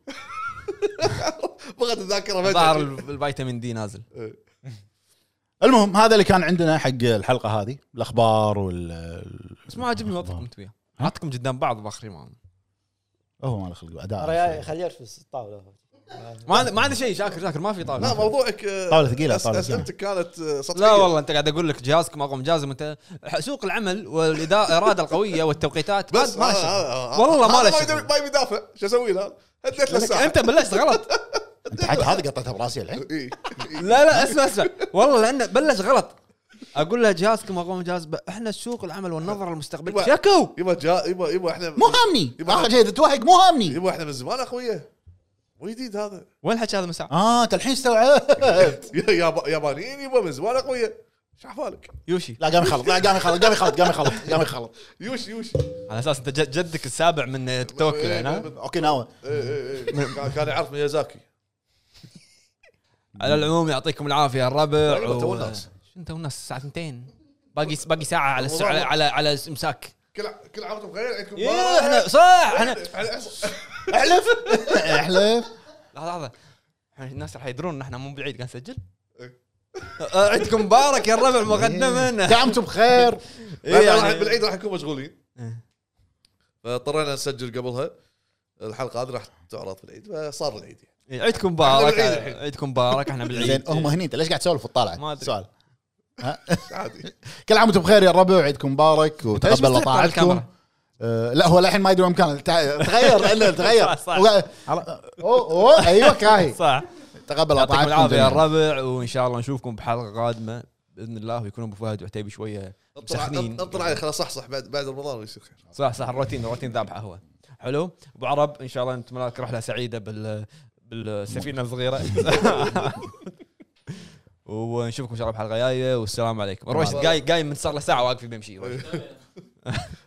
Speaker 1: بغت إيه. الذاكره
Speaker 2: ظهر
Speaker 1: فجاه
Speaker 2: ال- الفيتامين دي نازل
Speaker 3: المهم هذا اللي كان عندنا حق الحلقه هذه الاخبار وال
Speaker 2: بس ما عجبني وضعكم انتم وياه عطكم قدام بعض باخرين معهم
Speaker 3: هو ما له خلق اداء
Speaker 4: خليه يرفس الطاوله
Speaker 2: ما عندي ما عندي شيء شاكر شاكر ما في
Speaker 1: لا
Speaker 2: طاوله
Speaker 1: موضوعك آه،
Speaker 3: طاوله ثقيله
Speaker 1: أس-
Speaker 3: طاوله ثقيله
Speaker 1: اسئلتك كانت آه، سطحيه
Speaker 2: لا والله انت قاعد اقول لك جهازك ما قام جهازك انت سوق العمل والاراده القويه والتوقيتات
Speaker 1: بس
Speaker 2: ما- ما
Speaker 1: آه،
Speaker 2: له شغل.
Speaker 1: آه، آه.
Speaker 2: والله ما
Speaker 1: هذا
Speaker 2: له
Speaker 1: يدري-
Speaker 2: شغل.
Speaker 1: ما يبي يدافع شو اسوي له؟ هديت له
Speaker 2: لك
Speaker 1: الساعه
Speaker 2: انت بلشت غلط
Speaker 3: انت حتى هذه قطعتها براسي الحين
Speaker 1: إي. إيه.
Speaker 2: لا لا اسمع اسمع والله لانه بلش غلط اقول له جهازك ما قام جهاز ب- احنا سوق العمل والنظره المستقبليه
Speaker 1: يبا-
Speaker 2: شكوا
Speaker 1: يبا جا يبا يبا احنا
Speaker 3: مو هامني اخر شيء تتوهق مو هامني
Speaker 1: يبا احنا من زمان اخويا مو جديد هذا
Speaker 2: وين الحكي هذا من ساعه
Speaker 3: اه انت الحين استوعبت
Speaker 1: يا- يابا- يابانيين يبا من زمان اخويا شو حفالك؟
Speaker 2: يوشي
Speaker 3: لا قام يخلط لا قام يخلط قام يخلط قام يخلط قام يخلط
Speaker 1: يوش يوش
Speaker 2: على اساس انت جد- جدك السابع من توكل يعني ها؟
Speaker 3: اوكيناوا
Speaker 1: إيه، إيه،
Speaker 2: نعم.
Speaker 1: إيه. كان- كان يعرف ميازاكي
Speaker 2: على العموم يعطيكم العافيه الربع
Speaker 1: والله تو
Speaker 2: و-
Speaker 1: الناس.
Speaker 2: شو انت والناس الساعه 2 باقي باقي ساعه على السع...
Speaker 1: والله.
Speaker 2: على على, على الامساك
Speaker 1: كل ع- كل عام وانتم بخير عندكم
Speaker 2: إيه، احنا صح احنا
Speaker 3: احلف احلف
Speaker 2: لحظه لحظه احنا الناس راح يدرون ان احنا مو بعيد قاعد نسجل
Speaker 1: إيه.
Speaker 2: آه، عيدكم مبارك يا الربع مقدما
Speaker 3: دعمتم بخير
Speaker 2: إيه،
Speaker 1: إحنا راح-
Speaker 2: يعني-
Speaker 1: بالعيد راح نكون مشغولين
Speaker 2: إيه.
Speaker 1: فاضطرينا نسجل قبلها الحلقه هذه راح تعرض في العيد فصار العيد يعني.
Speaker 2: إيه، عيدكم
Speaker 1: إحنا
Speaker 2: مبارك
Speaker 1: بالعيد الحين.
Speaker 2: عيدكم مبارك احنا بالعيد
Speaker 3: زين هم هني انت ليش قاعد تسولف
Speaker 2: ما
Speaker 3: وتطالع
Speaker 2: أدري.
Speaker 3: سؤال
Speaker 1: عادي
Speaker 3: كل عام وانتم بخير يا الربع عيدكم مبارك
Speaker 2: ليش
Speaker 3: وتقبل
Speaker 2: مستحق على
Speaker 3: لطاعتكم
Speaker 2: الكاميرا؟
Speaker 3: آه، لا هو الحين ما يدري وين مكان تع- تغير لانه تغير
Speaker 2: صح، صح.
Speaker 3: وقاعد- أوه، أوه، ايوه كاهي
Speaker 2: صح
Speaker 3: تقبل
Speaker 2: يعطيكم
Speaker 3: طاعتكم
Speaker 2: العافيه يا
Speaker 3: جميعاً.
Speaker 2: الربع وان شاء الله نشوفكم بحلقه قادمه باذن الله ويكون ابو فهد وعتيبي شويه
Speaker 1: انطر
Speaker 2: مسخنين
Speaker 1: انطر علي خلاص صحصح بعد بعد رمضان ويصير خير
Speaker 2: صح صح الروتين الروتين ذابحه هو حلو ابو عرب ان شاء الله نتمنى لك رحله سعيده بال بالسفينه الصغيره ونشوفكم ان شاء الله بحلقه جايه والسلام عليكم روش قايم قايم من صار له ساعه واقف بيمشي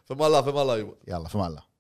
Speaker 1: فما الله فما الله يبا
Speaker 3: يلا في امان الله